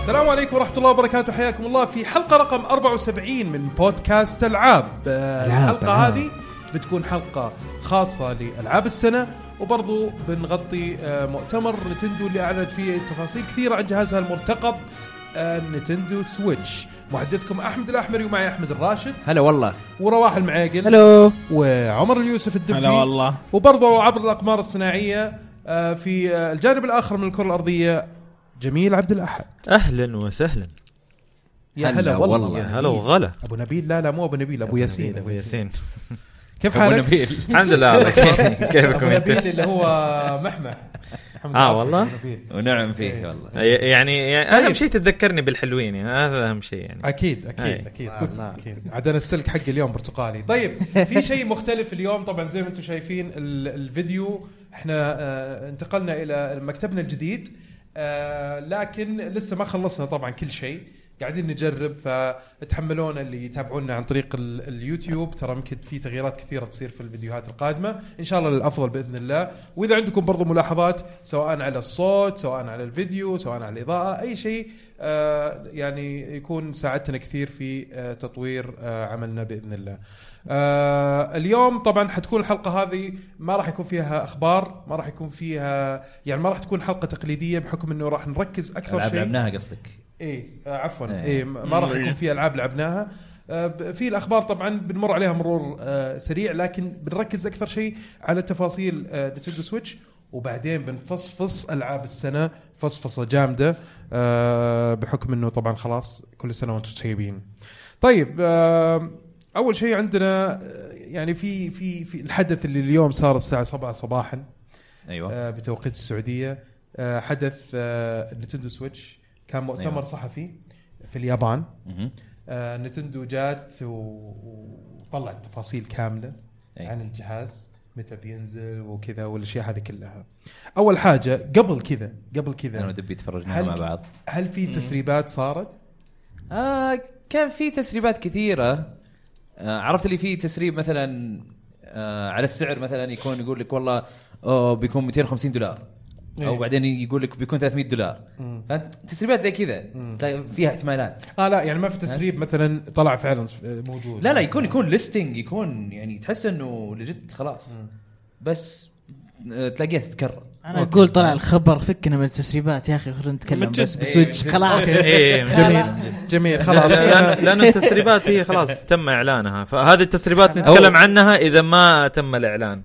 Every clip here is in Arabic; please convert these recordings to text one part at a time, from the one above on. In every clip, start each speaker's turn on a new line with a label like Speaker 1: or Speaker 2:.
Speaker 1: السلام عليكم ورحمة الله وبركاته حياكم الله في حلقة رقم 74 من بودكاست ألعاب آه،
Speaker 2: ألعاب،
Speaker 1: الحلقة
Speaker 2: ألعاب.
Speaker 1: هذه بتكون حلقة خاصة لألعاب السنة وبرضو بنغطي آه، مؤتمر نتندو اللي أعلنت فيه تفاصيل كثيرة عن جهازها المرتقب آه، نتندو سويتش محدثكم أحمد الأحمري ومعي أحمد الراشد
Speaker 2: هلا والله
Speaker 1: ورواح المعاقل
Speaker 2: هلو
Speaker 1: وعمر اليوسف الدبي
Speaker 3: هلا والله
Speaker 1: وبرضه عبر الاقمار الصناعيه آه، في آه، الجانب الاخر من الكره الارضيه جميل عبد الاحد
Speaker 4: اهلا وسهلا
Speaker 1: يا
Speaker 2: هلا
Speaker 1: هلا والله,
Speaker 2: والله.
Speaker 4: يا
Speaker 1: يا
Speaker 4: هلا وغلا
Speaker 1: ابو نبيل لا لا مو ابو نبيل ابو ياسين
Speaker 4: ابو ياسين
Speaker 1: كيف
Speaker 3: ابو
Speaker 1: حالك؟
Speaker 3: نبيل
Speaker 4: الحمد لله الله يكرمك.
Speaker 1: ابو
Speaker 4: كيفكم
Speaker 1: نبيل
Speaker 4: انت؟
Speaker 1: اللي هو محمح الحمد
Speaker 4: آه،
Speaker 1: لله.
Speaker 4: والله؟
Speaker 1: أبو نبيل.
Speaker 3: ونعم فيه والله
Speaker 4: أي- يعني يعني
Speaker 1: طيب.
Speaker 4: اهم شيء تتذكرني بالحلوين يعني هذا اهم شيء يعني
Speaker 1: اكيد اكيد
Speaker 4: أي.
Speaker 1: اكيد اكيد عاد انا السلك حقي اليوم برتقالي طيب في شيء مختلف اليوم طبعا زي ما انتم شايفين ال- الفيديو احنا آه، انتقلنا الى مكتبنا الجديد آه، لكن لسه ما خلصنا طبعا كل شيء قاعدين نجرب فتحملونا اللي يتابعونا عن طريق ال- اليوتيوب ترى يمكن في تغييرات كثيره تصير في الفيديوهات القادمه ان شاء الله للافضل باذن الله واذا عندكم برضو ملاحظات سواء على الصوت سواء على الفيديو سواء على الاضاءه اي شيء آه، يعني يكون ساعدتنا كثير في آه، تطوير آه، عملنا باذن الله آه، اليوم طبعا حتكون الحلقه هذه ما راح يكون فيها اخبار ما راح يكون فيها يعني ما راح تكون حلقه تقليديه بحكم انه راح نركز اكثر
Speaker 3: العاب
Speaker 1: شيء
Speaker 3: لعبناها قصدك
Speaker 1: اي آه عفوا
Speaker 3: إيه.
Speaker 1: اي ما راح يكون في العاب لعبناها آه، ب- في الاخبار طبعا بنمر عليها مرور آه، سريع لكن بنركز اكثر شيء على تفاصيل آه، نتندو سويتش وبعدين بنفصفص العاب السنه فصفصه جامده آه، بحكم انه طبعا خلاص كل سنه وانتم طيبين. طيب آه، اول شيء عندنا آه، يعني في في في الحدث اللي اليوم صار الساعه 7 صباحا
Speaker 3: ايوه
Speaker 1: آه، بتوقيت السعوديه آه، حدث آه، نتندو سويتش كان مؤتمر
Speaker 3: أيوة.
Speaker 1: صحفي في اليابان
Speaker 3: مهم.
Speaker 1: آه، نتندو جات و- وطلعت تفاصيل كامله
Speaker 3: أي.
Speaker 1: عن الجهاز متى بينزل وكذا والاشياء هذه كلها اول حاجه قبل كذا قبل
Speaker 3: انا
Speaker 1: كذا
Speaker 3: ودبي تفرجناها
Speaker 1: هل-
Speaker 3: مع بعض
Speaker 1: هل في تسريبات صارت
Speaker 3: آه كان في تسريبات كثيره آه عرفت اللي في تسريب مثلا آه على السعر مثلا يكون يقول لك والله أوه بيكون 250 دولار او
Speaker 1: إيه.
Speaker 3: بعدين يقول لك بيكون 300 دولار
Speaker 1: مم.
Speaker 3: فأنت تسريبات زي كذا تلاقي فيها احتمالات
Speaker 1: اه لا يعني ما في تسريب مثلا طلع فعلا ص- موجود
Speaker 3: لا لا يكون يكون ليستنج يكون يعني تحس انه لجد خلاص بس آه تلاقيها تتكرر
Speaker 5: انا اقول طلع الخبر فكنا من التسريبات يا اخي خلينا نتكلم بس بسويتش خلاص
Speaker 4: إيه.
Speaker 1: جميل جميل خلاص
Speaker 4: لأن- لأن التسريبات هي خلاص تم اعلانها فهذه التسريبات نتكلم عنها اذا ما تم الاعلان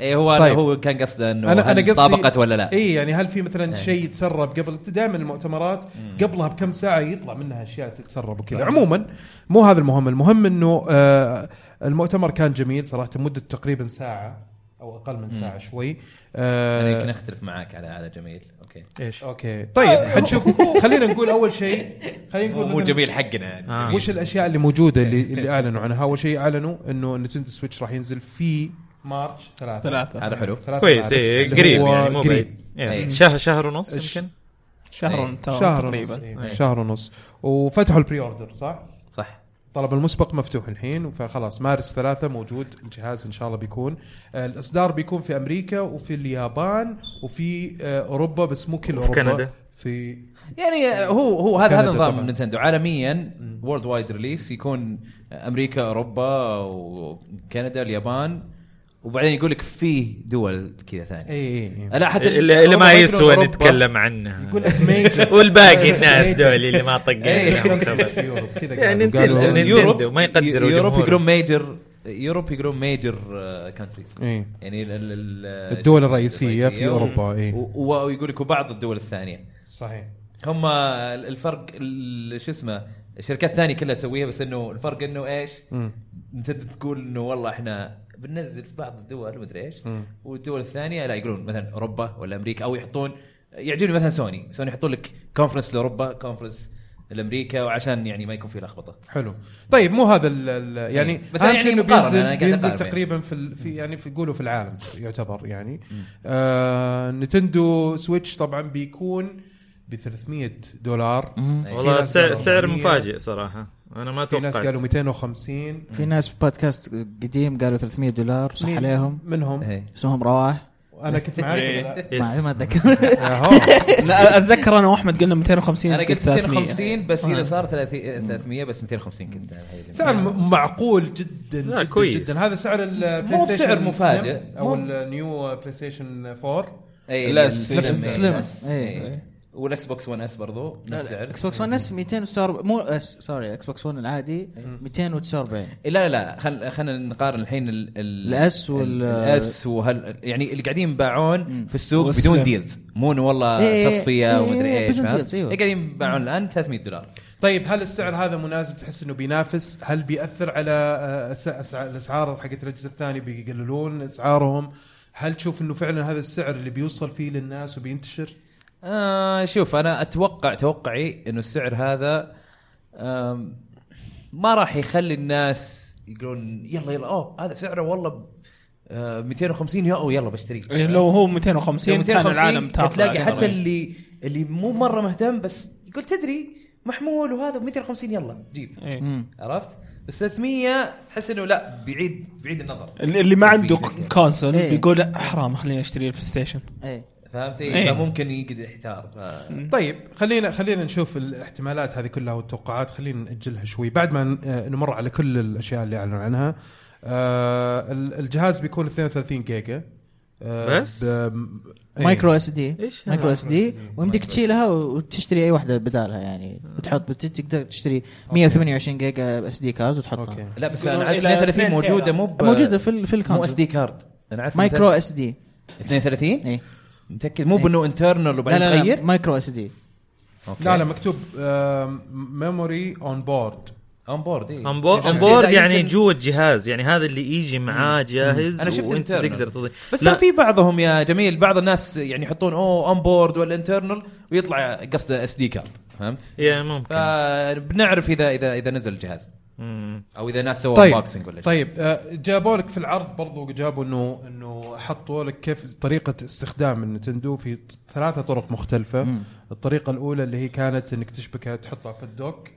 Speaker 3: اي هو
Speaker 1: طيب.
Speaker 3: طيب. هو كان قصده انه
Speaker 1: أنا-
Speaker 3: انا
Speaker 1: أنا
Speaker 3: انا
Speaker 1: قصدي-
Speaker 3: طابقت ولا لا
Speaker 1: اي يعني هل في مثلا
Speaker 3: إيه.
Speaker 1: شيء تسرب قبل دائما المؤتمرات قبلها بكم ساعه يطلع منها اشياء تتسرب وكذا عموما مو هذا المهم المهم انه آه المؤتمر كان جميل صراحه مده تقريبا ساعه او اقل من ساعه
Speaker 4: يعني
Speaker 1: شوي
Speaker 3: انا يعني يمكن
Speaker 1: آه
Speaker 3: اختلف معاك على على جميل اوكي
Speaker 4: ايش؟
Speaker 1: اوكي طيب حنشوف خلينا نقول اول شيء خلينا
Speaker 3: مو
Speaker 1: نقول
Speaker 3: مو
Speaker 1: مثلاً
Speaker 3: جميل حقنا يعني
Speaker 4: آه.
Speaker 3: جميل.
Speaker 1: وش الاشياء اللي موجوده اللي,
Speaker 4: إيه،
Speaker 1: اللي اعلنوا عنها اول شيء اعلنوا انه نتندو سويتش راح ينزل في مارش ثلاثة
Speaker 2: ثلاثة
Speaker 3: هذا حلو
Speaker 1: ثلاثة
Speaker 4: كويس
Speaker 1: مارس.
Speaker 4: إيه،
Speaker 1: اللي
Speaker 4: قريب
Speaker 1: هو
Speaker 4: يعني مو
Speaker 1: قريب.
Speaker 4: بعيد يعني
Speaker 3: إيه.
Speaker 4: شهر شهر ونص
Speaker 1: إيش؟
Speaker 3: إيه.
Speaker 4: يمكن
Speaker 2: شهر
Speaker 1: شهر
Speaker 2: تقريبا
Speaker 1: ونص إيه.
Speaker 4: إيه.
Speaker 1: شهر ونص وفتحوا البري اوردر صح؟
Speaker 3: صح
Speaker 1: طلب المسبق مفتوح الحين فخلاص مارس ثلاثة موجود الجهاز إن شاء الله بيكون آه، الإصدار بيكون في أمريكا وفي اليابان وفي آه، أوروبا بس مو كل
Speaker 4: وفي
Speaker 1: أوروبا
Speaker 4: كندا.
Speaker 1: في إيه،
Speaker 3: يعني هو هو هذا هذا
Speaker 1: كندا
Speaker 3: نظام
Speaker 1: طبعاً.
Speaker 3: نينتندو عالميا وورلد وايد ريليس يكون امريكا اوروبا وكندا اليابان وبعدين يقول لك فيه دول كذا ثانيه
Speaker 1: إي إي إي.
Speaker 3: لا حتى
Speaker 4: إيه، اللي, اللي
Speaker 1: أوروبا
Speaker 4: ما
Speaker 1: يقولون
Speaker 4: يسوى
Speaker 1: أوروبا.
Speaker 4: نتكلم عنها
Speaker 1: يقول لك major.
Speaker 4: والباقي الناس دول اللي ما
Speaker 3: إيه.
Speaker 4: طقينا
Speaker 1: في أوروبا كذا
Speaker 4: يعني
Speaker 1: قالوا- قالوا-
Speaker 4: نتندو- نينتندو ما يقدروا
Speaker 3: يوروب
Speaker 4: جمهورهم.
Speaker 3: يقولون ميجر يوروب يقولون آه، ميجر كانتريز
Speaker 1: إيه.
Speaker 3: يعني ال- ال- ال-
Speaker 1: الدول الرئيسية في أوروبا إيه. إي
Speaker 3: و- و- ويقول لك وبعض الدول الثانيه
Speaker 1: صحيح
Speaker 3: هم الفرق ال- شو اسمه الشركات الثانيه كلها تسويها بس انه الفرق انه ايش؟
Speaker 1: مم.
Speaker 3: انت تقول انه والله احنا بننزل في بعض الدول ومدري ايش
Speaker 1: مم.
Speaker 3: والدول الثانيه لا يقولون مثلا اوروبا ولا امريكا او يحطون يعجبني مثلا سوني، سوني يحطون لك كونفرنس لاوروبا كونفرنس لامريكا وعشان يعني ما يكون في لخبطه.
Speaker 1: حلو طيب مو هذا ال ال يعني
Speaker 3: بس
Speaker 1: أهم
Speaker 3: يعني
Speaker 1: شيء إنه
Speaker 3: مقارنة، أنا
Speaker 1: بينزل
Speaker 3: قاعد
Speaker 1: بينزل
Speaker 3: أقارن بين-
Speaker 1: تقريبا في, ال في يعني في يقولوا في العالم يعتبر يعني آه نتندو سويتش طبعا بيكون ب 300 دولار
Speaker 3: يعني
Speaker 4: والله
Speaker 1: ناس
Speaker 4: سعر,
Speaker 1: قالوا
Speaker 4: سعر
Speaker 1: 100.
Speaker 4: مفاجئ صراحه انا ما
Speaker 1: في ناس
Speaker 4: توقعت
Speaker 1: قالوا 250
Speaker 5: في ناس في بودكاست قديم قالوا 300 دولار صح
Speaker 1: مين؟
Speaker 5: عليهم
Speaker 1: منهم
Speaker 3: إيه.
Speaker 5: اسمهم رواح
Speaker 1: انا كنت معاك ولا
Speaker 4: إيه.
Speaker 1: لا؟
Speaker 5: ما ما اتذكر
Speaker 2: لا اتذكر انا واحمد قلنا 250
Speaker 3: انا قلت
Speaker 2: 300.
Speaker 3: 250 بس هنا
Speaker 2: آه.
Speaker 3: صار 30 300 بس 250 كنت أنا الحين.
Speaker 1: سعر م- معقول جدا
Speaker 4: لا،
Speaker 1: جدا
Speaker 4: كويس.
Speaker 1: جدا هذا سعر البلاي
Speaker 3: مو
Speaker 1: ستيشن
Speaker 3: بسعر
Speaker 1: سليم
Speaker 3: مفاجئ.
Speaker 1: او
Speaker 3: مو-
Speaker 1: النيو بلاي ستيشن 4
Speaker 3: اي
Speaker 2: لا،
Speaker 3: السلم
Speaker 1: سلم.
Speaker 5: سلم.
Speaker 3: اي
Speaker 5: إيه.
Speaker 3: والاكس بوكس 1 اس برضو نفس السعر
Speaker 5: اكس بوكس 1 اس 249 مو آه، اس سوري اكس بوكس 1 العادي 249
Speaker 3: إيه، لا لا لا خل خلينا نقارن الحين ال
Speaker 5: الأس وال-
Speaker 3: الاس وهل يعني اللي قاعدين يباعون في السوق
Speaker 2: والسلم.
Speaker 3: بدون ديلز مو إنه والله
Speaker 5: إيه،
Speaker 3: تصفيه
Speaker 5: إيه،
Speaker 3: ومدري
Speaker 5: إيه،
Speaker 3: ايش
Speaker 5: بدون
Speaker 3: فاهم؟
Speaker 5: deals، أيوة.
Speaker 3: اللي قاعدين يباعون الان 300 دولار
Speaker 1: طيب هل السعر هذا مناسب تحس انه بينافس؟ هل بياثر على آه، أس- أس- الاسعار حقت الجزء الثاني بيقللون اسعارهم؟ هل تشوف انه فعلا هذا السعر اللي بيوصل فيه للناس وبينتشر؟
Speaker 3: آه شوف انا اتوقع توقعي انه السعر هذا آم، ما راح يخلي الناس يقولون يلا يلا اوه هذا سعره والله ب- آه 250 يا او يلا بشتريه
Speaker 2: إيه، لو هو
Speaker 3: لو
Speaker 2: 250 كان
Speaker 3: 250
Speaker 2: العالم تاخذ
Speaker 3: تلاقي حتى اللي اللي مو مره مهتم بس يقول تدري محمول وهذا 250 يلا جيب
Speaker 2: إيه.
Speaker 5: مم.
Speaker 3: عرفت بس 300 تحس انه لا بعيد بعيد النظر
Speaker 2: اللي ما عنده كونسول
Speaker 5: إيه.
Speaker 2: بيقول "لا، حرام خليني اشتري البلاي ستيشن
Speaker 5: اي
Speaker 3: فهمت
Speaker 2: إيه.
Speaker 3: إيه؟ فممكن يقعد يحتار ف...
Speaker 1: طيب خلينا خلينا نشوف الاحتمالات هذه كلها والتوقعات خلينا ناجلها شوي بعد ما ن- آه، نمر على كل الاشياء اللي اعلنوا عنها آه ال- الجهاز بيكون 32 جيجا آه،
Speaker 4: بس؟
Speaker 1: بم- إيه.
Speaker 5: مايكرو اس دي
Speaker 4: إيش هذا؟
Speaker 5: مايكرو اس دي ويمديك تشيلها وتشتري اي واحده بدالها يعني وتحط بت- تقدر تشتري 128 جيجا اس دي كارد
Speaker 1: اوكي
Speaker 5: وتحطها
Speaker 3: لا بس
Speaker 2: يقولون
Speaker 3: انا عارف 32
Speaker 2: إلى 2
Speaker 3: موجوده
Speaker 2: تيرا.
Speaker 3: مو ب...
Speaker 5: موجوده في ال- في
Speaker 3: مو اس
Speaker 5: الكونسول
Speaker 3: دي كارد انا عارف
Speaker 5: مايكرو اس دي
Speaker 3: 32
Speaker 5: اي
Speaker 3: متاكد مو
Speaker 5: إيه.
Speaker 3: بانه انترنال
Speaker 5: لا
Speaker 3: وبعدين
Speaker 5: لا, لا
Speaker 3: تغير
Speaker 5: مايكرو اس دي
Speaker 1: لا لا مكتوب آه، ميموري اون بورد
Speaker 3: اون بورد إيه.
Speaker 4: اون
Speaker 3: لا،
Speaker 4: بورد
Speaker 3: يمكن-
Speaker 4: يعني جوا الجهاز يعني هذا اللي يجي معاه جاهز
Speaker 3: أنا شفت
Speaker 4: وانت
Speaker 3: internal.
Speaker 4: تقدر تضيف
Speaker 3: بس
Speaker 4: لا.
Speaker 3: لا. في بعضهم يا جميل بعض الناس يعني يحطون اوه اون بورد ولا انترنال ويطلع قصده اس دي كارد فهمت؟
Speaker 4: يا ممكن
Speaker 3: فبنعرف اذا اذا اذا نزل الجهاز
Speaker 4: مم.
Speaker 3: او اذا ناس سووا
Speaker 1: طيب
Speaker 3: انبوكسنج ولا شيء
Speaker 1: طيب آه، جابوا لك في العرض برضو جابوا انه انه حطوا لك كيف طريقه استخدام النتندو في ثلاثه طرق مختلفه
Speaker 5: مم.
Speaker 1: الطريقه الاولى اللي هي كانت انك تشبكها تحطها في الدوك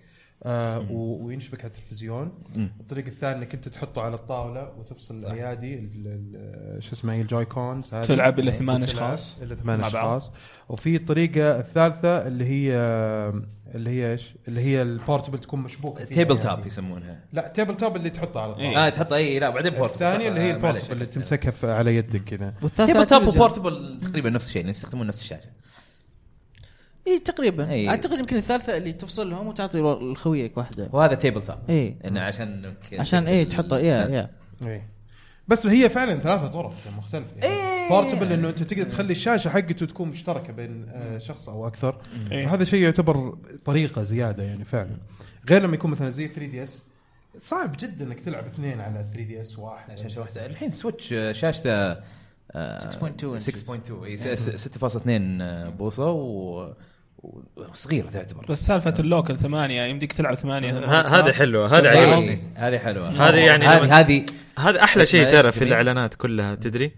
Speaker 1: آه و- وينشبك على التلفزيون
Speaker 3: مم.
Speaker 1: الطريقه الثانيه انك انت تحطه على الطاوله وتفصل الايادي ال- ال- شو اسمها هي الجوي كونز هذه.
Speaker 2: تلعب إلى ثمان
Speaker 1: تلعب
Speaker 2: أشخاص.
Speaker 1: الى ثمان
Speaker 2: مع بعض.
Speaker 1: اشخاص وفي الطريقه الثالثه اللي هي اللي هي ايش؟ اللي هي البورتبل تكون مشبوكه فيها
Speaker 3: تيبل
Speaker 1: يعني.
Speaker 3: تاب يسمونها
Speaker 1: لا تيبل توب اللي تحطه على الطاوله
Speaker 2: إيه.
Speaker 3: اه تحط اي لا بعدين بورتبل
Speaker 1: الثانيه اللي هي
Speaker 3: آه، معليش،
Speaker 1: البورتبل اللي
Speaker 3: أكيد.
Speaker 1: تمسكها في- على يدك كذا
Speaker 5: والثالثة
Speaker 3: تيبل تاب
Speaker 5: تلفزيون.
Speaker 3: وبورتبل تقريبا نفس الشيء يعني يستخدمون نفس الشاشه
Speaker 5: اي تقريبا
Speaker 3: إي.
Speaker 5: اعتقد إيه، يمكن الثالثه اللي تفصلهم وتعطي ور- لخويك واحده
Speaker 3: وهذا تيبل تاب
Speaker 5: اي
Speaker 3: انه عشان
Speaker 5: إيه. عشان إيه اي تحطها يا
Speaker 3: السند.
Speaker 5: يا
Speaker 1: اي بس هي فعلا ثلاثة طرق مختلفة
Speaker 5: إيه.
Speaker 1: يعني بورتبل انه انت تقدر تخلي الشاشة حقته تكون مشتركة بين آه، شخص او اكثر
Speaker 2: إيه.
Speaker 1: وهذا شيء يعتبر طريقة زيادة يعني فعلا غير لما يكون مثلا زي 3 دي اس صعب جدا انك تلعب اثنين على 3 دي اس واحد
Speaker 3: عشان شاشة واحدة. الحين سويتش آه، شاشته آه،
Speaker 5: 6.2 inch.
Speaker 3: 6.2 إي، س- 6.2 بوصه آه، و- وصغيره تعتبر
Speaker 2: بس سالفه اللوكل ثمانية يمديك تلعب ثمانية
Speaker 4: ه- هذا حلوه هذا
Speaker 2: طبعاً.
Speaker 4: عجبني
Speaker 3: إي، هذه حلوه
Speaker 4: هذه يعني لما-
Speaker 3: هذه هذه
Speaker 4: هذا احلى شيء
Speaker 3: ما
Speaker 4: ترى
Speaker 3: إيش
Speaker 4: في
Speaker 3: جميل.
Speaker 4: الاعلانات كلها تدري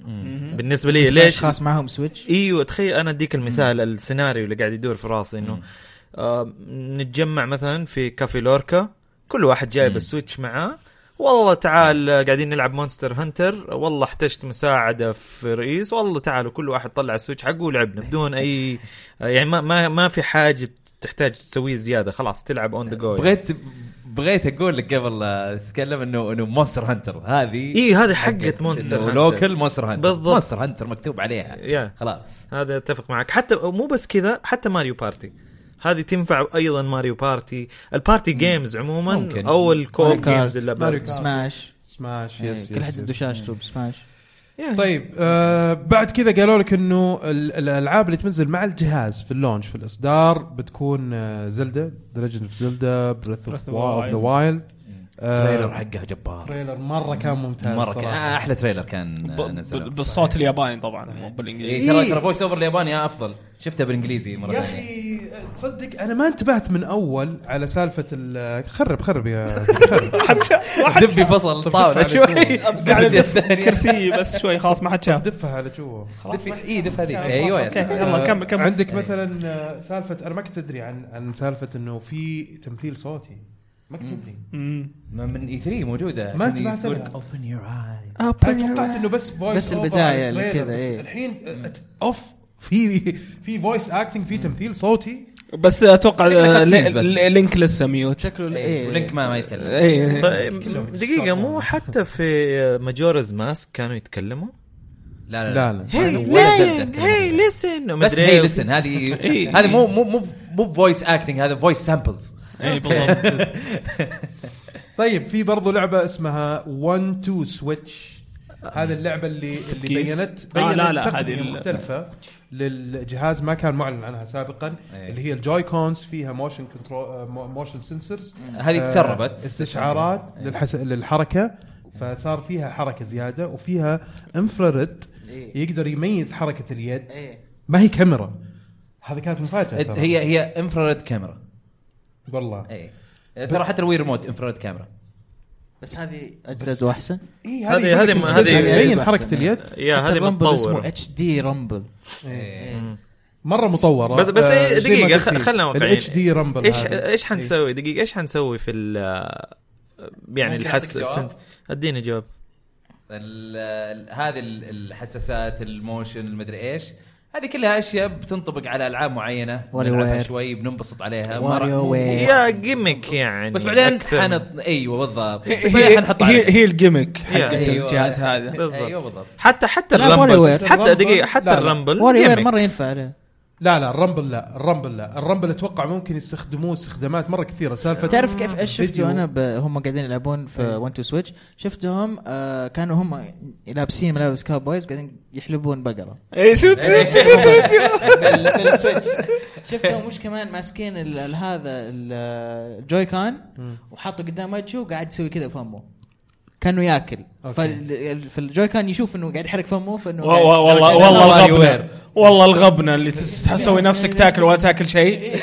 Speaker 2: مهم.
Speaker 4: بالنسبه لي ليش
Speaker 5: خاص معهم سويتش
Speaker 4: ايوه تخيل انا اديك المثال السيناريو اللي قاعد يدور في راسي انه آه نتجمع مثلا في كافي لوركا كل واحد جايب
Speaker 3: مم.
Speaker 4: السويتش معاه والله تعال آه، قاعدين نلعب مونستر هنتر والله احتجت مساعده في رئيس والله تعالوا كل واحد طلع السويتش حقه ولعبنا بدون اي آه، يعني ما ما ما في حاجه تحتاج تسويه زياده خلاص تلعب اون ذا جو
Speaker 3: بغيت بغيت اقول لك قبل لا تتكلم انه انه مونستر هانتر هذه
Speaker 4: اي إيه، هذه حقت مونستر
Speaker 3: إنه
Speaker 4: هنتر
Speaker 3: لوكل مونستر هانتر
Speaker 4: بالضبط.
Speaker 3: مونستر هانتر مكتوب عليها
Speaker 4: يا
Speaker 3: خلاص
Speaker 4: هذا اتفق معك حتى مو بس كذا حتى ماريو بارتي هذه تنفع ايضا ماريو بارتي البارتي جيمز عموما
Speaker 3: ممكن.
Speaker 4: او الكوب
Speaker 5: ماريو كارت.
Speaker 4: جيمز اللي
Speaker 1: ماريو
Speaker 4: بال-
Speaker 1: كارت.
Speaker 5: سماش
Speaker 1: سماش
Speaker 5: إي،
Speaker 1: يس
Speaker 5: إيه، كل
Speaker 1: يس-
Speaker 5: حد عنده
Speaker 1: يس.
Speaker 5: شاشته بسماش
Speaker 4: يا.
Speaker 1: طيب آه بعد كذا قالوا لك انه ال- الالعاب اللي تنزل مع الجهاز في اللونش في الاصدار بتكون آه زلدا ذا ليجند اوف زلدا بريث اوف
Speaker 2: Breath of
Speaker 1: ذا وايلد
Speaker 3: Mm.
Speaker 4: آه.
Speaker 3: تريلر حقها جبار
Speaker 1: تريلر مره آه، كان ممتاز
Speaker 3: مره كان
Speaker 1: صراحة.
Speaker 3: آه، احلى تريلر كان
Speaker 2: ب-
Speaker 3: آه، نزله
Speaker 2: ب- بالصوت الياباني طبعا مو بالانجليزي
Speaker 3: إيه، ترى ترى فويس اوفر الياباني افضل شفته بالانجليزي مره
Speaker 1: يا
Speaker 3: ثانيه
Speaker 1: اخي تصدق انا ما انتبهت من اول على سالفه ال- خرب خرب يا
Speaker 3: إيه. دبي فصل طاوله
Speaker 1: دفع على
Speaker 3: شوي
Speaker 2: قاعد
Speaker 3: الجهة الثانيه
Speaker 2: كرسي بس شوي خلاص ما حد شاف
Speaker 1: دفها على جوا
Speaker 3: دفي اي دف هذه ايوه يا
Speaker 2: أوكي،
Speaker 3: سلام.
Speaker 2: يلا
Speaker 1: آه،
Speaker 2: كمل أيوه. كمل
Speaker 1: عندك مثلا آه، سالفه انا ما كنت ادري عن عن سالفه انه في تمثيل صوتي مكتوب لي
Speaker 3: ما من اي 3 موجوده
Speaker 1: ما
Speaker 3: عشان
Speaker 1: انتبهت
Speaker 3: يقول
Speaker 1: لها.
Speaker 3: اوبن يور اي
Speaker 5: آه،
Speaker 1: انا توقعت انه بس فويس
Speaker 5: بس البداية اللي كذا، إيه.
Speaker 1: الحين اوف في في فويس اكتنج في تمثيل صوتي
Speaker 2: بس اتوقع
Speaker 3: شكلها cutscenes بس.
Speaker 2: ل- ل- لينك لسه ميوت
Speaker 5: شكله إيه.
Speaker 3: ولينك ما ما يتكلم
Speaker 2: اي
Speaker 4: طيب،
Speaker 1: كلهم
Speaker 4: دقيقة مو حتى في ماجورز ماسك كانوا يتكلموا
Speaker 3: لا
Speaker 1: لا
Speaker 3: لا
Speaker 1: لا.
Speaker 4: هي
Speaker 3: أنا ولا زبدة
Speaker 4: لين
Speaker 3: أتكلم.
Speaker 4: هي لسن
Speaker 3: بس هي لسن هذه
Speaker 2: إيه.
Speaker 3: هذه مو مو مو مو فويس اكتنج هذا فويس سامبلز
Speaker 2: اي إيه، بالضبط
Speaker 1: طيب في برضو لعبه اسمها 1 2 سويتش هذه اللعبه اللي اللي
Speaker 2: كيس.
Speaker 1: بينت
Speaker 2: آه،
Speaker 1: بينت
Speaker 2: لا، لا،
Speaker 1: تقنيه
Speaker 2: هذه ال-
Speaker 1: مختلفه للجهاز ما كان معلن عنها سابقا
Speaker 3: إيه.
Speaker 1: اللي هي الجوي كونز فيها آه، موشن كنترول موشن سنسرز
Speaker 3: هذه تسربت
Speaker 1: آه، استشعارات للحس... للحركه فصار فيها حركه زياده وفيها انفراريد
Speaker 5: إيه.
Speaker 1: يقدر يميز حركه اليد
Speaker 5: إيه.
Speaker 1: ما هي كاميرا هذه كانت مفاجاه ترى.
Speaker 3: هي هي انفراريد كاميرا
Speaker 1: والله
Speaker 5: إيه.
Speaker 3: اي ترى حتى الوي ريموت انفراريد كاميرا
Speaker 5: بس هذه اجدد واحسن
Speaker 1: اي
Speaker 4: هذه- هذه-
Speaker 1: يمكن
Speaker 4: هذه-
Speaker 1: تبين
Speaker 5: أجدد
Speaker 1: حركه
Speaker 5: أحسن.
Speaker 1: اليد
Speaker 4: يا
Speaker 5: يعني حتى
Speaker 4: هذه
Speaker 5: الرامبل
Speaker 4: متطورة
Speaker 5: اسمه اتش دي رامبل
Speaker 3: إيه.
Speaker 1: مره مطوره
Speaker 4: بس- بس إيه،
Speaker 1: آه، زي ما
Speaker 4: دقيقة،
Speaker 1: قلت
Speaker 4: خل-
Speaker 1: لي،
Speaker 4: خلنا واقعيين.
Speaker 1: الاتش دي رامبل
Speaker 4: ايش
Speaker 1: هذا.
Speaker 4: ايش
Speaker 1: إيه.
Speaker 4: حنسوي دقيقة ايش حنسوي في ال يعني
Speaker 3: ممكن
Speaker 4: الحس
Speaker 3: أعطيك جواب؟
Speaker 4: السن- اديني جواب
Speaker 3: ال- ال- هذه ال- الحساسات الموشن المدري ايش هذه كلها اشياء بتنطبق على العاب معينه
Speaker 5: واري
Speaker 3: بنلعبها
Speaker 5: وير.
Speaker 3: شوي بننبسط عليها ما راح-
Speaker 5: واريو
Speaker 1: إيه.
Speaker 5: وير
Speaker 4: يا جيمك يعني
Speaker 3: بس بعدين
Speaker 4: أكثر من-
Speaker 3: حنط ايوه بالضبط
Speaker 2: هي-
Speaker 3: بس بعدين حنحط
Speaker 2: هي
Speaker 3: عليها.
Speaker 2: هي الجيمك حقت
Speaker 3: أيوة.
Speaker 2: الجهاز هذا
Speaker 4: أيوة، بالضبط.
Speaker 3: ايوه بالضبط
Speaker 4: حتى حتى
Speaker 5: لا، WarioWare.
Speaker 4: الرامبل حتى دقيقة
Speaker 1: لا،
Speaker 4: حتى
Speaker 1: لا.
Speaker 4: الرامبل
Speaker 5: واري وير
Speaker 4: gimmick.
Speaker 5: مره ينفع عليه
Speaker 1: إيه. لا لا الرامبل لا الرامبل لا الرامبل اتوقع ممكن يستخدموه استخدامات مره كثيره سالفه
Speaker 5: تعرف كيف ايش
Speaker 1: فيديو. إيه.
Speaker 5: شفته انا ب... هم قاعدين يلعبون في 1 2 سويتش شفتهم آه كانوا هم لابسين ملابس كاوبويز قاعدين يحلبون بقره
Speaker 2: اي شفت
Speaker 3: إيه.
Speaker 5: بال- بالسويتش شفتهم مش كمان ماسكين ال- ال- هذا ال- الجوي كان وحاطه قدام وجهه وقاعد يسوي كذا فمه كانه ياكل
Speaker 1: أوكي.
Speaker 5: فال- فالجوي كان يشوف انه قاعد يحرك فمه فانه
Speaker 2: و- و-
Speaker 5: قاعد-
Speaker 2: والله
Speaker 3: شغلنا
Speaker 2: والله
Speaker 3: واري
Speaker 2: الغبنه
Speaker 3: وير.
Speaker 2: والله الغبنه اللي تس- تسوي نفسك تاكل ولا تاكل شيء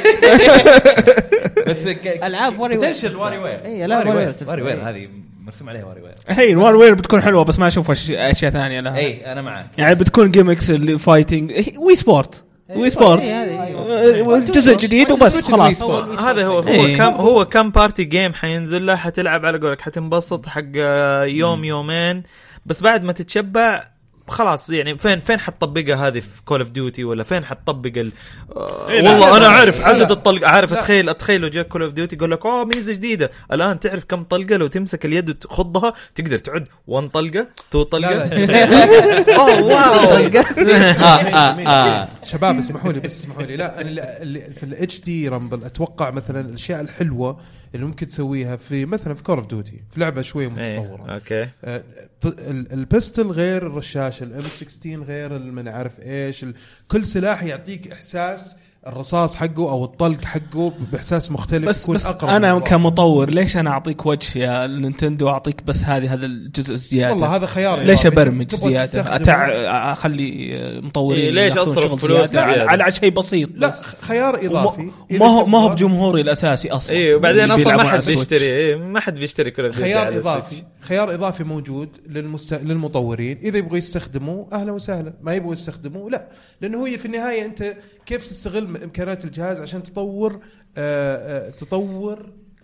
Speaker 3: بس ك-
Speaker 5: العاب واري وير
Speaker 3: بوتنشل واري وير
Speaker 5: اي العاب واري وير
Speaker 3: واري وير هذه مرسوم عليها واري وير
Speaker 2: هي الوار وير بتكون حلوه بس ما اشوف أش- اشياء ثانيه
Speaker 5: آه.
Speaker 2: لها
Speaker 1: إيه.
Speaker 3: اي انا إيه، معك
Speaker 2: يعني بتكون جيمكس اللي إيه، فايتنج هي- وي سبورت
Speaker 1: إيه،
Speaker 2: وي سبورت آه، جزء جديد وبس خلاص
Speaker 4: هو- هذا هو هو
Speaker 2: إيه.
Speaker 4: كم هو كم بارتي جيم حينزل له حتلعب على قولك حتنبسط حق آه، يوم يومين بس بعد ما تتشبع خلاص يعني فين فين حتطبقها هذه في كول اوف ديوتي ولا فين حتطبق ال آه،
Speaker 2: لا،
Speaker 4: والله
Speaker 2: لا،
Speaker 4: انا
Speaker 2: لا،
Speaker 4: عارف
Speaker 1: لا،
Speaker 4: عدد
Speaker 1: لا.
Speaker 4: الطلق عارف
Speaker 1: لا.
Speaker 4: اتخيل اتخيل لو جاك كول اوف ديوتي يقول لك اوه ميزه جديده الان تعرف كم طلقه لو تمسك اليد وتخضها تقدر تعد 1 طلقه 2
Speaker 1: لا،
Speaker 4: طلقه
Speaker 1: لا،
Speaker 4: اوه واو
Speaker 1: جميل،
Speaker 3: آه،
Speaker 1: جميل.
Speaker 3: آه.
Speaker 1: شباب اسمحوا لي بس اسمحوا لي لا أنا اللي- اللي في الاتش دي رامبل اتوقع مثلا الاشياء الحلوه اللي ممكن تسويها في مثلا في كور اوف ديوتي في لعبه شويه متطوره
Speaker 4: إيه، اوكي
Speaker 1: آه، ط- ال- البستل غير الرشاش الام 16 غير من عارف ايش ال- كل سلاح يعطيك احساس الرصاص حقه او الطلق حقه باحساس مختلف
Speaker 2: بس,
Speaker 1: يكون
Speaker 2: بس
Speaker 1: أقرب
Speaker 2: انا
Speaker 1: للواقع.
Speaker 2: كمطور ليش انا اعطيك وجه يا نينتندو واعطيك بس هذه هذا الجزء الزياده
Speaker 1: والله هذا خيار
Speaker 2: ليش ابرمج زياده أتع...
Speaker 1: أتع...
Speaker 2: اخلي مطورين
Speaker 4: إيه، ليش
Speaker 2: ياخذون
Speaker 4: أصرف
Speaker 2: شغل
Speaker 4: فلوس زيادة؟
Speaker 2: على, على شيء بسيط
Speaker 1: لا
Speaker 2: بس.
Speaker 1: خ- خيار اضافي
Speaker 2: وما-
Speaker 1: إذا
Speaker 2: ما هو ما هو
Speaker 1: تبغى
Speaker 2: بجمهوري الاساسي اصلا
Speaker 4: اي إيه، وبعدين
Speaker 2: اللي
Speaker 4: اصلا ما
Speaker 2: بيلعبون على
Speaker 4: حد
Speaker 2: السويتش.
Speaker 4: بيشتري إيه، ما حد بيشتري كول اوف ديوتي
Speaker 1: خيار اضافي خيار اضافي موجود للمست... للمطورين اذا يبغوا يستخدموه اهلا وسهلا ما يبغوا يستخدموه لا لانه هي في النهايه انت كيف تستغل م- امكانات الجهاز عشان تطور آه آه تطور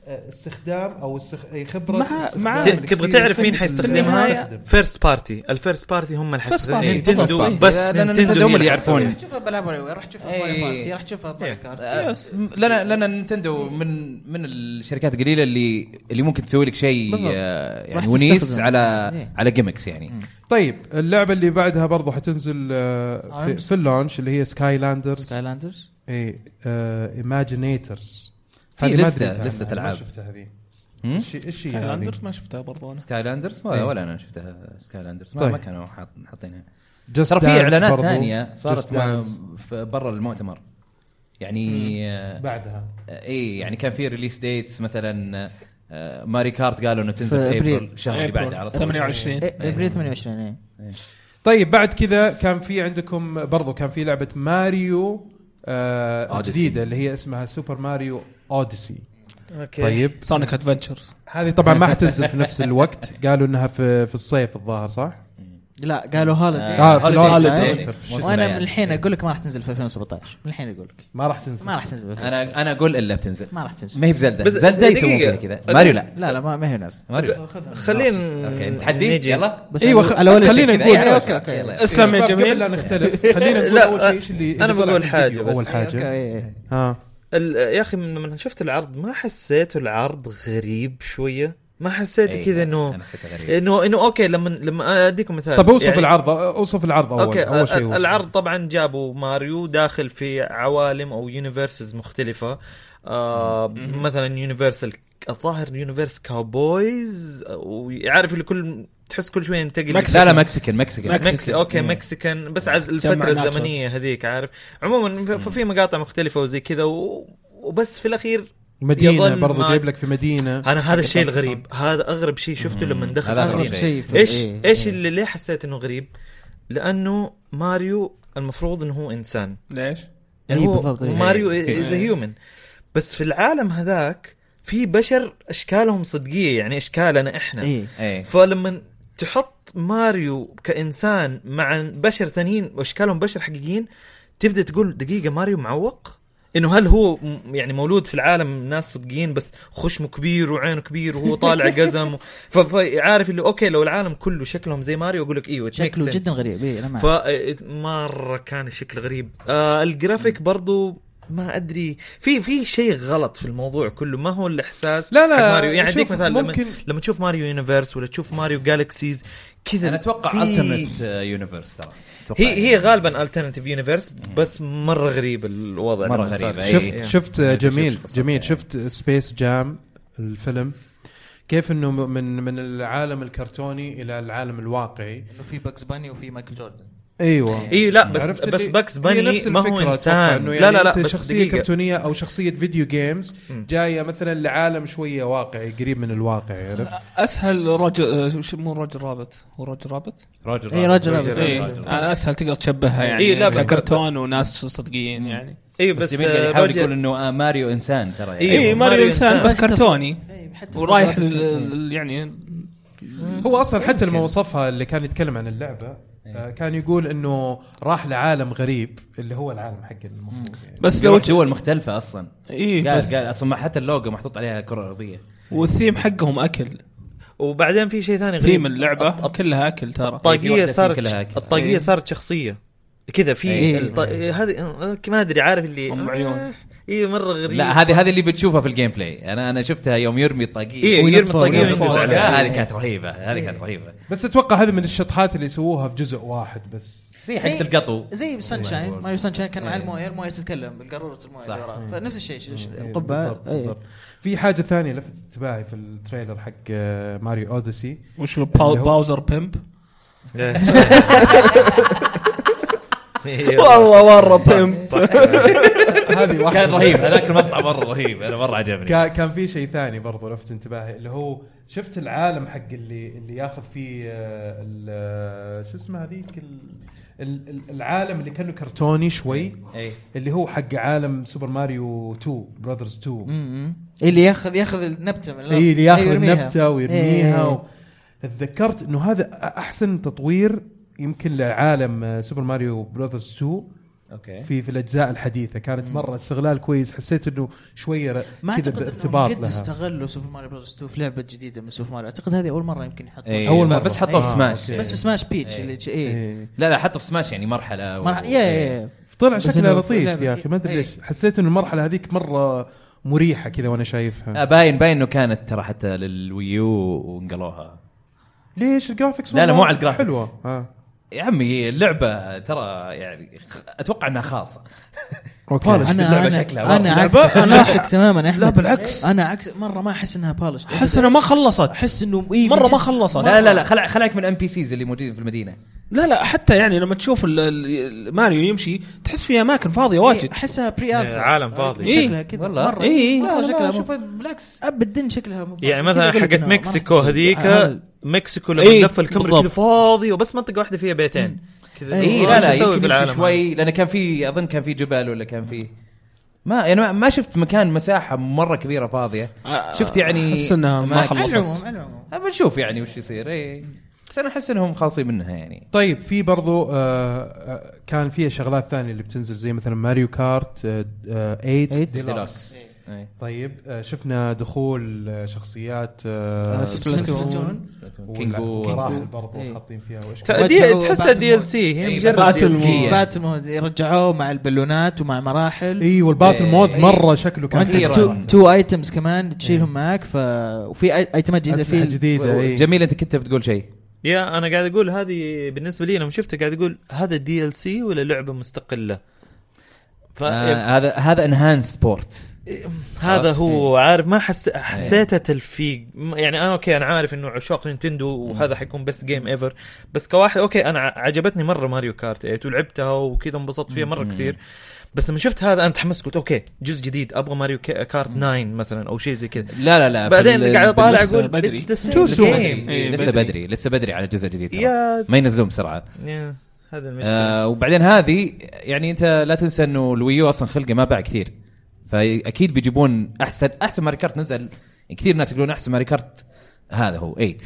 Speaker 1: آه استخدام او استخ... أي خبره
Speaker 2: مع-
Speaker 1: استخدام
Speaker 3: آه،
Speaker 2: مع-
Speaker 1: ال
Speaker 2: تبغى
Speaker 4: تبغى
Speaker 1: experience
Speaker 4: تعرف مين
Speaker 1: ال-
Speaker 4: حيستخدمها
Speaker 1: المستخدم.
Speaker 4: فيرست بارتي الفيرست بارتي هم اللي حيستخدمها
Speaker 2: party.
Speaker 4: نينتندو
Speaker 3: First party.
Speaker 4: بس
Speaker 3: لأن نينتندو
Speaker 4: نينتندو
Speaker 3: هم اللي
Speaker 4: هي اللي
Speaker 3: يعرفون.
Speaker 5: راح تشوفها بلعب واري وير راح تشوفها
Speaker 3: إيه.
Speaker 5: باري بارتي راح تشوفها باري كارت
Speaker 3: م- آه، لنا لنا نينتندو من من الشركات القليله اللي اللي ممكن تسوي لك شيء
Speaker 5: بالضبط.
Speaker 3: آه،
Speaker 5: راح
Speaker 3: يعني ونيس
Speaker 5: تستخدم.
Speaker 3: على
Speaker 5: إيه.
Speaker 3: على جيمكس يعني
Speaker 1: طيب اللعبه اللي بعدها برضو حتنزل آه في,
Speaker 5: Arms.
Speaker 1: في اللانش اللي هي إيه، آه، سكاي لاندرز
Speaker 5: سكايلاندرز
Speaker 1: اي ايماجينيترز
Speaker 3: في لستة- لستة ألعاب.
Speaker 1: شفتها هذه
Speaker 3: هم؟
Speaker 1: ايش ايش هي هذه؟
Speaker 2: هايلاندرز ما شفتها برضو انا
Speaker 3: سكاي لاندرز
Speaker 1: إيه.
Speaker 3: ولا, ولا انا شفتها سكاي لاندرز ما,
Speaker 1: طيب.
Speaker 3: ما كانوا حاط- حاطينها
Speaker 1: Just
Speaker 3: ترى في
Speaker 1: Dance
Speaker 3: اعلانات
Speaker 1: برضو.
Speaker 3: ثانيه
Speaker 1: Just
Speaker 3: صارت مع-
Speaker 1: Dance.
Speaker 3: في- برا المؤتمر يعني آه،
Speaker 1: بعدها
Speaker 3: اي يعني كان في ريليس ديتس مثلا آه، ماري كارت قالوا انه تنزل
Speaker 5: في
Speaker 3: في ابريل
Speaker 5: أبريل.
Speaker 3: الشهر اللي بعده على طول
Speaker 2: 28
Speaker 5: ابريل 28 ايه
Speaker 1: طيب بعد كذا كان في عندكم برضو كان في لعبه ماريو آه
Speaker 3: Odyssey.
Speaker 1: جديده اللي هي اسمها سوبر ماريو اوديسي
Speaker 4: اوكي
Speaker 1: طيب
Speaker 2: سونيك ادفنتشرز
Speaker 1: هذه طبعا ما حتنزل في نفس الوقت قالوا انها في في الصيف الظاهر صح؟
Speaker 5: لا قالوا هوليداي
Speaker 3: آه،
Speaker 1: في
Speaker 3: هوليداي.
Speaker 1: الهوليداي.
Speaker 3: موسم
Speaker 5: وانا من
Speaker 3: يعني.
Speaker 5: الحين اقول لك ما راح تنزل في 2017 من الحين اقول لك
Speaker 1: ما راح تنزل
Speaker 5: ما راح تنزل في
Speaker 3: انا انا اقول الا بتنزل
Speaker 5: ما راح تنزل
Speaker 3: ما هي بزلدة
Speaker 4: بس
Speaker 3: زلدة يسوون فيها
Speaker 4: دقيقة.
Speaker 3: كذا ماريو لا
Speaker 5: لا لا ما, ما هي نازله
Speaker 3: ماريو
Speaker 4: خلينا
Speaker 3: اوكي تحدي
Speaker 4: نيجي.
Speaker 3: يلا
Speaker 5: بس
Speaker 1: أيوة،
Speaker 5: أنا-
Speaker 1: خ-
Speaker 5: أنا ولا
Speaker 1: بس
Speaker 5: شيء
Speaker 1: خلينا
Speaker 5: كذا.
Speaker 1: نقول-
Speaker 5: يعني اوكي اوكي يلا.
Speaker 2: اسلم يا
Speaker 1: شباب، إيه، قبل لا
Speaker 2: جميل
Speaker 1: نختلف خلينا نقول
Speaker 4: لا،
Speaker 1: اول شيء ايش اللي
Speaker 4: أنا
Speaker 1: اللي طلع
Speaker 4: بقول
Speaker 1: في
Speaker 4: حاجة
Speaker 1: الفيديو.
Speaker 4: بس.
Speaker 1: اول
Speaker 5: أوكي،
Speaker 1: حاجه
Speaker 5: أي- أي.
Speaker 1: ها
Speaker 4: ال- يا اخي من- لما شفت العرض ما حسيته العرض غريب شويه ما حسيته
Speaker 3: إيه،
Speaker 4: كذا إيه، انه انه انه اوكي لما لما اديكم مثال
Speaker 1: طب اوصف
Speaker 4: يعني-
Speaker 1: العرض اوصف العرض اول
Speaker 4: اوكي
Speaker 1: اول شيء
Speaker 4: أ-
Speaker 1: أوصف.
Speaker 4: العرض طبعا جابوا ماريو داخل في عوالم او يونيفرسز مختلفه آه مثلا يونيفرسال الظاهر يونيفرس كاوبويز ويعرف اللي كل تحس كل شويه ينتقل
Speaker 3: لا لا مكسيكن مكسيكن
Speaker 4: مكسي اوكي مكسيكان بس عز
Speaker 2: جمع
Speaker 4: الفتره
Speaker 2: ناتشوز.
Speaker 4: الزمنيه هذيك عارف عموما ف- ففي مقاطع مختلفه وزي كذا و... وبس في الاخير
Speaker 1: مدينه
Speaker 4: يظل
Speaker 1: برضو
Speaker 4: ما-
Speaker 1: جايب لك في طيب. مدينه
Speaker 4: انا هذا الشيء الغريب هذا اغرب شيء شفته لما دخل
Speaker 3: طيب، هذا
Speaker 4: في
Speaker 3: أغرب
Speaker 5: أغرب
Speaker 4: المدينة.
Speaker 3: شيء.
Speaker 5: شيء في-
Speaker 4: ايش
Speaker 5: إيه.
Speaker 4: ايش اللي ليه حسيت انه غريب؟ لانه ماريو المفروض انه هو انسان
Speaker 2: ليش؟
Speaker 4: يعني
Speaker 5: إيه
Speaker 4: هو
Speaker 5: بالضبط، إيه.
Speaker 4: ماريو از هيومن بس في العالم هذاك في بشر اشكالهم صدقيه يعني اشكالنا احنا
Speaker 5: إيه.
Speaker 4: فلما تحط ماريو كانسان مع بشر ثانيين واشكالهم بشر حقيقيين تبدا تقول دقيقه ماريو معوق انه هل هو م- يعني مولود في العالم ناس صدقين بس خشمه كبير وعينه كبير وهو طالع قزم فعارف اللي اوكي لو العالم كله شكلهم زي ماريو اقول لك ايوه it makes
Speaker 5: شكله
Speaker 4: sense.
Speaker 5: جدا غريب اي انا معك
Speaker 4: فمره كان الشكل غريب آه الجرافيك برضو ما ادري في في شيء غلط في الموضوع كله ما هو الاحساس
Speaker 1: لا، لا،
Speaker 4: حق ماريو يعني
Speaker 1: شوف،
Speaker 4: اديك مثال
Speaker 1: ممكن-
Speaker 4: لما لما تشوف ماريو يونيفرس ولا تشوف ماريو جالكسيز كذا
Speaker 3: انا اتوقع
Speaker 4: في-
Speaker 3: التيمت يونيفرس uh, ترى أتوقع
Speaker 4: هي هي
Speaker 3: يعني.
Speaker 4: غالبا الترنتيف يونيفرس بس مره غريب الوضع
Speaker 3: مرة
Speaker 4: لما صار.
Speaker 3: غريبة، أي.
Speaker 1: شفت شفت
Speaker 4: إيه،
Speaker 3: أنا
Speaker 1: جميل
Speaker 3: بشوف قصة
Speaker 1: جميل
Speaker 3: يعني.
Speaker 1: شفت سبيس جام الفيلم كيف انه م- من من العالم الكرتوني الى العالم الواقعي
Speaker 5: انه في باكس باني وفي مايكل جوردن
Speaker 1: ايوه
Speaker 4: اي إيه، لا بس
Speaker 1: عرفت
Speaker 4: بس
Speaker 1: اللي-
Speaker 4: باكس
Speaker 1: هي
Speaker 4: باني
Speaker 1: نفس
Speaker 4: ما هو
Speaker 1: الفكرة أتوقع
Speaker 4: انسان
Speaker 1: إنه يعني
Speaker 4: لا لا لا
Speaker 1: أنت
Speaker 4: بس
Speaker 1: شخصيه
Speaker 4: دقيقه
Speaker 1: كرتونيه او شخصيه فيديو جيمز جايه مثلا لعالم شويه واقعي قريب من الواقع عرفت
Speaker 2: اسهل رجل شو- مو رجل رابط هو رجل رابط؟
Speaker 3: يعني. روجر
Speaker 5: اي
Speaker 3: رابط.
Speaker 5: راجل
Speaker 4: رابط.
Speaker 2: اي
Speaker 5: ابيض
Speaker 2: انا اسهل تقدر تشبهها يعني
Speaker 4: إيه، لا، بس-
Speaker 2: كرتون وناس صدقيين يعني
Speaker 4: اي
Speaker 3: بس
Speaker 4: بس
Speaker 3: جميل قاعد
Speaker 4: آه،
Speaker 3: يحاول
Speaker 4: روجر-
Speaker 3: يقول انه آه، ماريو انسان ترى يعني.
Speaker 4: إيه، ماريو
Speaker 2: اي ماريو انسان
Speaker 4: إنسان.
Speaker 2: بس كرتوني
Speaker 5: إيه، حتى
Speaker 2: ورايح
Speaker 5: في
Speaker 2: لل-
Speaker 5: الفضاء.
Speaker 2: لل- يعني
Speaker 1: هو اصلا حتى لما وصفها اللي كان يتكلم عن اللعبه
Speaker 4: إيه.
Speaker 1: آه، كان يقول انه راح لعالم غريب اللي هو العالم حق المفروض يعني
Speaker 2: بس لو
Speaker 3: يروح دول مختلفة اصلا
Speaker 2: اي
Speaker 4: إيه.
Speaker 2: بس
Speaker 3: قال قال اصلا ما حتى اللوجو محطوط عليها كرة ارضية
Speaker 2: والثيم حقهم اكل
Speaker 4: وبعدين في شيء ثاني غريب
Speaker 2: ثيم اللعبه كلها اكل ترى
Speaker 3: في واحدة
Speaker 4: الطاقيه
Speaker 3: فيهم
Speaker 4: صارت
Speaker 3: كلها كذا.
Speaker 4: الطاقيه
Speaker 2: إيه.
Speaker 4: صارت شخصيه كذا في
Speaker 5: إيه.
Speaker 4: الط- هذه آه، ما ادري عارف اللي
Speaker 2: أم عيون.
Speaker 4: آه، اي مره غريب
Speaker 3: لا هذه هذه اللي بتشوفها في الجيم بلاي انا انا شفتها يوم إيه، يرمي الطاقية
Speaker 4: اي
Speaker 5: وينفع-
Speaker 4: يرمي الطاقيه
Speaker 5: وينفع.
Speaker 4: وينقز
Speaker 3: لا،
Speaker 4: عليها
Speaker 5: إيه.
Speaker 3: هذه كانت رهيبة هذه
Speaker 4: إيه.
Speaker 3: كانت رهيبة
Speaker 1: بس اتوقع هذه من الشطحات اللي سووها في جزء واحد بس
Speaker 3: زي حقة القطو
Speaker 5: زي سانشاين
Speaker 3: والله.
Speaker 5: ماريو سانشاين كان مع
Speaker 3: إيه.
Speaker 5: المويه المويه تتكلم بالقاروره المويه
Speaker 3: صح.
Speaker 5: اللي وراها فنفس الشيء ش- ش-
Speaker 1: إيه،
Speaker 5: القبه
Speaker 1: بالضبط،
Speaker 5: إيه.
Speaker 1: بالضبط. في حاجه ثانيه لفتت انتباهي في التريلر حق آه، ماريو اوديسي
Speaker 2: وش له باو-
Speaker 1: اللي هو-
Speaker 2: باوزر بيمب
Speaker 4: إيه.
Speaker 2: مره
Speaker 1: هذه واحده
Speaker 3: كان
Speaker 1: من-
Speaker 3: رهيب هذاك المقطع مرة رهيب انا مرة عجبني
Speaker 1: كا- كان في شيء ثاني برضو لفت انتباهي اللي هو شفت العالم حق اللي اللي ياخذ فيه آه، ال- آه، شو اسمه هذيك ال- ال- ال- العالم اللي كانه كرتوني شوي
Speaker 3: اي
Speaker 1: اللي هو حق عالم سوبر ماريو 2 براذرز 2
Speaker 5: أمم. إيه اللي ياخذ ياخذ النبته من إيه،
Speaker 1: اي إيه، اللي ياخذ
Speaker 5: يرميها.
Speaker 1: النبته ويرميها
Speaker 5: إيه.
Speaker 1: و... تذكرت انه هذا احسن تطوير يمكن لعالم آه، سوبر ماريو براذرز 2
Speaker 5: إيه.
Speaker 3: اوكي
Speaker 1: في في الاجزاء الحديثه كانت مره استغلال كويس حسيت انه شويه ر-
Speaker 5: ما
Speaker 1: كذا
Speaker 5: اعتقد
Speaker 1: بارتباط
Speaker 5: انهم قد
Speaker 1: لها
Speaker 5: استغلوا سوبر ماريو بروز 2 في لعبه جديده من سوبر ماريو اعتقد هذه اول مره يمكن
Speaker 3: إيه.
Speaker 5: يحطوها
Speaker 1: اول مره
Speaker 3: بس حطوه في
Speaker 1: آه،
Speaker 3: سماش.
Speaker 1: أوكي.
Speaker 5: بس في سماش بيتش
Speaker 3: إيه.
Speaker 5: اللي اي
Speaker 1: إيه.
Speaker 3: لا لا حطه في سماش يعني مرحلة و-
Speaker 5: يا يا
Speaker 3: إيه.
Speaker 1: طلع
Speaker 5: بس
Speaker 1: شكله
Speaker 5: إنه
Speaker 1: لطيف
Speaker 5: لعبة-
Speaker 1: يا اخي ما ادري
Speaker 5: إيه.
Speaker 1: ليش حسيت انه المرحله هذيك مره مريحه كذا وانا شايفها
Speaker 3: آه، باين باين انه كانت ترى حتى للويو وانقلوها
Speaker 1: ليش الجرافكس
Speaker 3: لا، لا،
Speaker 1: والله
Speaker 3: مو على الجرافيكس.
Speaker 1: حلوه آه.
Speaker 3: يا عمي اللعبة ترى يعني خ- اتوقع انها خالصة
Speaker 1: اوكي
Speaker 3: بولش.
Speaker 5: انا
Speaker 3: اللعبة
Speaker 5: انا
Speaker 3: شكلها
Speaker 5: انا
Speaker 3: والله.
Speaker 5: عكسك انا عكسك تماما يا احمد
Speaker 2: لا، بالعكس.
Speaker 5: انا عكس مره ما احس انها بالش
Speaker 2: احس انها ما خلصت
Speaker 5: احس انه إيه
Speaker 2: مره
Speaker 5: من
Speaker 2: ما
Speaker 5: جد.
Speaker 2: خلصت
Speaker 3: لا لا لا خلع خلعك من ام بي سيز اللي موجودين في المدينة
Speaker 2: لا لا حتى يعني لما تشوف ال- ال- ماريو يمشي تحس في اماكن فاضيه
Speaker 5: إيه،
Speaker 2: واجد
Speaker 5: احسها بري الفا
Speaker 4: إيه، عالم فاضي.
Speaker 2: إيه،
Speaker 5: شكلها كذا
Speaker 3: والله.
Speaker 5: مرة.
Speaker 2: إيه، إيه،
Speaker 5: مرة
Speaker 2: لا، لا،
Speaker 5: شكلها
Speaker 2: شوف،
Speaker 5: مو-
Speaker 3: بالعكس
Speaker 5: ابدا شكلها مو-
Speaker 4: يعني
Speaker 5: كذا
Speaker 4: مثلا
Speaker 5: أقول لك
Speaker 4: حقت
Speaker 5: إنه ما راح
Speaker 4: مكسيكو
Speaker 5: تصير.
Speaker 4: هذيك
Speaker 5: عمل.
Speaker 4: مكسيكو لما
Speaker 2: إيه،
Speaker 4: لف الكاميرا
Speaker 2: بالضبط.
Speaker 4: كذا فاضي وبس منطقه واحده فيها بيتين كذا
Speaker 3: اي
Speaker 4: والله
Speaker 3: إيه، لا
Speaker 4: إيه، شو
Speaker 3: لا
Speaker 4: أسوي
Speaker 3: يمكن يمشي
Speaker 4: هذا؟
Speaker 3: شوي لانه كان في اظن كان في جبال ولا كان في ما يعني ما- ما شفت مكان مساحه مره كبيره فاضيه
Speaker 2: آه،
Speaker 3: شفت يعني
Speaker 2: أحس إنها ما
Speaker 3: أماكن-
Speaker 2: خلصت.
Speaker 5: على العموم على العموم
Speaker 3: بنشوف يعني وش يصير اي بس انا احس انهم خالصين منها يعني
Speaker 1: طيب في برضو آه، آه، كان فيها شغلات ثانيه اللي بتنزل زي مثلا ماريو كارت آه، آه، 8
Speaker 5: 8
Speaker 1: ديلوكس
Speaker 3: ديلوكس إيه.
Speaker 1: طيب آه، شفنا دخول آه، شخصيات
Speaker 5: آه،
Speaker 1: سبلاتون
Speaker 5: سبلاتون.
Speaker 3: كينجو
Speaker 1: مراحل برضو
Speaker 5: إيه.
Speaker 1: حاطين فيها وايش
Speaker 5: رجعوا
Speaker 4: تأدية- تحسها
Speaker 5: باتمان.
Speaker 4: دي ال سي هي
Speaker 3: أي
Speaker 4: مجرد
Speaker 2: باتمان.
Speaker 4: DLC.
Speaker 3: إيه.
Speaker 5: باتل مود رجعوه مع البالونات ومع مراحل
Speaker 1: ايوه الباتل
Speaker 3: إيه.
Speaker 1: مود
Speaker 5: إيه.
Speaker 1: مره شكله كان
Speaker 3: وأنت
Speaker 1: حلو.
Speaker 3: تو-
Speaker 1: مرة.
Speaker 5: تو ايتمز كمان تشيلهم معاك ف وفي أي- ايتمات جديده
Speaker 1: أسلحة
Speaker 5: في
Speaker 1: جديده إيه.
Speaker 3: جميل انت كنت بتقول شيء
Speaker 4: يا انا قاعد اقول هذه بالنسبه لي لما شفتها قاعد اقول هذا دي ال سي ولا لعبه مستقله ف إيه،
Speaker 3: آه، هذا هذا انهانس بورت
Speaker 4: هذا هو عارف ما حس... حسيته تلفيق م- يعني انا اوكي انا عارف انه عشاق نينتندو وهذا حيكون بس جيم ايفر بس كواحد اوكي انا ع- عجبتني مره ماريو كارت 8 ولعبتها وكذا انبسطت فيها مره كثير بس لما شفت هذا انا تحمست قلت اوكي جزء جديد ابغى ماريو ك- كارت 9 مثلا او شيء زي كذا
Speaker 3: لا لا لا
Speaker 4: بعدين
Speaker 3: بال-
Speaker 4: قاعد اطالع
Speaker 2: لسه
Speaker 4: اقول
Speaker 2: بدري.
Speaker 4: "It's the
Speaker 1: Too
Speaker 4: same
Speaker 1: soon."
Speaker 4: game."
Speaker 2: إيه،
Speaker 3: لسه
Speaker 2: بدري.
Speaker 3: بدري لسه بدري على الجزء الجديد ترى.
Speaker 4: يا
Speaker 3: ما ينزلون بسرعه
Speaker 4: يا، هذا المشكله
Speaker 3: آه وبعدين هذه يعني انت لا تنسى انه الويو اصلا خلقه ما باع كثير فاكيد بيجيبون احسن احسن ماري كارت نزل كثير ناس يقولون احسن ماري كارت هذا هو 8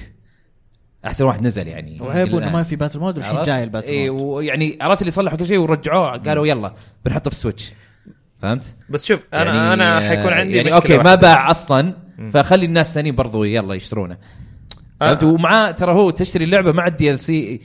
Speaker 3: احسن واحد نزل يعني
Speaker 5: وعيب انه
Speaker 3: الآن.
Speaker 5: ما في باتل مود والحين
Speaker 3: عرفت؟ إيه،
Speaker 5: جاي الباتل
Speaker 3: اي
Speaker 5: مود
Speaker 3: ويعني عرفت اللي صلحوا كل شيء ورجعوه قالوا يلا بنحطه في السويتش فهمت؟
Speaker 4: بس شوف انا يعني انا حيكون عندي
Speaker 3: يعني
Speaker 4: مشكله
Speaker 3: اوكي ما
Speaker 4: واحدة.
Speaker 3: باع اصلا فخلي الناس الثانيين برضو يلا يشترونه فهمت
Speaker 4: آه.
Speaker 3: ومعاه ترى هو تشتري اللعبه مع الدي ال سي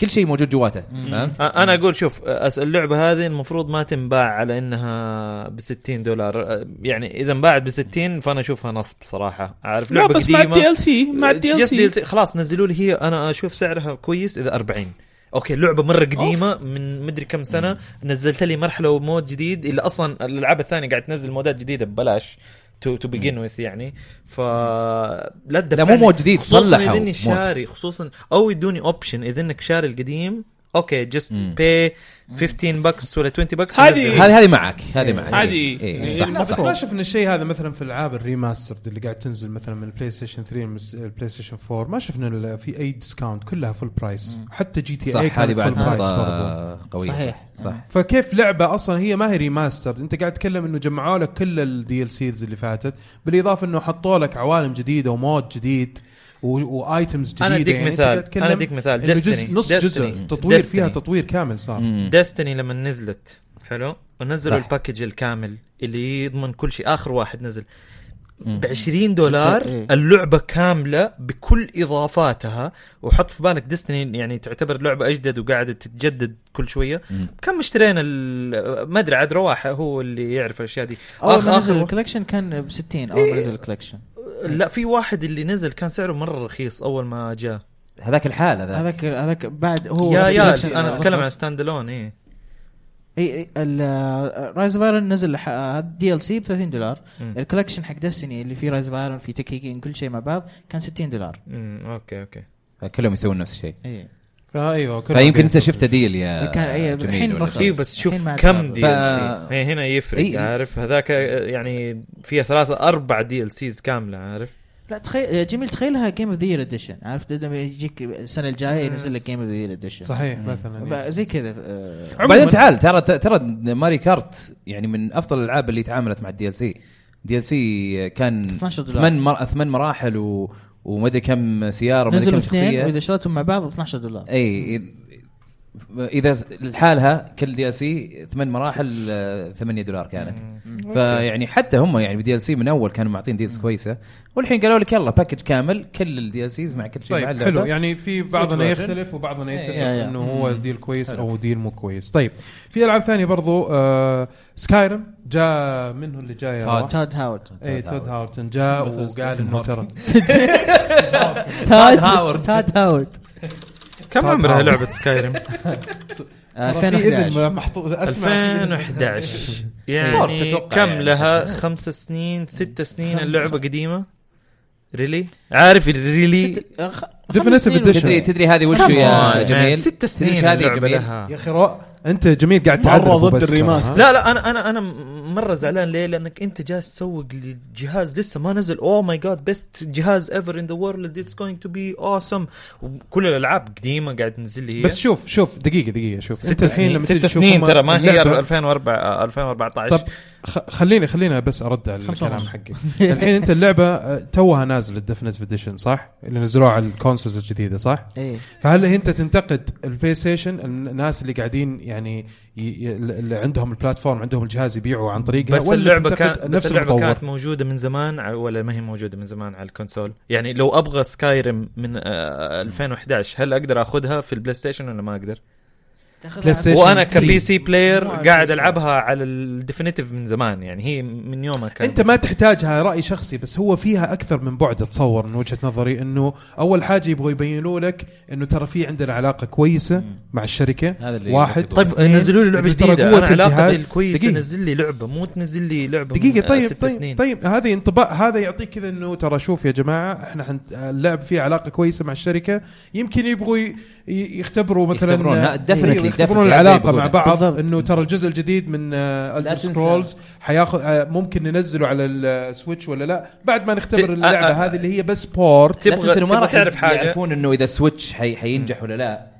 Speaker 3: كل شيء موجود جواته فهمت؟
Speaker 4: أ- انا اقول شوف أس- اللعبه هذه المفروض ما تنباع على انها ب 60 دولار أ- يعني اذا انباعت ب 60 فانا اشوفها نصب صراحه عارف
Speaker 2: لا
Speaker 4: لعبه
Speaker 2: بس مع
Speaker 4: قديمه
Speaker 2: الدي ال سي مع
Speaker 4: It's
Speaker 2: الدي ال
Speaker 4: just
Speaker 2: سي
Speaker 4: DLC. خلاص نزلوا لي هي انا اشوف سعرها كويس اذا 40 اوكي اللعبه مره قديمه من مدري كم سنه نزلت لي مرحله ومود جديد اللي اصلا الالعاب الثانيه قاعد تنزل مودات جديده ببلاش تو تو بيجن وذ يعني ف لا تدفعني.
Speaker 3: مو مود جديد،
Speaker 4: خصوصا
Speaker 3: صلحوا
Speaker 4: اذا اني
Speaker 3: مود.
Speaker 4: شاري خصوصا او يدوني اوبشن اذا انك شاري القديم اوكي جست
Speaker 3: مم.
Speaker 4: باي 15 بكس ولا 20 بكس
Speaker 2: هذه-
Speaker 3: هذه هذه معك هذه معك
Speaker 2: هذه-
Speaker 3: إيه، إيه،
Speaker 2: إيه،
Speaker 3: صح.
Speaker 1: لا بس
Speaker 2: المفروض.
Speaker 1: ما شفنا الشيء هذا مثلا في الالعاب الريماسترد اللي قاعد تنزل مثلا من البلاي ستيشن 3 من الس- البلاي ستيشن 4 ما شفنا ال- في اي ديسكاونت كلها فول برايس حتى جي تي اي
Speaker 3: صح هذه
Speaker 1: كانت
Speaker 3: بعد
Speaker 1: فول برايس برضو
Speaker 3: نقطة قوية
Speaker 5: صحيح.
Speaker 3: صح
Speaker 1: فكيف لعبه اصلا هي ما هي ريماسترد انت قاعد تتكلم انه جمعوا لك كل الدي ال سيز اللي فاتت بالاضافه انه حطوا لك عوالم جديده ومود جديد و- وايتمز جديده
Speaker 4: أنا أديك
Speaker 1: يعني أنت
Speaker 4: مثال.
Speaker 1: قاعد تتكلم
Speaker 4: أنا أديك مثال.
Speaker 1: إنه جزء-
Speaker 4: Destiny.
Speaker 1: نص جزء
Speaker 4: Destiny.
Speaker 1: تطوير فيها
Speaker 4: Destiny.
Speaker 1: تطوير كامل صار
Speaker 3: مم.
Speaker 4: ديستني لما نزلت حلو ونزلوا
Speaker 3: صح.
Speaker 4: الباكج الكامل اللي يضمن كل شيء اخر واحد نزل
Speaker 3: مم.
Speaker 4: ب 20 دولار
Speaker 5: إيه.
Speaker 4: اللعبه كامله بكل اضافاتها وحط في بالك ديستني يعني تعتبر لعبه اجدد وقاعده تتجدد كل شويه
Speaker 3: مم.
Speaker 4: كم اشترينا ال- ما ادري عاد رواح هو اللي يعرف الاشياء دي
Speaker 5: اول ما
Speaker 4: آخر-
Speaker 5: نزل
Speaker 4: آخر-
Speaker 5: الكولكشن كان ب 60 اول ما نزل الكولكشن
Speaker 4: لا في واحد اللي نزل كان سعره مره رخيص اول ما جاء
Speaker 3: هذاك الحال هذا
Speaker 5: هذاك هذاك بعد هو
Speaker 4: يا يا
Speaker 5: collection
Speaker 4: انا اتكلم عن
Speaker 5: رخص.
Speaker 4: ستاند الون ايه
Speaker 5: اي رايز اوف ايرون نزل آه، دي ال سي ب 30 دولار
Speaker 4: مم.
Speaker 5: الكولكشن حق ديستني اللي فيه رايز اوف ايرون في تكيكين كل شيء مع بعض كان 60 دولار
Speaker 4: مم، اوكي اوكي
Speaker 3: كلهم يسوون نفس الشيء
Speaker 5: اي
Speaker 1: فايوه كلهم
Speaker 3: فيمكن انت
Speaker 1: بيسووا
Speaker 3: شفت ديل يا
Speaker 5: كان- إيه،
Speaker 3: جميل
Speaker 5: الحين
Speaker 3: ولا
Speaker 5: رخيص.
Speaker 3: خلاص.
Speaker 4: ايوه بس شوف
Speaker 5: الحين ما عاد
Speaker 4: كم
Speaker 5: صار.
Speaker 4: دي
Speaker 3: ف-
Speaker 4: ال سي هنا يفرق
Speaker 3: إيه.
Speaker 4: عارف هذاك يعني فيها ثلاثة أربع دي ال سيز كاملة عارف
Speaker 5: لا تخيل جميل تخيلها جيم اوف ذا يير اديشن عرفت لما يجيك السنه
Speaker 1: إيه.
Speaker 5: الجايه ينزل لك جيم اوف ذا يير اديشن
Speaker 1: صحيح مثلا
Speaker 5: زي كذا آه،
Speaker 1: عموماً.
Speaker 3: بعدين تعال ترى ترى ماري كارت يعني من افضل الالعاب اللي تعاملت مع الدي ال سي الدي ال سي كان
Speaker 5: 12 دولار.
Speaker 3: ثمان مر... ثمان مراحل و... وما ادري كم سياره وما ادري
Speaker 5: نزلوا
Speaker 3: كم
Speaker 5: اثنين واذا
Speaker 3: شخصيه
Speaker 5: اشتريتهم مع بعض 12 دولار
Speaker 3: اي إذ- اذا لحالها كل دي ال سي ثمان مراحل آه، 8 دولار كانت فيعني حتى هم يعني بدي ال سي من اول كانوا معطين ديلز كويسه والحين قالوا لك يلا باكج كامل كل الدي ال سيز مع كل شيء مع
Speaker 1: طيب
Speaker 3: اللعبة.
Speaker 1: حلو يعني في بعضنا يختلف وبعضنا
Speaker 3: إيه.
Speaker 1: يتفق
Speaker 5: يا- يا.
Speaker 1: انه هو ديل كويس او ديل مو كويس طيب في العاب ثانيه برضو آه سكايرم جاء منه اللي جاي
Speaker 3: تاد.
Speaker 1: راح.
Speaker 5: تاد هاورد
Speaker 1: اي
Speaker 3: تاد
Speaker 1: تود هاورتن جاء وقال انه ترى
Speaker 5: تاد
Speaker 3: هاورد.
Speaker 5: تاد هاورد
Speaker 4: كم عمرها لعبة سكايرم؟
Speaker 5: آه،
Speaker 1: ترى في اذن
Speaker 5: 2011
Speaker 1: محطوط اسمع في إذن.
Speaker 4: 2011
Speaker 3: فور
Speaker 4: يعني
Speaker 3: تتوقع
Speaker 4: كم
Speaker 3: يعني.
Speaker 4: لها خمس سنين ست سنين اللعبة قديمة؟ ريلي؟ عارف الريلي؟
Speaker 5: ست- آه، خ- خمس
Speaker 1: Definitive
Speaker 5: سنين
Speaker 1: Edition.
Speaker 5: وشوي.
Speaker 3: تدري تدري هذه وش
Speaker 5: Come
Speaker 3: يا
Speaker 4: on, man.
Speaker 3: جميل
Speaker 4: ست
Speaker 3: تدري
Speaker 4: سنين
Speaker 3: إيش هذه
Speaker 4: اللعبة
Speaker 3: جميل
Speaker 4: لها
Speaker 1: يا اخي رو- انت جميل قاعد
Speaker 2: مرة
Speaker 1: تعرض
Speaker 2: ضد
Speaker 1: آه.
Speaker 2: الريماستر.
Speaker 4: لا لا انا انا انا مره زعلان ليه؟ لانك انت جالس تسوق لجهاز لسه ما نزل Oh اوه ماي جاد بيست جهاز ايفر ان ذا وورلد اتس جوينج تو بي اوسم وكل الالعاب قديمه قاعد تنزل لي هي
Speaker 1: بس شوف شوف دقيقه دقيقه شوف
Speaker 4: ست سنين ست سنين ترى ما هي 2004 آه، 2014
Speaker 1: طب خ- خليني خلينا بس ارد على
Speaker 5: خمسة
Speaker 1: الكلام
Speaker 5: ونص.
Speaker 1: حقي الحين انت اللعبه آه، توها نازل الديفنتيف اديشن صح؟ اللي نزلوها على الكونسولز الجديده صح؟
Speaker 5: ايه
Speaker 1: فهل انت تنتقد البلاي ستيشن الناس اللي قاعدين يعني ي- ي- اللي عندهم البلاتفورم عندهم الجهاز يبيعوا عن طريقها
Speaker 4: بس اللعبه
Speaker 1: تنتقد
Speaker 4: كانت
Speaker 1: يعني نفس
Speaker 4: بس اللعبه
Speaker 1: المطور؟
Speaker 4: كانت موجوده من زمان ع- ولا ما هي موجوده من زمان على الكونسول يعني لو ابغى سكايرم من آه 2011 هل اقدر اخذها في البلاي ستيشن ولا ما اقدر
Speaker 5: تاخذها
Speaker 1: بلاي
Speaker 5: على-
Speaker 1: ستيشن
Speaker 4: وانا
Speaker 1: فري.
Speaker 4: كبي سي بلاير
Speaker 5: مو على
Speaker 4: قاعد
Speaker 5: البلاي
Speaker 4: العبها على الديفينيتيف من زمان يعني هي من يومها كان
Speaker 1: انت ما تحتاجها راي شخصي بس هو فيها اكثر من بعد اتصور من وجهه نظري انه اول حاجه يبغوا يبينوا لك انه ترى في عندنا علاقه كويسه مع الشركه
Speaker 3: هذا اللي
Speaker 1: واحد
Speaker 3: يبغوا
Speaker 4: طيب نزلوا لي لعبه
Speaker 1: إنه ترى
Speaker 4: جديده
Speaker 1: قوة
Speaker 4: انا علاقتي
Speaker 1: الجهاز-
Speaker 4: الكويسه
Speaker 1: دقيقة.
Speaker 4: نزل لي لعبه مو تنزل لي لعبه من،
Speaker 1: دقيقة
Speaker 4: آه،
Speaker 1: طيب
Speaker 4: ست سنين
Speaker 1: طيب, طيب هذه انطباع هذا يعطيك كذا انه ترى شوف يا جماعة احنا حنت... اللعب فيه علاقة كويسة مع الشركة يمكن يبغوا ي... ي- يختبروا مثلا
Speaker 3: يختبرونها.
Speaker 1: إيه،
Speaker 3: definitely-
Speaker 1: يختبرون
Speaker 3: definitely
Speaker 1: العلاقة
Speaker 3: يبغونها.
Speaker 1: مع بعض
Speaker 5: بالضبط.
Speaker 1: انه ترى الجزء الجديد من
Speaker 3: لا
Speaker 1: الدر
Speaker 3: تنسى.
Speaker 1: سكرولز حياخذ آه، ممكن ننزله على السويتش ولا لا بعد ما
Speaker 4: ت-
Speaker 1: نختبر
Speaker 4: آه،
Speaker 1: اللعبة
Speaker 4: آه.
Speaker 1: هذه اللي هي بس بورت
Speaker 3: لا
Speaker 4: تبغى-
Speaker 3: تنسى إنه ما
Speaker 4: تبغى
Speaker 3: راح
Speaker 4: تعرف حاجة.
Speaker 3: يعرفون انه اذا سويتش حي حينجح ولا لا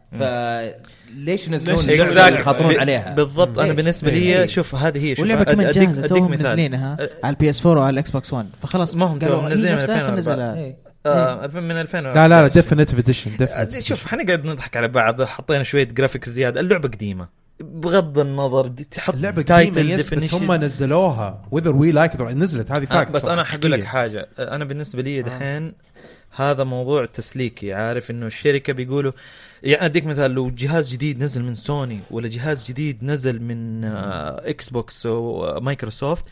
Speaker 3: فليش ينزلون
Speaker 4: Exactly.
Speaker 3: اللعبة اللي يخاطرون
Speaker 4: ب-
Speaker 3: عليها
Speaker 4: بالضبط انا
Speaker 3: ليش؟
Speaker 4: بالنسبه
Speaker 3: إيه.
Speaker 4: لي شوف هذه هي شوف
Speaker 5: واللعبه
Speaker 4: أد-
Speaker 5: كمان
Speaker 4: أديك-
Speaker 5: جاهزه
Speaker 4: أديك
Speaker 5: توهم
Speaker 4: مثال.
Speaker 5: منزلينها
Speaker 4: أ-
Speaker 5: على البي اس 4 وعلى الاكس بوكس 1 فخلاص
Speaker 4: ما هم توهم
Speaker 5: قالوا هي
Speaker 4: منزلينها من
Speaker 5: نفسها
Speaker 4: 2004.
Speaker 5: فنزلها
Speaker 3: إيه.
Speaker 4: آه، من 2000
Speaker 1: لا لا لا ديفينيتيف اديشن
Speaker 4: آه، شوف حنقعد نضحك على بعض حطينا شويه جرافيك زياده اللعبه قديمه بغض النظر دي تحط
Speaker 1: اللعبة
Speaker 4: title
Speaker 1: قديمة يس بس
Speaker 4: definition.
Speaker 1: هم نزلوها وذر وي لايك نزلت هذه
Speaker 4: آه،
Speaker 1: فاكت
Speaker 4: بس انا حقول لك حاجه آه، انا بالنسبه لي دحين هذا موضوع تسليكي عارف انه الشركه بيقولوا يعني اديك مثال لو جهاز جديد نزل من سوني ولا جهاز جديد نزل من آه، اكس بوكس ومايكروسوفت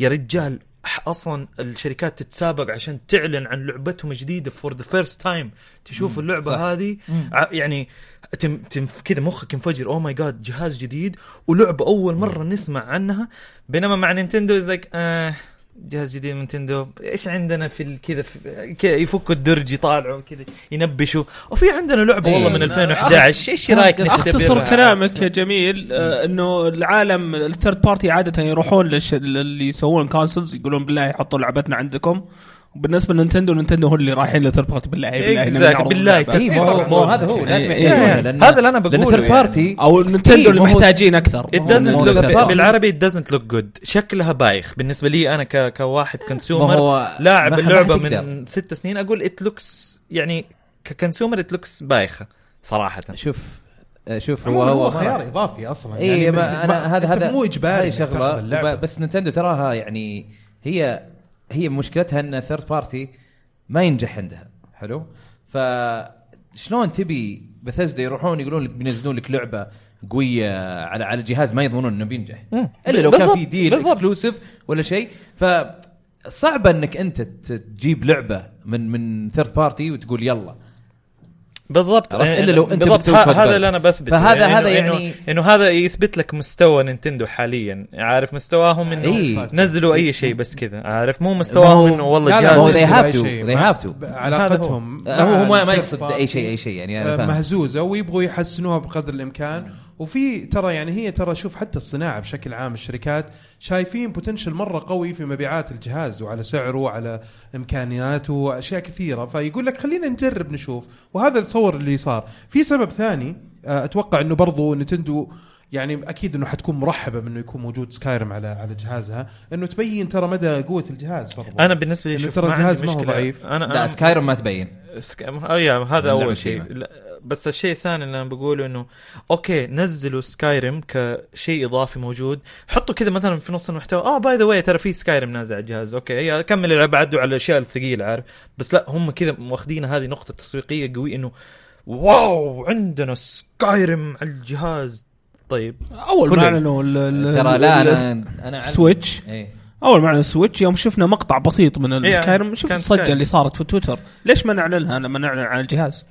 Speaker 4: يا رجال ح- اصلا الشركات تتسابق عشان تعلن عن لعبتهم الجديده فور ذا فيرست تايم تشوف اللعبه هذه ع- يعني تم تم كذا مخك ينفجر اوه ماي جاد جهاز جديد ولعبه اول مره نسمع عنها بينما مع نينتندو زيك آه جهاز جديد من نينتندو ايش عندنا في ال- كذا في- كذا يفكوا الدرج يطالعوا كذا ينبشوا وفي عندنا لعبه والله
Speaker 3: إيه.
Speaker 4: من 2011 ايش رايك
Speaker 2: اختصر
Speaker 4: نختبرها؟
Speaker 2: آه، كلامك يا جميل آه، انه العالم الثيرد بارتي عاده يروحون للش- للي يسوون كونسلز يقولون بالله حطوا لعبتنا عندكم وبالنسبه لنتندو نتندو هم اللي رايحين للثيرد بارتي بالله بالله إحنا
Speaker 4: Exactly.
Speaker 2: بنعرض
Speaker 4: بالله.
Speaker 2: اللعبة.
Speaker 3: إيه، ما هو- ما هو هذا هو
Speaker 2: إيه،
Speaker 3: لازم
Speaker 2: إيه.
Speaker 3: يحتاجونه، لأن-
Speaker 4: هذا اللي انا
Speaker 3: لان
Speaker 4: بقوله
Speaker 3: ثيرد
Speaker 4: يعني.
Speaker 3: بارتي
Speaker 2: او
Speaker 3: إيه،
Speaker 2: نتندو اللي
Speaker 3: ما هو-
Speaker 2: محتاجين اكثر
Speaker 4: It doesn't
Speaker 3: ما هو
Speaker 4: look
Speaker 3: ثيرد
Speaker 4: بالعربي it doesn't look good شكلها بايخ بالنسبه لي انا ك... كواحد
Speaker 3: ما
Speaker 4: كونسيومر
Speaker 3: هو
Speaker 4: لاعب
Speaker 3: ما- ما
Speaker 4: اللعبه
Speaker 3: حتقدر.
Speaker 4: من ست سنين اقول it looks يعني ككونسيومر it looks بايخه صراحه
Speaker 3: شوف آه، شوف
Speaker 1: هو
Speaker 3: هو
Speaker 1: هو
Speaker 3: هو ما-
Speaker 1: خيار اضافي اصلا
Speaker 3: اي يعني ما انا هذا
Speaker 1: أنت
Speaker 3: هذا
Speaker 1: مو اجباري
Speaker 3: هذه
Speaker 1: إنك تاخذ
Speaker 3: شغله
Speaker 1: اللعبة.
Speaker 3: ب- بس نتندو تراها يعني هي هي مشكلتها ان ثيرد بارتي ما ينجح عندها حلو فشلون تبي بثزدا يروحون يقولون لك بينزلون لك لعبه قويه على على جهاز ما يضمنون انه بينجح
Speaker 1: إيه،
Speaker 3: الا لو كان
Speaker 4: بالضبط،
Speaker 3: في ديل
Speaker 4: بالضبط.
Speaker 3: اكسكلوسيف ولا شيء ف صعب انك انت ت- تجيب لعبه من من ثيرد بارتي وتقول يلا
Speaker 4: بالضبط
Speaker 3: عرفت؟ إلا لو أنت
Speaker 4: بالضبط
Speaker 3: بتسوي
Speaker 4: ه-
Speaker 3: كود
Speaker 4: هذا
Speaker 3: بل.
Speaker 4: اللي انا بثبته
Speaker 3: فهذا- هذا
Speaker 4: إنه-
Speaker 3: يعني-
Speaker 4: إنه- انه هذا يثبت لك مستوى نينتندو حاليا عارف مستواهم انه
Speaker 3: إيه.
Speaker 4: نزلوا اي شيء بس كذا عارف مو مستواهم انه والله
Speaker 1: لا لا،
Speaker 3: ما هو
Speaker 4: جهاز
Speaker 3: they
Speaker 1: يسوي أي
Speaker 3: have to
Speaker 1: شيء.
Speaker 3: they
Speaker 1: ما-
Speaker 3: have to
Speaker 1: علاقتهم
Speaker 3: آه، هو
Speaker 1: مع
Speaker 3: هو ما
Speaker 1: الثيرد
Speaker 3: يقصد
Speaker 1: بارتي
Speaker 3: اي شيء اي شيء يعني انا
Speaker 1: آه،
Speaker 3: فاهم
Speaker 1: مهزوزه ويبغوا يحسنوها بقدر الامكان وفي ترى يعني هي ترى شوف حتى الصناعه بشكل عام الشركات شايفين بوتنشل مره قوي في مبيعات الجهاز وعلى سعره وعلى امكانياته واشياء كثيره فيقول لك خلينا نجرب نشوف وهذا التصور اللي صار في سبب ثاني آه، اتوقع انه برضو نتندو يعني اكيد انه حتكون مرحبه بانه يكون موجود سكايرم على على جهازها انه تبين ترى مدى قوه الجهاز برضو
Speaker 4: انا بالنسبه لي
Speaker 1: إنه
Speaker 4: شوف
Speaker 1: ترى
Speaker 4: ما عندي
Speaker 1: الجهاز ما هو
Speaker 4: مشكلة.
Speaker 1: ضعيف.
Speaker 4: انا
Speaker 3: لا
Speaker 4: أنا-
Speaker 3: سكايرم ما تبين
Speaker 4: سك... آه يا هذا
Speaker 3: اللعبة
Speaker 4: اول شيء
Speaker 3: القديمة.
Speaker 4: لا، بس الشيء الثاني اللي انا بقوله انه اوكي نزلوا سكايرم كشيء اضافي موجود حطوا كذا مثلا في نص المحتوى اه باي ذا واي ترى في سكايرم نازل على الجهاز اوكي يا كمل العب عدوا على الاشياء الثقيله عارف بس لا هم كذا واخدين هذه نقطه تسويقيه قوي انه واو عندنا سكايرم على الجهاز طيب
Speaker 2: اول
Speaker 4: كله.
Speaker 2: ما اعلنوا ال- ال-
Speaker 3: ترى لا
Speaker 2: ال-
Speaker 3: انا انا أعلم.
Speaker 2: سويتش.
Speaker 3: إيه.
Speaker 2: اول ما اعلن السويتش يوم شفنا مقطع بسيط من
Speaker 4: إيه،
Speaker 2: السكايرم شفت
Speaker 4: كان
Speaker 2: الصجه
Speaker 4: سكايرم.
Speaker 2: اللي صارت في تويتر ليش ما نعلنها لما نعلن عن الجهاز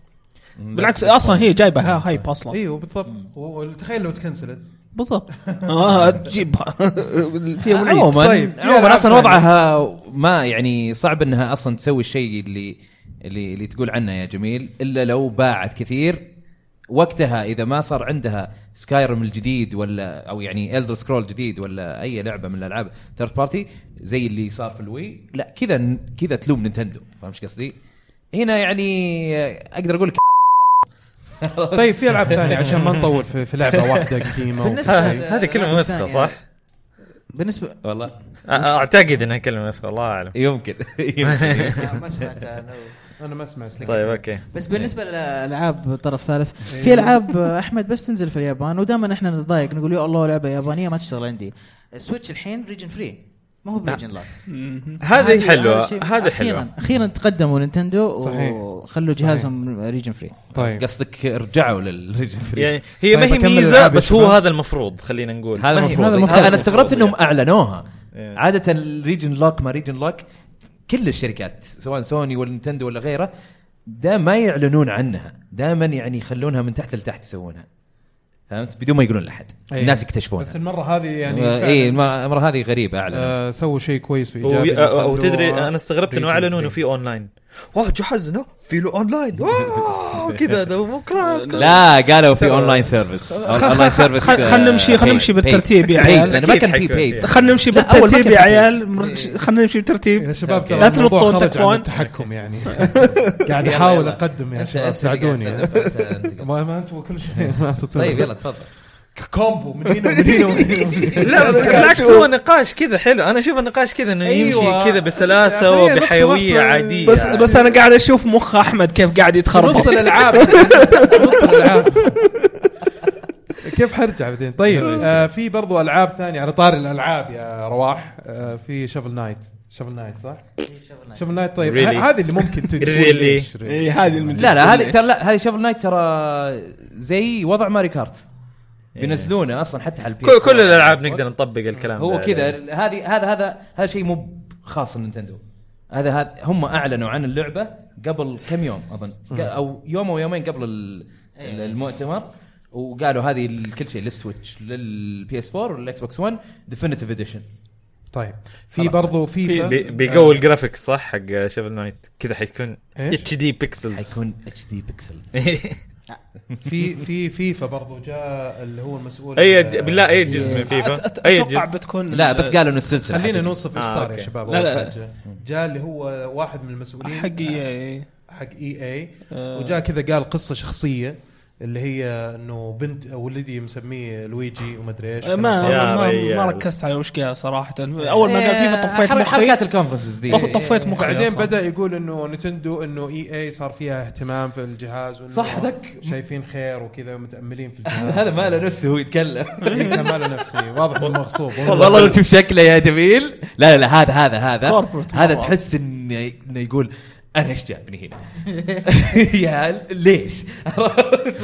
Speaker 2: بالعكس اصلا هي جايبه ها- هايب اصلا
Speaker 1: ايوه بالضبط وتخيل لو تكنسلت
Speaker 2: بالضبط آه، تجيبها فيها وليد
Speaker 3: عموما
Speaker 1: طيب، في ألعاب
Speaker 3: عموما اصلا
Speaker 1: ثانية.
Speaker 3: وضعها ما يعني صعب انها اصلا تسوي الشيء اللي اللي اللي تقول عنه يا جميل الا لو باعت كثير وقتها اذا ما صار عندها سكايرم الجديد ولا او يعني الدر سكرول جديد ولا اي لعبه من الالعاب ثيرد بارتي زي اللي صار في الوي لا كذا كذا تلوم نينتندو فاهم ايش قصدي؟ هنا يعني اقدر اقول لك
Speaker 1: طيب في العاب ثانيه عشان ما نطول في, في لعبه واحده قديمه
Speaker 5: بالنسبة-
Speaker 1: وكل شيء.
Speaker 4: هذه كلمه وسخه صح؟
Speaker 5: بالنسبه
Speaker 3: والله
Speaker 4: أ- اعتقد انها كلمه وسخه الله اعلم
Speaker 3: يمكن يمكن
Speaker 5: لا، إيه، ما سمعت أنا.
Speaker 1: انا ما سمعت
Speaker 4: طيب اوكي
Speaker 5: بس بالنسبه لالعاب طرف ثالث
Speaker 4: إيه.
Speaker 5: في العاب احمد بس تنزل في اليابان ودائما احنا نتضايق نقول يا الله لعبه يابانيه ما تشتغل عندي السويتش الحين ريجن فري ما هو بريجن لوك
Speaker 4: نعم. هذه حلوه
Speaker 5: شيء-
Speaker 4: هذه
Speaker 5: أخيراً-
Speaker 4: حلوه
Speaker 5: اخيرا تقدموا نينتندو
Speaker 1: صحيح.
Speaker 5: وخلوا جهازهم ريجن فري
Speaker 1: طيب
Speaker 3: قصدك رجعوا للريجن فري
Speaker 4: يعني هي ما
Speaker 1: طيب
Speaker 4: هي
Speaker 1: أكمل
Speaker 4: ميزه
Speaker 1: الألعاب يا
Speaker 4: بس هو
Speaker 1: شباب.
Speaker 4: هذا المفروض خلينا نقول
Speaker 3: هذا
Speaker 4: ما هي-
Speaker 3: المفروض
Speaker 5: هذا
Speaker 3: هذا
Speaker 5: المفروض.
Speaker 3: المفروض انا استغربت انهم اعلنوها
Speaker 4: إيه.
Speaker 3: عاده الريجن لوك ما ريجن لوك كل الشركات سواء سوني ولا نينتندو ولا غيره دا ما يعلنون عنها دائما يعني يخلونها من تحت لتحت يسوونها فهمت بدون ما يقولون لاحد
Speaker 1: أي.
Speaker 3: الناس يكتشفونها
Speaker 1: بس المره هذه يعني
Speaker 3: آه،
Speaker 1: فعلاً،
Speaker 3: اي المره المرة هذه غريبه اعلن آه
Speaker 1: آه، سووا شيء كويس وايجابي
Speaker 4: وي- أ-
Speaker 1: خلوا-
Speaker 4: وتدري انا استغربت انه
Speaker 1: ريجن
Speaker 4: اعلنوا انه
Speaker 1: فري.
Speaker 4: في اونلاين واه جهزنا في له اونلاين واو كذا ده بكره
Speaker 3: لا قالوا في اونلاين سيرفيس اونلاين سيرفيس
Speaker 2: خ- خ- خلنا نمشي- خلنا نمشي بالترتيب يا عيال.
Speaker 3: انا ما كان في
Speaker 4: أكيد
Speaker 3: بيد
Speaker 4: حيكون
Speaker 2: خلينا نمشي
Speaker 3: لا، أول ما
Speaker 2: بالترتيب
Speaker 3: كان في.
Speaker 2: يا عيال مرج- خلينا نمشي
Speaker 1: يا
Speaker 2: بالترتيب
Speaker 1: شباب ترى
Speaker 2: لا
Speaker 1: الموضوع
Speaker 2: تلطون
Speaker 1: خرج عن
Speaker 2: تكوان.
Speaker 1: التحكم يعني قاعد احاول اقدم يا شباب يعني ساعدوني ما ما انتم كل شيء ما انتم
Speaker 3: طيب يلا تفضل
Speaker 1: كومبو من هنا ومن هنا ومن هنا
Speaker 4: لا بالعكس هو نقاش كذا حلو انا اشوف النقاش كذا انه
Speaker 1: أيوة.
Speaker 4: يمشي كذا
Speaker 1: يعني
Speaker 4: بسلاسه
Speaker 1: خلينا نقطة
Speaker 4: وبحيويه
Speaker 1: نقطة.
Speaker 4: عاديه
Speaker 2: بس بس انا قاعد اشوف مخ احمد كيف قاعد
Speaker 1: نص
Speaker 2: يتخربط
Speaker 1: الالعاب نص الالعاب كيف حرجع بعدين طيب آه في برضو العاب ثانيه على طاري الالعاب يا رواح آه في شفل نايت شفل نايت صح؟ شفل نايت طيب
Speaker 4: Really?
Speaker 1: ه- هذه اللي ممكن تقول
Speaker 4: Really?
Speaker 1: ليش really.
Speaker 2: إي، إيه، هذه المجال.
Speaker 3: لا لا هذه ترى لا هذه شوفل نايت ترى زي وضع ماري كارت بينزلونه اصلا حتى على البي
Speaker 4: كل, كل الالعاب نقدر نطبق الكلام
Speaker 3: هو
Speaker 4: ده
Speaker 3: كذا
Speaker 4: عليه.
Speaker 3: هذه هذا هذا هذا شيء مو خاص نينتندو هذا هذا هم اعلنوا عن اللعبه قبل كم يوم اظن ق- او يوم او يومين قبل ال- ال- المؤتمر وقالوا هذه لكل شيء للسويتش للبي اس 4 وللاكس بوكس 1 ديفينيتيف اديشن
Speaker 1: طيب في
Speaker 3: خلاص.
Speaker 1: برضو فيفا
Speaker 4: بي- بيقوي الجرافيكس صح حق شيفل نايت كذا حيكون
Speaker 1: إيش؟
Speaker 4: اتش دي بيكسلز
Speaker 3: حيكون اتش دي بيكسل
Speaker 1: في في فيفا برضو جاء اللي هو المسؤول
Speaker 4: اي
Speaker 1: آه،
Speaker 4: إيه، بالله اي جزء من
Speaker 2: أت- أت-
Speaker 4: فيفا اي
Speaker 2: اتوقع
Speaker 4: جزء
Speaker 2: بتكون
Speaker 3: لا بس قالوا انه السلسله
Speaker 1: خلينا
Speaker 3: حقت-
Speaker 1: نوصف ايش
Speaker 4: آه،
Speaker 1: صار يا
Speaker 4: أوكي.
Speaker 1: شباب
Speaker 2: لا،
Speaker 1: أول
Speaker 2: لا.
Speaker 1: حاجة. جاء اللي هو واحد من المسؤولين آه،
Speaker 2: حق إيه.
Speaker 1: حق إيه. اي اي
Speaker 2: آه.
Speaker 1: وجاء كذا قال قصه شخصيه اللي هي انه بنت ولدي مسميه لويجي ومدري ايش
Speaker 2: ما
Speaker 1: كلام
Speaker 2: ما, ما, ما
Speaker 4: ريال.
Speaker 2: ركزت على وش قال صراحه
Speaker 4: إيه.
Speaker 2: اول ما قال فيفا طفيت
Speaker 3: حر-
Speaker 2: مخي
Speaker 3: حركات الكونفرنسز ذي
Speaker 2: طف- طفيت مخي
Speaker 1: فاضي. بعدين
Speaker 2: أصلاً.
Speaker 1: بدا يقول انه نتندو انه اي اي صار فيها اهتمام في الجهاز وإنه
Speaker 3: صح، ذاك-
Speaker 1: شايفين خير وكذا متاملين في الجهاز
Speaker 3: هذا ما له نفسه هو يتكلم
Speaker 1: هذا ماله نفسي واضح انه مغصوب
Speaker 3: والله لو تشوف شكله يا جميل لا لا, لا هذا هذا هذا
Speaker 2: Corporate
Speaker 3: هذا
Speaker 2: مرة.
Speaker 3: تحس انه إنه يقول انا ايش جابني هنا؟ يا ليش؟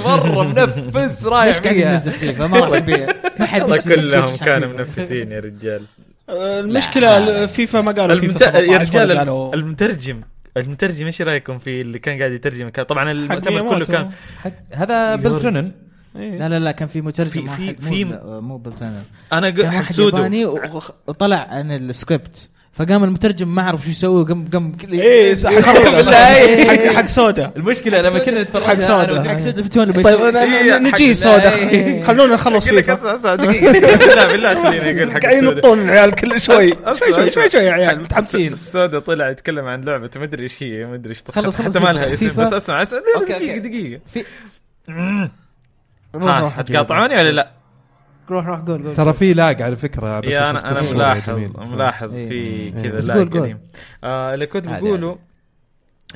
Speaker 3: مره منفس رايح
Speaker 5: ليش قاعد
Speaker 3: فيها.
Speaker 5: ينزل فيفا ما راح تبيع ما حد
Speaker 4: والله
Speaker 5: بيشتري
Speaker 4: كلهم
Speaker 5: السويتش حق
Speaker 4: كانوا
Speaker 5: فيفا.
Speaker 4: منفسين يا رجال
Speaker 2: آه، المشكله ال- فيفا ما قالوا
Speaker 4: المت...
Speaker 2: فيفا
Speaker 4: يا
Speaker 2: 17
Speaker 4: رجال
Speaker 2: ولا
Speaker 4: الم-
Speaker 2: قالوا
Speaker 4: المترجم المترجم ايش رايكم في اللي كان قاعد يترجم كان- طبعا المؤتمر
Speaker 2: مياموتو.
Speaker 4: كله كان
Speaker 5: آه.
Speaker 3: حق- هذا بيل ترنن
Speaker 2: إيه.
Speaker 5: لا لا لا كان في مترجم
Speaker 4: في- في-
Speaker 5: واحد، مو
Speaker 4: في-
Speaker 5: بل- مو بلتانر
Speaker 4: انا ق-
Speaker 5: كان
Speaker 4: حق
Speaker 5: واحد
Speaker 4: سودو
Speaker 5: ياباني وخ- وطلع عن السكريبت فقام المترجم ما عرف شو يسوي وقام قام كل-
Speaker 4: إيه،
Speaker 2: ايه صح
Speaker 5: بالله.
Speaker 2: حق حق سودا
Speaker 3: المشكله لما كنا
Speaker 2: حق
Speaker 3: نتفرج
Speaker 2: سودا.
Speaker 3: أنا
Speaker 5: حق
Speaker 3: وأنت-
Speaker 5: سد الفتون اللي
Speaker 2: طيب
Speaker 5: بيسوي.
Speaker 2: أنا- أنا-
Speaker 4: إيه،
Speaker 2: نجي
Speaker 4: حق-
Speaker 2: سودا
Speaker 5: إيه.
Speaker 2: خلونا نخلص
Speaker 4: اقول لك اسمع
Speaker 2: فيفا
Speaker 4: اسمع دقيقه بالله بالله خليني اقول حق
Speaker 2: قاعدين
Speaker 4: سودو.
Speaker 2: ينطون العيال كل شوي
Speaker 4: أصلاً-
Speaker 2: شوي شوي شوي شوي يا عيال
Speaker 4: الس-
Speaker 2: متحمسين
Speaker 4: السوداء طلع يتكلم عن لعبه ما ادري ايش هي ما ادري ايش
Speaker 5: خلص،
Speaker 4: خلص حتى
Speaker 5: خلص
Speaker 4: ما لها اسم
Speaker 5: فيفا.
Speaker 4: بس اسمع اسمع
Speaker 5: أوكي،
Speaker 4: دقيقه
Speaker 5: أوكي.
Speaker 4: دقيقه
Speaker 5: في-
Speaker 4: مم.
Speaker 5: روح
Speaker 4: ها،
Speaker 5: روح
Speaker 4: حتقاطعوني ولا لا؟
Speaker 5: روح روح قول قول
Speaker 1: ترى في لاق على فكره بس
Speaker 4: يا
Speaker 1: عشان
Speaker 4: انا انا
Speaker 1: تكون
Speaker 4: ملاحظ
Speaker 1: جميل.
Speaker 4: ملاحظ
Speaker 5: إيه.
Speaker 4: في
Speaker 1: إيه.
Speaker 4: كذا
Speaker 5: بس
Speaker 4: لا
Speaker 5: قول- قول.
Speaker 4: قديم آه اللي كنت
Speaker 3: عادي،
Speaker 4: بقوله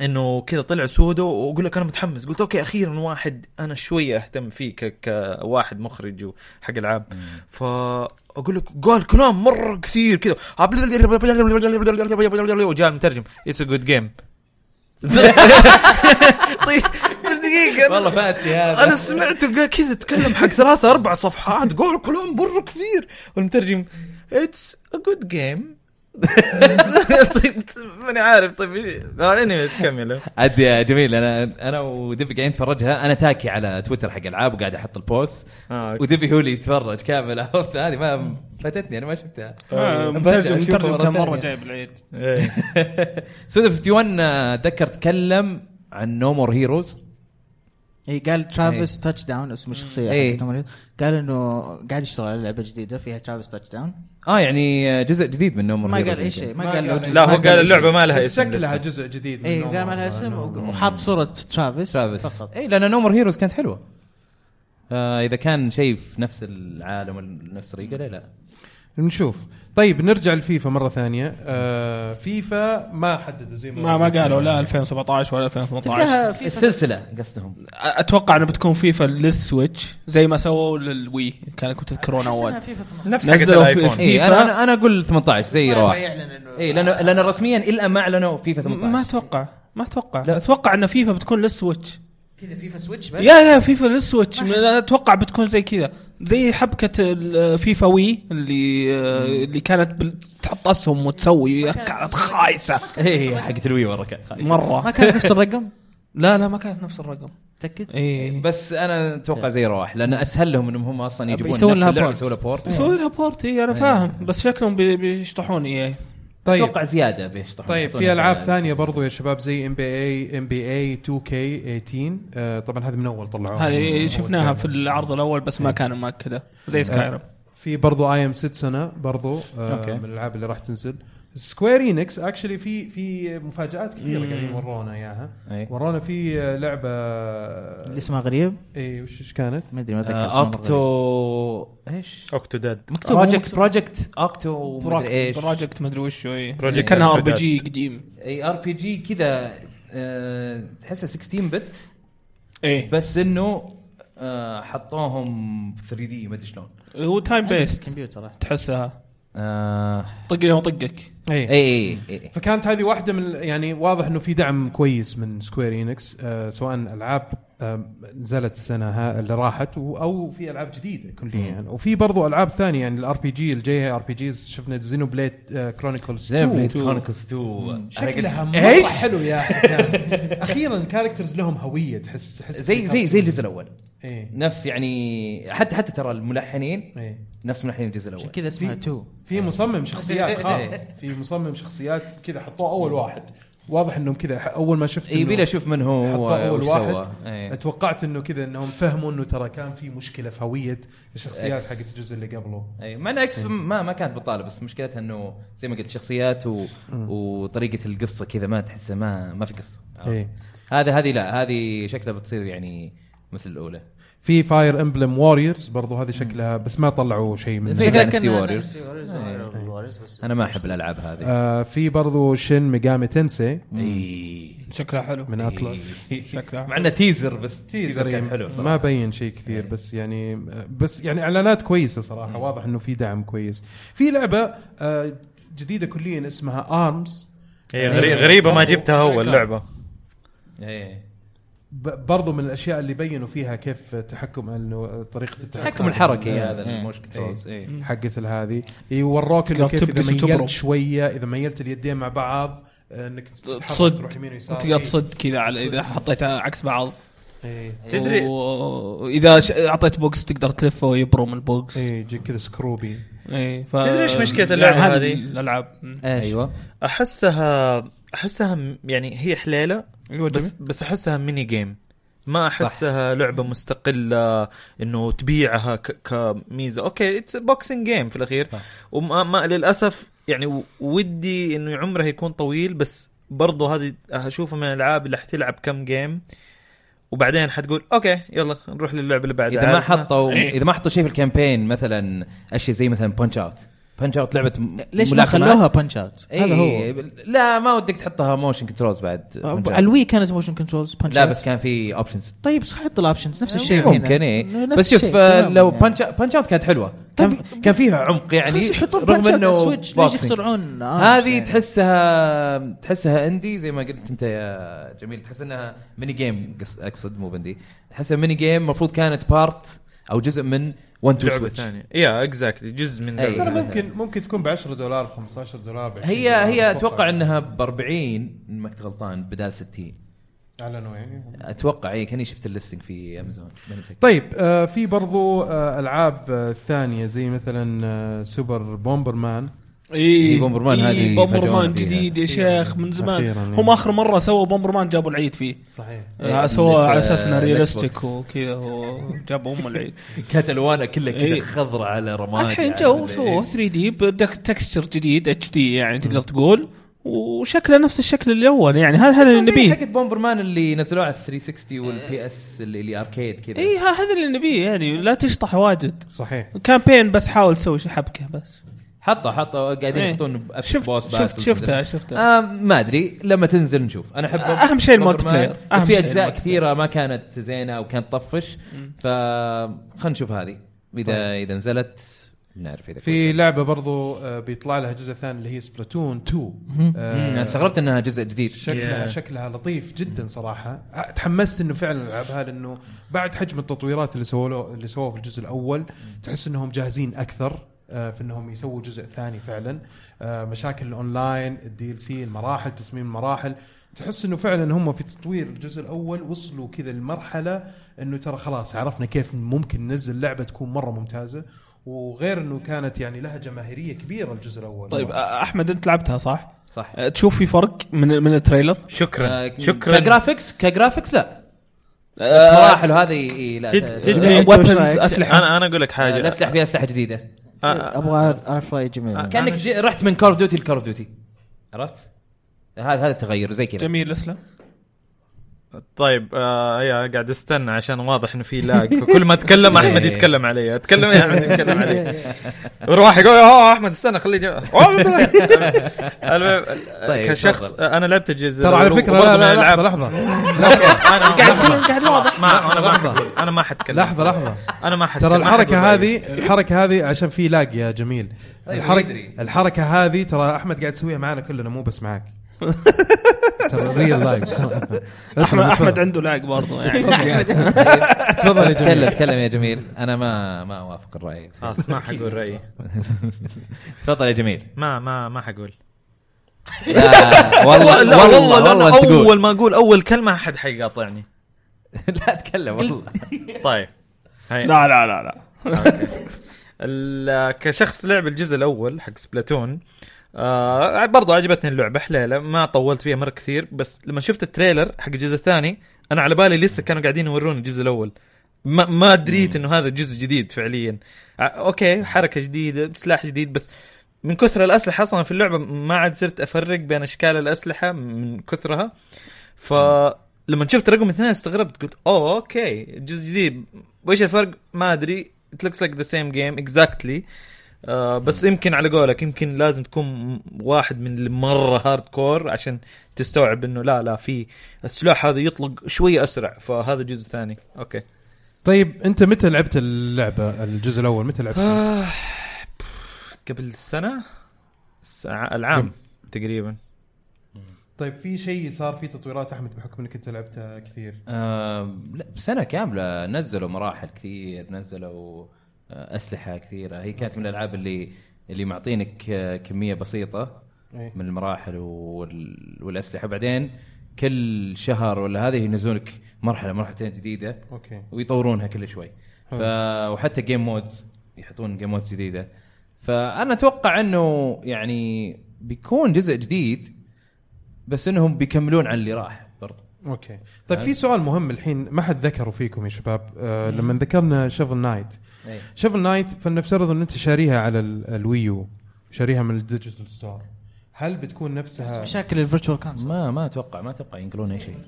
Speaker 4: انه كذا طلع سودو واقول لك انا متحمس قلت اوكي اخيرا واحد انا شويه اهتم فيه ك- كواحد مخرج وحق العاب فاقول لك قال كلام مره كثير كذا وجاء المترجم اتس ا جود جيم طيب دقيقه
Speaker 3: والله فاتني
Speaker 4: انا
Speaker 3: هذا
Speaker 4: سمعته قا- كذا تكلم حق ثلاثة اربع صفحات قول كلام مره كثير والمترجم اتس ا جود جيم طيب ماني عارف طيب ايش انيويز كمل
Speaker 3: عاد يا جميل انا انا ودبي قاعدين نتفرجها انا تاكي على تويتر حق العاب وقاعد احط البوست
Speaker 4: آه، أوكي.
Speaker 3: ودبي هو اللي يتفرج كامل عرفت هذه ما فاتتني انا ما شفتها
Speaker 4: طيب.
Speaker 2: آه،
Speaker 3: برجع
Speaker 2: مترجم
Speaker 3: أشوفه
Speaker 2: مترجم كان
Speaker 3: ثانية.
Speaker 2: مره جايب العيد
Speaker 4: إيه.
Speaker 3: آه، سودا 51 اتذكر تكلم عن نو مور هيروز
Speaker 5: اي قال ترافيس تاتش داون اسم الشخصيه
Speaker 3: إيه.
Speaker 5: حقت المريض. قال انه قاعد يشتغل على لعبه جديده فيها ترافيس تاتش داون
Speaker 3: اه يعني جزء جديد من نوم
Speaker 5: ما قال اي شيء ما
Speaker 1: ما
Speaker 5: قال له
Speaker 1: قال
Speaker 5: جزء.
Speaker 1: أي
Speaker 4: لا
Speaker 5: ما
Speaker 4: هو قال
Speaker 5: شيء.
Speaker 4: اللعبه ما لها اسم
Speaker 1: شكلها
Speaker 4: لسه.
Speaker 1: جزء جديد من
Speaker 5: اي
Speaker 1: نوم.
Speaker 5: إيه، قال ما لها اسم
Speaker 1: نوم.
Speaker 5: وحاط صوره ترافيس
Speaker 3: ترافيس
Speaker 5: فقط
Speaker 3: اي لان نومر هيروز كانت حلوه آه اذا كان شيء في نفس العالم ولا نفس الطريقه ليه لا
Speaker 1: نشوف طيب نرجع لفيفا مره ثانيه آه فيفا ما حددوا زي ما طيب،
Speaker 2: ما ما قالوا لا 2017 ولا 2018
Speaker 5: تلقاها في
Speaker 3: السلسله قصدهم
Speaker 2: اتوقع انها بتكون فيفا للسويتش زي ما سووا للوي كانكم تذكرون اول
Speaker 4: نفس حق
Speaker 2: نزلوا في-
Speaker 4: الايفون
Speaker 5: إيه،
Speaker 3: اي
Speaker 2: فيفا-
Speaker 3: انا إيه، أنا- انا اقول 18 زي رواح
Speaker 5: يعني.
Speaker 3: إيه، اي
Speaker 5: اي
Speaker 3: لان لان رسميا الا ما اعلنوا فيفا 18
Speaker 2: ما اتوقع ما اتوقع
Speaker 3: لا.
Speaker 2: اتوقع ان فيفا بتكون للسويتش
Speaker 5: كذا فيفا سويتش بس
Speaker 2: يا يا فيفا للسويتش
Speaker 5: ما
Speaker 2: م-
Speaker 5: أحس.
Speaker 2: أنا اتوقع بتكون زي كذا زي حبكه الفيفا وي اللي آه، اللي كانت بال- تحط اسهم وتسوي
Speaker 5: ما كانت
Speaker 2: كانت
Speaker 5: نفس
Speaker 2: خايسه
Speaker 3: اي إيه، حقت الوي ورا كان خايس.
Speaker 5: ما
Speaker 2: مره
Speaker 5: كان نفس الرقم
Speaker 2: لا لا ما كانت نفس الرقم
Speaker 5: متاكد
Speaker 3: إيه.
Speaker 2: اي
Speaker 3: بس انا اتوقع زي رواح لان اسهل لهم انهم هم اصلا يجيبون
Speaker 5: يسوون
Speaker 3: نفس
Speaker 5: لها
Speaker 3: اللعبه
Speaker 5: port.
Speaker 3: يسوون
Speaker 5: إيه.
Speaker 3: لها بورت
Speaker 2: يسوي لها بورت اي انا
Speaker 3: إيه.
Speaker 2: فاهم بس شكلهم بي- بيشطحون إيه. اي
Speaker 1: طيب
Speaker 3: اتوقع زياده بيشطحون
Speaker 1: طيب
Speaker 3: يحطون
Speaker 1: في العاب
Speaker 3: لها-
Speaker 1: ثانيه برضو يا شباب زي ام بي اي ام بي اي 2 كي 18 آه طبعا هذه من اول طلعوها من
Speaker 2: هذه
Speaker 1: أول
Speaker 2: شفناها
Speaker 1: كان.
Speaker 2: في العرض الاول بس ما كان مؤكده زي سكايرم
Speaker 1: في برضو اي ام سيتسونا برضو آه
Speaker 3: أوكي.
Speaker 1: من الالعاب اللي راح تنزل سكوير انكس اكشلي في في مفاجات كثيره قاعدين يورونا اياها
Speaker 3: إيه.
Speaker 1: ورونا في آه، لعبه
Speaker 5: اللي اسمها غريب
Speaker 1: اي وش إيش كانت؟
Speaker 5: ما ادري ما اتذكر
Speaker 3: آه،
Speaker 5: اسمها غريب.
Speaker 3: اوكتو ايش؟
Speaker 4: اوكتوداد
Speaker 5: مكتوب
Speaker 1: آه،
Speaker 5: بروجكت
Speaker 3: بروجكت بروجكت اوكتو مدري ايش
Speaker 2: بروجكت مدري وش هو إيه.
Speaker 4: Project
Speaker 2: كانها ار بي
Speaker 4: Octodad.
Speaker 2: جي قديم
Speaker 3: اي ار بي جي إيه، كذا آه، تحسه 16 بت
Speaker 2: ايه
Speaker 3: بس انه آه، حطوهم 3 دي ما ادري شلون
Speaker 2: إيه. هو تايم بيست
Speaker 5: كمبيوتر
Speaker 2: تحسها
Speaker 3: آه، إيه،
Speaker 2: طقني وطقك
Speaker 1: اي
Speaker 3: اي اي اي
Speaker 1: فكانت هذه واحده من يعني واضح انه في دعم كويس من سكوير انكس آه سواء العاب آه، نزلت السنه ها- اللي راحت و- او في العاب جديده كليا يعني وفي برضو العاب ثانيه يعني الار بي جي الجي ار بي جيز شفنا زينو بليد كرونيكلز
Speaker 3: زين بليد
Speaker 1: 2
Speaker 3: كرونيكلز 2
Speaker 1: شكلها
Speaker 3: أنا قلت-
Speaker 1: مره
Speaker 3: ايش؟
Speaker 1: حلو يا أخي كان. اخيرا كاركترز لهم هويه تحس تحس
Speaker 3: زي زي زي الجزء الاول
Speaker 1: ايه
Speaker 3: نفس يعني حتى حتى ترى الملحنين
Speaker 1: ايه
Speaker 3: نفس ملحنين الجزء
Speaker 5: عشان
Speaker 3: الاول
Speaker 5: كذا اسمها 2
Speaker 1: في مصمم شخصيات
Speaker 3: إيه.
Speaker 1: خاص في مصمم شخصيات كذا حطوه اول واحد واضح انهم كذا اول ما شفت
Speaker 3: إيه، يبي
Speaker 1: إنه-
Speaker 3: له اشوف من هو
Speaker 1: حطوا اول
Speaker 3: وش
Speaker 1: واحد
Speaker 3: سوى. إيه.
Speaker 1: توقعت انه كذا انهم فهموا انه ترى كان في مشكله في هويه الشخصيات
Speaker 3: X.
Speaker 1: حقت الجزء اللي قبله
Speaker 3: اي مع ان اكس ما ما كانت بطاله بس مشكلتها انه زي ما قلت شخصيات و... وطريقه القصه كذا ما تحسها ما ما في قصه
Speaker 1: اي
Speaker 3: هذا هذه لا هذه شكلها بتصير يعني مثل الاولى
Speaker 1: في فاير امبلم واريورز برضو هذه شكلها بس ما طلعوا شيء من
Speaker 3: زي
Speaker 1: منها.
Speaker 3: Dynasty Warriors. إيه.
Speaker 5: بس
Speaker 3: انا ما احب الالعاب هذه
Speaker 1: آه في برضو شين ميجامي تنسي
Speaker 3: اي
Speaker 2: شكلها حلو إيه.
Speaker 1: من اتلس
Speaker 2: شكلها
Speaker 3: مع انه تيزر بس تيزر كان
Speaker 1: تيزر
Speaker 3: حلو إيه. صراحه
Speaker 1: يعني ما بين شيء كثير بس يعني بس يعني اعلانات كويسه صراحه واضح انه في دعم كويس في لعبه آه جديده كليا اسمها ارمز
Speaker 4: هي غري- غريبه ما جبتها هو اللعبه
Speaker 3: اي
Speaker 1: ب- برضو من الاشياء اللي بينوا فيها كيف تحكم انه طريقه التحكم
Speaker 3: التحكم الحركي يعني.
Speaker 1: إيه.
Speaker 3: هذا الموش كنترولز اي
Speaker 1: حقت هذه يوروك انه
Speaker 2: لو
Speaker 1: كيف
Speaker 2: تبس
Speaker 1: اذا
Speaker 2: وتبرم.
Speaker 1: ميلت شويه اذا ميلت اليدين مع بعض آه، انك
Speaker 2: تصد.
Speaker 1: تصد تروح يمين ويسار
Speaker 2: تقدر
Speaker 1: إيه.
Speaker 2: تصد كذا على اذا حطيتها عكس بعض
Speaker 1: إيه.
Speaker 4: تدري-
Speaker 2: واذا ش... اعطيت بوكس تقدر تلفه ويبرم البوكس
Speaker 1: ايه يجيك كذا سكروبي
Speaker 2: اي ف...
Speaker 4: تدري إيش مشكلة اللعبة
Speaker 2: يعني
Speaker 4: هذه؟
Speaker 2: الالعاب م.
Speaker 3: ايوه
Speaker 4: احسها احسها م- يعني هي حليله
Speaker 2: ايوه
Speaker 4: بس
Speaker 2: بس
Speaker 4: بس احسها ميني جيم ما احسها لعبه مستقله انه تبيعها ك- كميزه اوكي اتس بوكسنج جيم في الاخير
Speaker 3: صح.
Speaker 4: وما ما للاسف يعني و- ودي انه عمرها يكون طويل بس برضو هذه اشوفها من الالعاب اللي حتلعب كم جيم وبعدين حتقول اوكي يلا نروح للعبه اللي بعدها
Speaker 3: اذا ما
Speaker 4: عارف
Speaker 3: حطوا
Speaker 2: إيه.
Speaker 3: اذا ما حطوا شيء في الكامبين مثلا اشياء زي مثلا بانش اوت بانش اوت لعبه م-
Speaker 5: ليش ما
Speaker 3: ملاكمات.
Speaker 5: خلوها بانش اوت؟ هذا
Speaker 3: اي
Speaker 5: هو
Speaker 3: إيه، لا ما ودك تحطها موشن كنترولز بعد
Speaker 5: على الوي كانت موشن كنترولز بانش
Speaker 3: لا بس كان في اوبشنز
Speaker 5: طيب صح حط الاوبشنز نفس الشيء
Speaker 3: ممكن اي بس شوف آه، لو بانش بانش اوت كانت حلوه كان
Speaker 5: يعني. طب-
Speaker 3: كان فيها عمق يعني
Speaker 5: يحطون بانش اوت على سويتش ليش
Speaker 3: boxing.
Speaker 5: يخترعون آه،
Speaker 3: هذه
Speaker 5: يعني.
Speaker 3: تحسها تحسها اندي زي ما قلت انت يا جميل تحس انها ميني جيم قص- اقصد مو بندي تحسها ميني جيم المفروض كانت بارت او جزء من 1 2
Speaker 4: لعبه
Speaker 3: سويتش
Speaker 4: ثانيه يا اكزاكتلي جزء من
Speaker 3: أي.
Speaker 4: لعبة.
Speaker 1: ترى ممكن ممكن تكون ب 10 دولار ب 15 دولار ب 20
Speaker 3: هي
Speaker 1: دولار،
Speaker 3: هي اتوقع انها ب 40 إن ما كنت غلطان بدال 60
Speaker 1: اعلنوا يعني
Speaker 3: اتوقع اي كاني إيه، شفت الليستنج في امازون ماني متأكد.
Speaker 1: طيب آه في برضو آه العاب آه ثانيه زي مثلا آه سوبر بومبر مان
Speaker 2: اي
Speaker 3: هي بومبرمان هذه
Speaker 2: إيه. بومبرمان
Speaker 3: فاجأونا فيها.
Speaker 2: جديد يا شيخ من زمان
Speaker 1: أخيراً يعني.
Speaker 2: هم اخر مره سووا بومبرمان جابوا العيد فيه
Speaker 1: صحيح
Speaker 3: إيه،
Speaker 2: سووا
Speaker 3: في-
Speaker 2: على اساس انه
Speaker 3: آه،
Speaker 2: ريالستيك
Speaker 3: Xbox.
Speaker 2: وكذا وجابوا ام العيد
Speaker 3: كانت الوانها كلها
Speaker 2: إيه.
Speaker 3: كذا خضراء على رماد
Speaker 2: الحين
Speaker 3: على
Speaker 2: جو
Speaker 3: مدري
Speaker 2: سووا
Speaker 3: إيش.
Speaker 2: 3 دي تكستشر جديد اتش دي يعني تقدر تقول وشكله نفس الشكل الاول يعني هذا هذا اللي
Speaker 3: زي
Speaker 2: نبيه إيه.
Speaker 3: حقت بومبر مان اللي نزلوها على 360 والبي اس اللي, اللي اركيد كذا
Speaker 2: اي ها- إيه، هذا اللي نبيه يعني لا تشطح واجد
Speaker 1: صحيح
Speaker 2: كامبين بس حاول تسوي شي حبكه بس
Speaker 3: حطوا حطوا قاعدين
Speaker 2: إيه.
Speaker 3: يحطون بأس-
Speaker 2: شفت
Speaker 3: بوس
Speaker 2: شفت
Speaker 3: باتلز
Speaker 2: شفتها
Speaker 3: وكذا.
Speaker 2: شفتها
Speaker 3: آه ما ادري لما تنزل نشوف انا احب
Speaker 2: أهم شيء الملتي
Speaker 3: بومبرمان،
Speaker 2: بلاير. أهم
Speaker 3: بس
Speaker 2: شيء
Speaker 3: في اجزاء
Speaker 2: الملتي
Speaker 3: كثيره ما كانت زينه او كانت طفش ف خلينا نشوف هذه
Speaker 2: طيب.
Speaker 3: اذا اذا نزلت نعرف اذا
Speaker 1: في لعبه برضو آه، بيطلع لها جزء ثاني اللي هي سبلاتون 2
Speaker 3: كويسة. أنا
Speaker 1: آه،
Speaker 3: استغربت انها جزء جديد
Speaker 1: شكلها
Speaker 2: Yeah.
Speaker 1: شكلها لطيف جدا صراحه آه، تحمست انه فعلا العبها لانه بعد حجم التطويرات اللي سووا له- اللي سووها في الجزء الاول تحس انهم جاهزين اكثر آه، في انهم يسووا جزء ثاني فعلا آه، مشاكل الاونلاين الدي ال سي المراحل تصميم المراحل تحس انه فعلا هم في تطوير الجزء الاول وصلوا كذا لمرحله انه ترى خلاص عرفنا كيف ممكن ننزل لعبه تكون مره ممتازه وغير انه كانت يعني لها جماهيريه كبيره الجزء الاول
Speaker 2: طيب آه، احمد انت لعبتها صح؟
Speaker 3: صح
Speaker 2: آه، تشوف في فرق من من التريلر؟
Speaker 4: شكرا
Speaker 3: آه،
Speaker 4: شكرا
Speaker 3: كجرافكس كجرافكس لا
Speaker 2: آه،
Speaker 3: بس مراحل وهذه إيه، لا
Speaker 4: تد-
Speaker 3: ت-
Speaker 4: تد-
Speaker 5: إيه، أنت وش
Speaker 2: ويبنز
Speaker 5: رأيك؟
Speaker 2: اسلحه
Speaker 4: انا انا اقول لك حاجه
Speaker 3: الاسلحه فيها اسلحه جديده
Speaker 4: آه، آه،
Speaker 5: ابغى اعرف راي جميل
Speaker 4: آه.
Speaker 3: كانك
Speaker 4: أنا-
Speaker 3: جي- رحت من كور دوتي لكور دوتي عرفت؟ هذا هذا التغير زي كذا
Speaker 2: جميل الاسلحه
Speaker 4: طيب آه يا قاعد استنى عشان واضح انه في لاج فكل ما اتكلم احمد يتكلم علي اتكلم يا احمد يتكلم علي وراح يقول اه احمد استنى خليه جا- المهم
Speaker 3: طيب،
Speaker 4: كشخص
Speaker 3: تفضل.
Speaker 4: انا لعبت الجزء
Speaker 1: ترى على
Speaker 4: الأول
Speaker 1: فكره لا
Speaker 4: وبرضه من
Speaker 1: لا
Speaker 4: الألعاب-
Speaker 1: لحظه لحظه
Speaker 4: انا
Speaker 2: قاعد يتكلم قاعد واضح
Speaker 4: ما انا
Speaker 1: لحظة.
Speaker 4: ما انا ما حتكلم
Speaker 1: لحظه لحظه
Speaker 4: انا ما حتكلم
Speaker 1: ترى
Speaker 4: ما حقول
Speaker 1: الحركه
Speaker 4: رأيي.
Speaker 1: هذه الحركه هذه عشان في لاج يا جميل
Speaker 3: طيب،
Speaker 1: الحركه
Speaker 3: يدري.
Speaker 1: الحركه هذه ترى احمد قاعد يسويها معنا كلنا مو بس معك ترى ريال لاج
Speaker 2: احمد احمد عنده لاج برضه يعني
Speaker 1: تفضل يا
Speaker 3: تكلم
Speaker 1: جميل
Speaker 3: تكلم يا جميل انا ما ما اوافق الراي
Speaker 4: خلاص ما آه، حقول رايي
Speaker 3: تفضل يا جميل
Speaker 4: ما ما ما حقول
Speaker 3: لا والله
Speaker 4: لا والله لا
Speaker 3: والله تقول.
Speaker 4: اول ما اقول اول كلمه احد حيقاطعني
Speaker 3: لا اتكلم والله
Speaker 4: طيب
Speaker 1: نعم.
Speaker 4: هاي
Speaker 2: لا لا لا لا
Speaker 4: ال- كشخص لعب الجزء الاول حق سبلاتون آه برضو عجبتني اللعبه حليله ما طولت فيها مره كثير بس لما شفت التريلر حق الجزء الثاني انا على بالي لسه كانوا قاعدين يورون الجزء الاول ما ما دريت انه هذا جزء جديد فعليا آه اوكي حركه جديده سلاح جديد بس من كثر الاسلحه اصلا في اللعبه ما عاد صرت افرق بين اشكال الاسلحه من كثرها فلما شفت رقم اثنين استغربت قلت اوه اوكي جزء جديد وايش الفرق ما ادري it looks like the same game exactly آه بس يمكن على قولك يمكن لازم تكون م- واحد من اللي مره هارد كور عشان تستوعب انه لا لا في السلاح هذا يطلق شويه اسرع فهذا جزء ثاني اوكي
Speaker 1: طيب انت متى لعبت اللعبه الجزء الاول متى لعبت
Speaker 4: قبل سنه الس- العام تقريبا
Speaker 1: طيب في شيء صار فيه تطويرات احمد بحكم انك انت لعبتها كثير
Speaker 3: آم، آه، لا سنه كامله نزلوا مراحل كثير نزلوا آه، اسلحه كثيره هي كانت من الالعاب اللي اللي معطينك آه، كميه بسيطه
Speaker 1: إيه.
Speaker 3: من المراحل وال- والاسلحه بعدين كل شهر ولا هذه ينزلونك مرحله مرحلتين جديده
Speaker 1: اوكي
Speaker 3: ويطورونها كل شوي ف...
Speaker 1: حلو.
Speaker 3: وحتى جيم مودز يحطون جيم مودز جديده فانا اتوقع انه يعني بيكون جزء جديد بس انهم بيكملون على اللي راح برضه
Speaker 1: اوكي طيب في سؤال مهم الحين ما حد ذكره فيكم يا شباب آه لما ذكرنا شفل نايت
Speaker 3: إيه.
Speaker 1: شفل نايت فلنفترض ان انت شاريها على ال- الويو شاريها من الديجيتال ستور هل بتكون نفسها
Speaker 5: مشاكل الفيرتشوال كونسول
Speaker 3: ما ما اتوقع ما اتوقع ينقلون اي شيء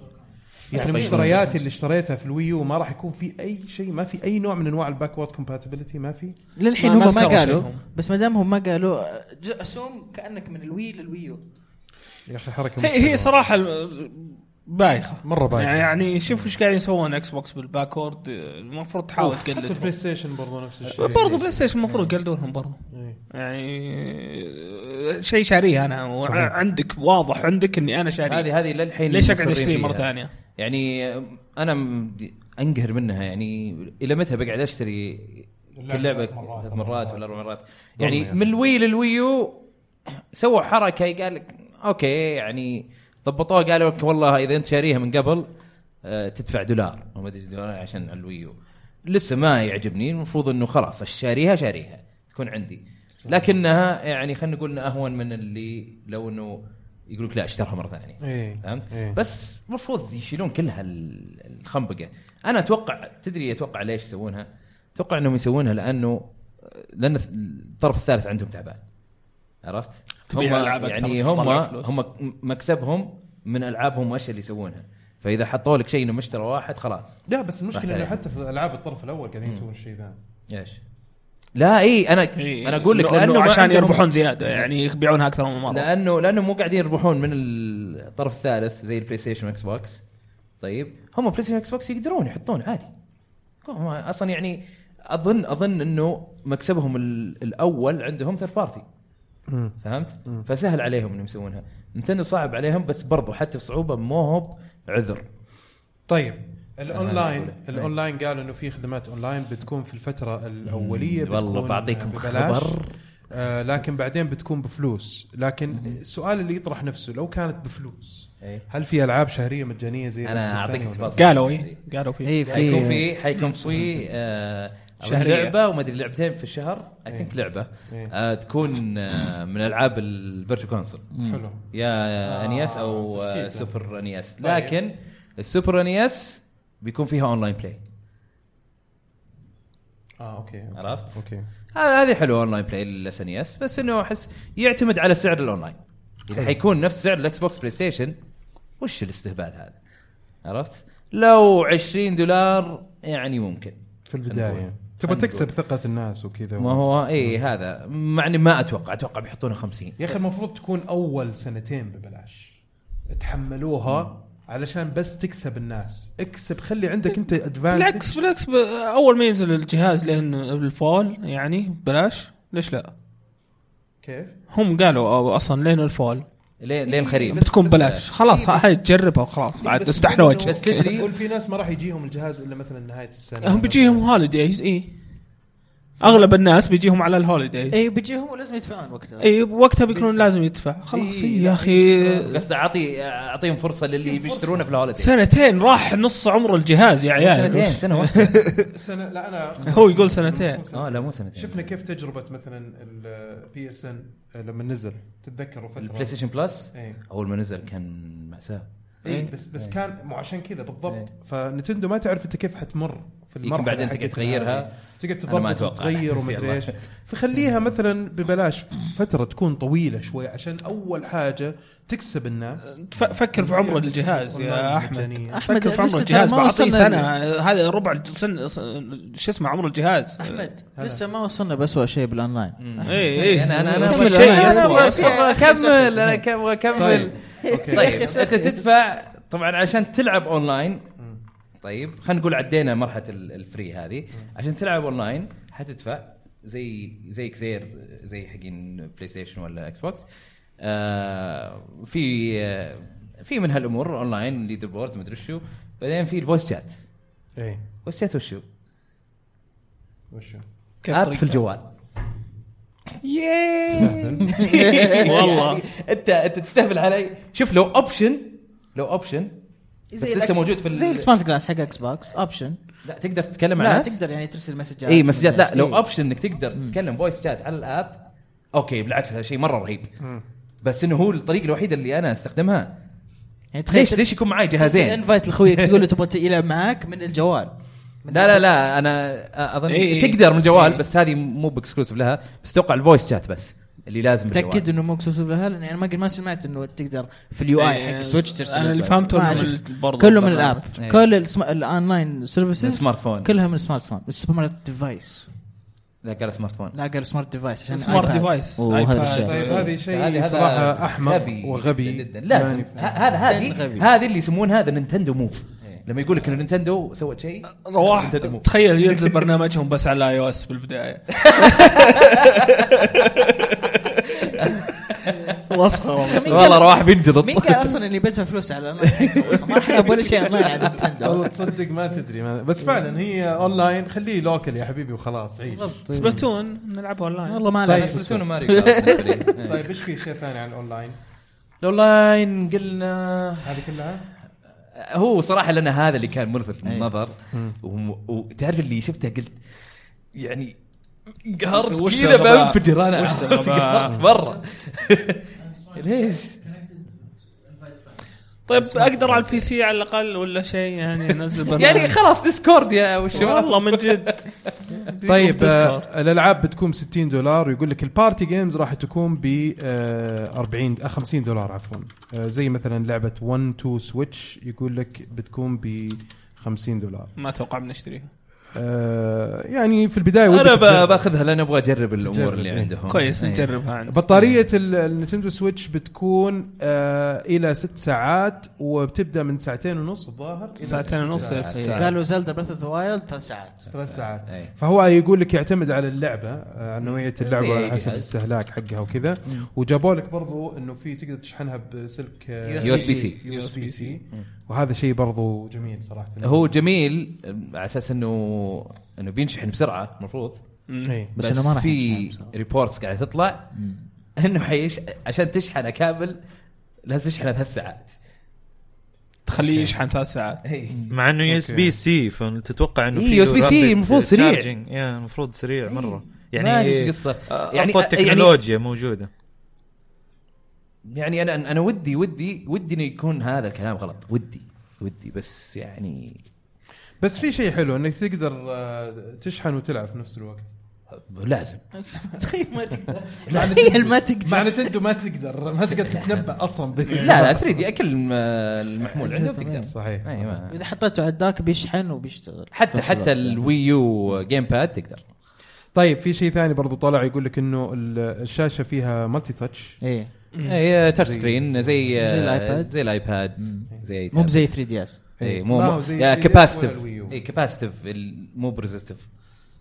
Speaker 1: يعني
Speaker 3: طيب.
Speaker 1: مشترياتي اللي اشتريتها في الويو ما راح يكون في اي شيء ما في اي نوع من انواع الباكورد كومباتيبلتي ما في
Speaker 5: للحين
Speaker 2: ما- ما
Speaker 5: هم ما
Speaker 2: ذكروا
Speaker 5: قالوا
Speaker 2: شيء هم.
Speaker 5: بس ما دام هم ما قالوا آه، ج- اسوم كانك من الوي للويو
Speaker 1: يا اخي حركه
Speaker 2: هي
Speaker 1: مستفزة.
Speaker 2: هي صراحه ال- بايخه
Speaker 1: مره بايخه
Speaker 2: يعني-
Speaker 1: يعني
Speaker 2: يعني شوف ايش قاعدين يسوون اكس بوكس بالباكورد المفروض تحاول
Speaker 1: حتى
Speaker 2: تقلد
Speaker 1: البلاي ستيشن برضه نفس الشيء
Speaker 2: برضه بلاي ستيشن المفروض يقلدونهم برضه
Speaker 1: إيه.
Speaker 2: يعني شيء شاريه انا
Speaker 1: صحيح.
Speaker 2: وع- عندك واضح عندك اني انا شاريه
Speaker 3: هذه هذه للحين
Speaker 2: ليش اقعد
Speaker 3: مصرين
Speaker 2: اشتري
Speaker 3: فيها.
Speaker 2: مره ثانيه؟
Speaker 3: يعني انا م- انقهر منها يعني الى متى بقعد اشتري كل لعبه
Speaker 1: ثلاث مرات،
Speaker 3: ثلاث مرات ولا اربع مرات
Speaker 1: ظلمة
Speaker 3: يعني
Speaker 1: يعني.
Speaker 3: من الوي للويو سووا حركه قال لك اوكي يعني ضبطوها قالوا لك والله اذا انت شاريها من قبل آه، تدفع دولار أو ما ادري دولار عشان على الويو لسه ما يعجبني المفروض انه خلاص الشاريها شاريها تكون عندي لكنها يعني خلينا نقول إنها اهون من اللي لو انه يقول لك لا اشترها مره ثانيه
Speaker 1: إيه.
Speaker 3: فهمت؟
Speaker 1: إيه.
Speaker 3: بس المفروض يشيلون كل هال- الخنبقه انا اتوقع تدري اتوقع ليش يسوونها؟ اتوقع انهم يسوونها لانه لان الطرف الثالث عندهم تعبان عرفت؟ هم
Speaker 2: تبيع ألعاب أكثر
Speaker 3: يعني هم
Speaker 2: تطلع فلوس.
Speaker 3: هم مكسبهم من العابهم وايش اللي يسوونها فاذا حطوا لك شيء انه مشترى واحد خلاص
Speaker 1: لا بس المشكله انه
Speaker 3: عليه.
Speaker 1: حتى في العاب الطرف الاول قاعدين يسوون الشيء ذا
Speaker 3: ايش؟ لا اي انا
Speaker 2: إيه.
Speaker 3: انا اقول لك
Speaker 2: إنه- إنه
Speaker 3: لانه ما
Speaker 2: عشان
Speaker 3: عندهم-
Speaker 2: يربحون زياده يعني يبيعونها اكثر من مره
Speaker 3: لانه لانه مو قاعدين يربحون من الطرف الثالث زي البلاي ستيشن واكس بوكس طيب هم بلاي ستيشن واكس بوكس يقدرون يحطون عادي هم اصلا يعني اظن اظن انه مكسبهم ال- الاول عندهم ثيرد بارتي فهمت؟ فسهل عليهم انهم يسوونها نتندو صعب عليهم بس برضو حتى الصعوبه مو هو عذر
Speaker 1: طيب
Speaker 3: أنا
Speaker 1: الاونلاين
Speaker 3: أقول.
Speaker 1: الاونلاين قالوا انه في خدمات اونلاين بتكون في الفتره الاوليه
Speaker 3: مم، والله
Speaker 1: بتكون
Speaker 3: بعطيكم
Speaker 1: ببلاش.
Speaker 3: خبر.
Speaker 1: آه لكن بعدين بتكون بفلوس لكن السؤال اللي يطرح نفسه لو كانت بفلوس
Speaker 3: إيه.
Speaker 1: هل في العاب شهريه مجانيه زي
Speaker 3: أنا
Speaker 1: الأجهزة الثانية
Speaker 3: أعطيك
Speaker 1: ولا لا؟
Speaker 3: تفاصيل.
Speaker 2: قالوا اي قالوا فيه
Speaker 5: اي
Speaker 3: حيكون
Speaker 5: إيه، في
Speaker 3: يعني في حيكون في آه
Speaker 2: شهرية.
Speaker 3: لعبه وما ادري لعبتين في الشهر اي ثينك لعبه
Speaker 1: إيه.
Speaker 3: آه تكون آه من العاب الفيرتشوال كونسول
Speaker 1: حلو
Speaker 3: يا
Speaker 1: آه،
Speaker 3: آه انيس او
Speaker 1: تسكيت.
Speaker 3: آه سوبر انيس
Speaker 1: طيب.
Speaker 3: لكن السوبر انيس بيكون فيها اونلاين بلاي
Speaker 1: اه اوكي أوكي.
Speaker 3: عرفت؟
Speaker 1: اوكي
Speaker 3: هذا هذه حلوه اونلاين بلاي للاس ان اس بس انه احس يعتمد على سعر الاونلاين اذا حيكون نفس سعر الاكس بوكس بلاي ستيشن وش الاستهبال هذا؟ عرفت؟ لو 20 دولار يعني ممكن
Speaker 1: في البدايه
Speaker 3: نقول.
Speaker 1: تبغى
Speaker 3: خلنا
Speaker 1: تكسب ثقه الناس وكذا
Speaker 3: ما هو اي هذا مع اني ما اتوقع اتوقع بيحطونه 50
Speaker 1: يا اخي المفروض تكون اول سنتين ببلاش تحملوها علشان بس تكسب الناس اكسب خلي عندك انت ادفانتج
Speaker 2: بالعكس بالعكس ب- اول ما ينزل الجهاز لين الفول يعني بلاش ليش لا؟
Speaker 1: كيف؟
Speaker 2: هم قالوا أو- اصلا لين الفول
Speaker 3: لين لين خريف
Speaker 1: إيه، بس-
Speaker 2: بتكون
Speaker 1: بس-
Speaker 2: بلاش خلاص
Speaker 1: إيه، بس-
Speaker 2: هاي تجربها وخلاص بعد
Speaker 1: بس
Speaker 2: استحلى
Speaker 1: ممكن إنه-
Speaker 2: وجهك
Speaker 3: بس تدري-
Speaker 1: تقول في ناس ما راح يجيهم الجهاز الا مثلا نهايه السنه
Speaker 2: هم بيجيهم هوليديز اي اغلب الناس بيجيهم على الهوليديز
Speaker 5: اي بيجيهم إيه، ولازم يدفعون وقتها
Speaker 2: اي وقتها بيكونون لازم يدفع خلاص
Speaker 1: إيه،
Speaker 2: إيه
Speaker 1: لا،
Speaker 2: يا اخي
Speaker 3: قصدي اعطي اعطيهم فرصه للي
Speaker 1: أعطيهم فرصة.
Speaker 3: بيشترونه في الهوليدي
Speaker 2: سنتين راح نص عمر الجهاز يا عيال
Speaker 3: سنتين
Speaker 1: يعني،
Speaker 3: سنه واحده
Speaker 1: سنه لا انا
Speaker 2: هو يقول سنتين.
Speaker 3: اه لا مو سنتين
Speaker 1: شفنا كيف تجربه مثلا البي اس ان لما نزل تتذكروا فتره
Speaker 3: البلاي ستيشن بلس
Speaker 1: اي
Speaker 3: اول ما نزل كان مأساة
Speaker 1: اي إيه، بس بس كان مو عشان كذا بالضبط
Speaker 3: إيه.
Speaker 1: فنتندو ما تعرف انت كيف حتمر في
Speaker 3: يمكن
Speaker 1: المرحله
Speaker 3: بعدين تقعد
Speaker 1: حقتها
Speaker 3: تغيرها.
Speaker 1: هذه. تقعد
Speaker 3: أنا ما
Speaker 1: تضبط
Speaker 3: أتوقع.
Speaker 1: وتغير ومدري
Speaker 3: يلا.
Speaker 1: ايش فخليها مثلا ببلاش فتره تكون طويله شوي عشان اول حاجه تكسب الناس
Speaker 2: ف- فكر في عمر الجهاز
Speaker 1: والله
Speaker 2: يا احمد
Speaker 1: مجانية.
Speaker 5: أحمد،
Speaker 2: فكر في
Speaker 5: لسه
Speaker 2: عمر الجهاز
Speaker 5: ترى ما
Speaker 2: بعطيه
Speaker 5: وصلنا
Speaker 2: سنه هذا ربع سن شو اسمه عمر الجهاز
Speaker 5: احمد
Speaker 1: هلا.
Speaker 5: لسه ما وصلنا باسوء شيء يعني بالاونلاين
Speaker 2: اي اي
Speaker 3: انا انا انا
Speaker 2: كمل
Speaker 3: أبغى-
Speaker 2: شيء
Speaker 3: إيه. أنا
Speaker 2: يسوى
Speaker 3: أبغى-
Speaker 2: أصلاً.
Speaker 3: أبغى اكمل انا كم- أبغى اكمل
Speaker 1: طيب اوكي
Speaker 3: طيب انت تدفع طبعا عشان تلعب اونلاين طيب خلينا نقول عدينا مرحله ال- الفري هذه عشان تلعب اونلاين حتدفع زي زي كزير زي حقين بلاي ستيشن ولا اكس بوكس آه في آه في من هالامور اونلاين ليدر بورد مدري شو بعدين في الفويس شات
Speaker 1: اي
Speaker 3: فويس شات وشو؟
Speaker 1: إيه. وشو
Speaker 2: كيف
Speaker 3: اب
Speaker 2: طريقة؟
Speaker 3: في الجوال
Speaker 1: سهل
Speaker 3: والله يعني انت انت تستهبل علي شوف لو اوبشن لو اوبشن بس لسه موجود في ال-
Speaker 5: زي السمارت جلاس حق اكس بوكس اوبشن
Speaker 3: لا تقدر تتكلم مع
Speaker 5: لا
Speaker 3: ناس
Speaker 5: تقدر يعني ترسل مسجات
Speaker 3: اي مسجات لا لو
Speaker 5: إيه.
Speaker 3: اوبشن انك تقدر تتكلم فويس شات على الاب اوكي بالعكس هذا شيء مره رهيب بس انه هو الطريقه الوحيده اللي انا استخدمها
Speaker 5: يعني تخيل
Speaker 3: ليش ليش يكون معي جهازين
Speaker 5: انفايت لاخويك تقول له تبغى يلعب معاك من الجوال
Speaker 3: لا لا لا انا اظن
Speaker 2: إي، إي.
Speaker 3: تقدر من الجوال
Speaker 2: إي.
Speaker 3: بس هذه مو باكسكلوسيف لها بس توقع الفويس شات بس اللي لازم
Speaker 5: متاكد
Speaker 3: بالجوال
Speaker 5: انه مو اكسسوار لها لان انا ما ما سمعت انه تقدر في اليو اي
Speaker 2: إيه،
Speaker 5: حق سويتش ترسل
Speaker 2: انا اللي
Speaker 5: invite.
Speaker 2: فهمته
Speaker 5: ما
Speaker 2: إنه
Speaker 5: شفت.
Speaker 2: ال- برضه
Speaker 5: كله من
Speaker 2: البرنامج.
Speaker 5: الاب
Speaker 3: إيه.
Speaker 5: كل السم- الاونلاين
Speaker 3: من
Speaker 5: سيرفيسز
Speaker 3: السمارت فون
Speaker 5: كلها من السمارت فون من السوبر ماركت ديفايس
Speaker 3: لا قال سمارت فون
Speaker 5: لا قال سمارت ديفايس عشان
Speaker 2: سمارت
Speaker 5: آيباد.
Speaker 2: ديفايس،
Speaker 5: وهذا
Speaker 2: آيباد.
Speaker 5: الأشياء.
Speaker 1: طيب هذه شيء
Speaker 3: هذه-
Speaker 1: صراحه احمق
Speaker 3: غبي جداً
Speaker 1: وغبي يعني
Speaker 3: جداً. لازم
Speaker 1: ماني
Speaker 3: ه- هذا
Speaker 5: غبي.
Speaker 3: هذه هذه اللي يسمونها هذا نينتندو موف لما يقول لك ان نينتندو سوت شيء
Speaker 2: رواح
Speaker 3: نينتندو موف
Speaker 2: تخيل ينزل برنامجهم بس على اي او اس بالبدايه مسخره والله.
Speaker 5: مين قال-
Speaker 3: والله رواح بينجلط
Speaker 5: مين قال اصلا اللي بيدفع فلوس على الأونلاين؟ ما راح يلعب ولا شيء اونلاين على
Speaker 1: والله
Speaker 5: نينتندو
Speaker 1: تصدق ما تدري ما بس فعلا هي اونلاين خليه لوكل يا حبيبي وخلاص عيش
Speaker 2: سبلاتون نلعبها اونلاين
Speaker 5: والله ما
Speaker 1: طيب.
Speaker 5: لعب
Speaker 3: سبلاتون وماريو كارت
Speaker 1: طيب ايش في شيء ثاني عن الاونلاين؟
Speaker 3: الاونلاين قلنا
Speaker 1: هذه كلها؟
Speaker 3: هو صراحه لنا هذا اللي كان ملفت للنظر وم- وتعرف اللي شفته قلت يعني قهرت
Speaker 2: وش
Speaker 3: كذا
Speaker 2: الغباء؟
Speaker 3: بنفجر انا
Speaker 2: وش
Speaker 3: عرفت
Speaker 2: الغباء؟
Speaker 3: قهرت مره ليش؟
Speaker 2: طيب اقدر على البي سي على الاقل ولا شيء يعني انزل برنامج.
Speaker 3: يعني خلاص ديسكورد يا والشباب
Speaker 2: والله من جد
Speaker 1: طيب
Speaker 2: ديسكورد.
Speaker 1: آه الالعاب بتكون 60 دولار ويقول لك البارتي جيمز راح تكون ب آه 40 آه 50 دولار عفوا آه زي مثلا لعبه 1 2 سويتش يقول لك بتكون ب 50 دولار
Speaker 2: ما اتوقع بنشتريها
Speaker 1: آه يعني في البدايه
Speaker 3: انا
Speaker 1: ودك
Speaker 3: ب-
Speaker 1: تجرب.
Speaker 3: باخذها لان ابغى اجرب
Speaker 1: تجرب،
Speaker 3: الامور اللي
Speaker 1: إيه.
Speaker 3: عندهم
Speaker 2: كويس
Speaker 3: إيه.
Speaker 2: نجربها عندي
Speaker 1: بطاريه ال- النينتندو سويتش بتكون آه الى ست ساعات وبتبدا من ساعتين ونص الظاهر إلى
Speaker 2: ساعتين ونص إلى ست ساعات.
Speaker 5: قالوا زلدا بريث اوف ذا وايلد ثلاث ساعات
Speaker 1: ثلاث ساعات
Speaker 3: أي.
Speaker 1: فهو يقول لك يعتمد على اللعبه آه، على نوعيه اللعبه
Speaker 3: زي أي
Speaker 1: وعلى حسب
Speaker 3: جهاز.
Speaker 1: الاستهلاك حقها وكذا وجابوا لك برضو انه في تقدر تشحنها بسلك آه،
Speaker 5: USB
Speaker 3: C.
Speaker 1: يو اس بي سي وهذا شيء برضو جميل صراحه
Speaker 3: هو جميل على اساس انه انه بينشحن بسرعه المفروض
Speaker 1: إيه.
Speaker 3: بس,
Speaker 5: بس
Speaker 3: بس
Speaker 5: إنه ما راح
Speaker 3: في
Speaker 5: ينشحن بسرعة.
Speaker 3: ريبورتس قاعده تطلع انه حيش عشان تشحنه كامل لازم تشحنه ثلاث ساعات
Speaker 2: تخليه يشحن ثلاث ساعات
Speaker 4: مع انه يو اس بي سي فتتوقع انه
Speaker 3: إيه، USB-C
Speaker 4: rapid
Speaker 3: المفروض سريع. إيه.
Speaker 4: charging. يا المفروض سريع مره يعني
Speaker 3: ما ادري ايش قصه
Speaker 4: يعني اقوى التكنولوجيا موجوده
Speaker 3: يعني انا انا ودي ودي ودي انه يكون هذا الكلام غلط ودي ودي بس يعني
Speaker 1: بس في شيء حلو انك تقدر آه، تشحن وتلعب في نفس الوقت
Speaker 3: لازم
Speaker 5: تخيل ما تقدر
Speaker 3: لا.
Speaker 5: تخيل يعني ما تقدر
Speaker 1: مع نتندو ما تقدر ما تقدر تتنبا اصلا بال-
Speaker 3: لا لا 3 دي اكل الم- المحمول عنده
Speaker 5: تمام.
Speaker 3: تقدر
Speaker 1: إيه. صحيح
Speaker 3: أي،
Speaker 1: صحيح.
Speaker 3: ما-
Speaker 5: اذا حطيته على الداك بيشحن وبيشتغل
Speaker 3: حتى حتى الوي يو جيم باد تقدر
Speaker 1: طيب في شيء ثاني برضو طلع يقول لك انه ال- الشاشه فيها مالتي تاتش
Speaker 5: ايه
Speaker 3: إيه. اي تاتش سكرين زي آه،
Speaker 5: زي الآيباد.
Speaker 3: زي الايباد
Speaker 5: مم.
Speaker 3: زي
Speaker 5: مو زي 3 دي اس
Speaker 3: اي
Speaker 1: ما
Speaker 3: مو
Speaker 1: هو زي
Speaker 3: يا
Speaker 1: ال DS ولا
Speaker 3: كباستيف
Speaker 1: الوي يو.
Speaker 3: اي كباستيف مو بريزستيف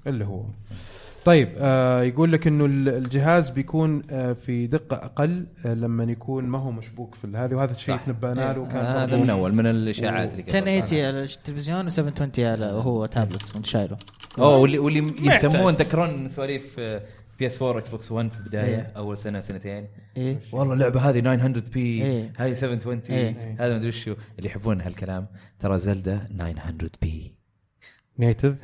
Speaker 1: اللي هو طيب آه يقول لك انه ال- الجهاز بيكون آه في دقه اقل آه لما يكون ما هو مشبوك في ال- هذا وهذا الشيء
Speaker 3: صح. إيه،
Speaker 1: تنبأنا له وكان
Speaker 3: هذا
Speaker 1: برضو-
Speaker 3: من اول من الاشاعات اللي قبل.
Speaker 5: 1080 على التلفزيون و720 على هو تابلت وانت شايله
Speaker 3: اوه واللي واللي
Speaker 2: يحتاج.
Speaker 3: يهتمون تذكرون سواليف آه، بي اس 4 اكس بوكس 1 في البدايه
Speaker 5: إيه.
Speaker 3: اول سنه سنتين
Speaker 5: ايه
Speaker 3: والله اللعبه هذه 900 بي
Speaker 5: إيه.
Speaker 3: هذه 720
Speaker 5: إيه.
Speaker 3: هذا مدري شو اللي يحبون هالكلام ترى زلدة 900 بي
Speaker 1: نيتف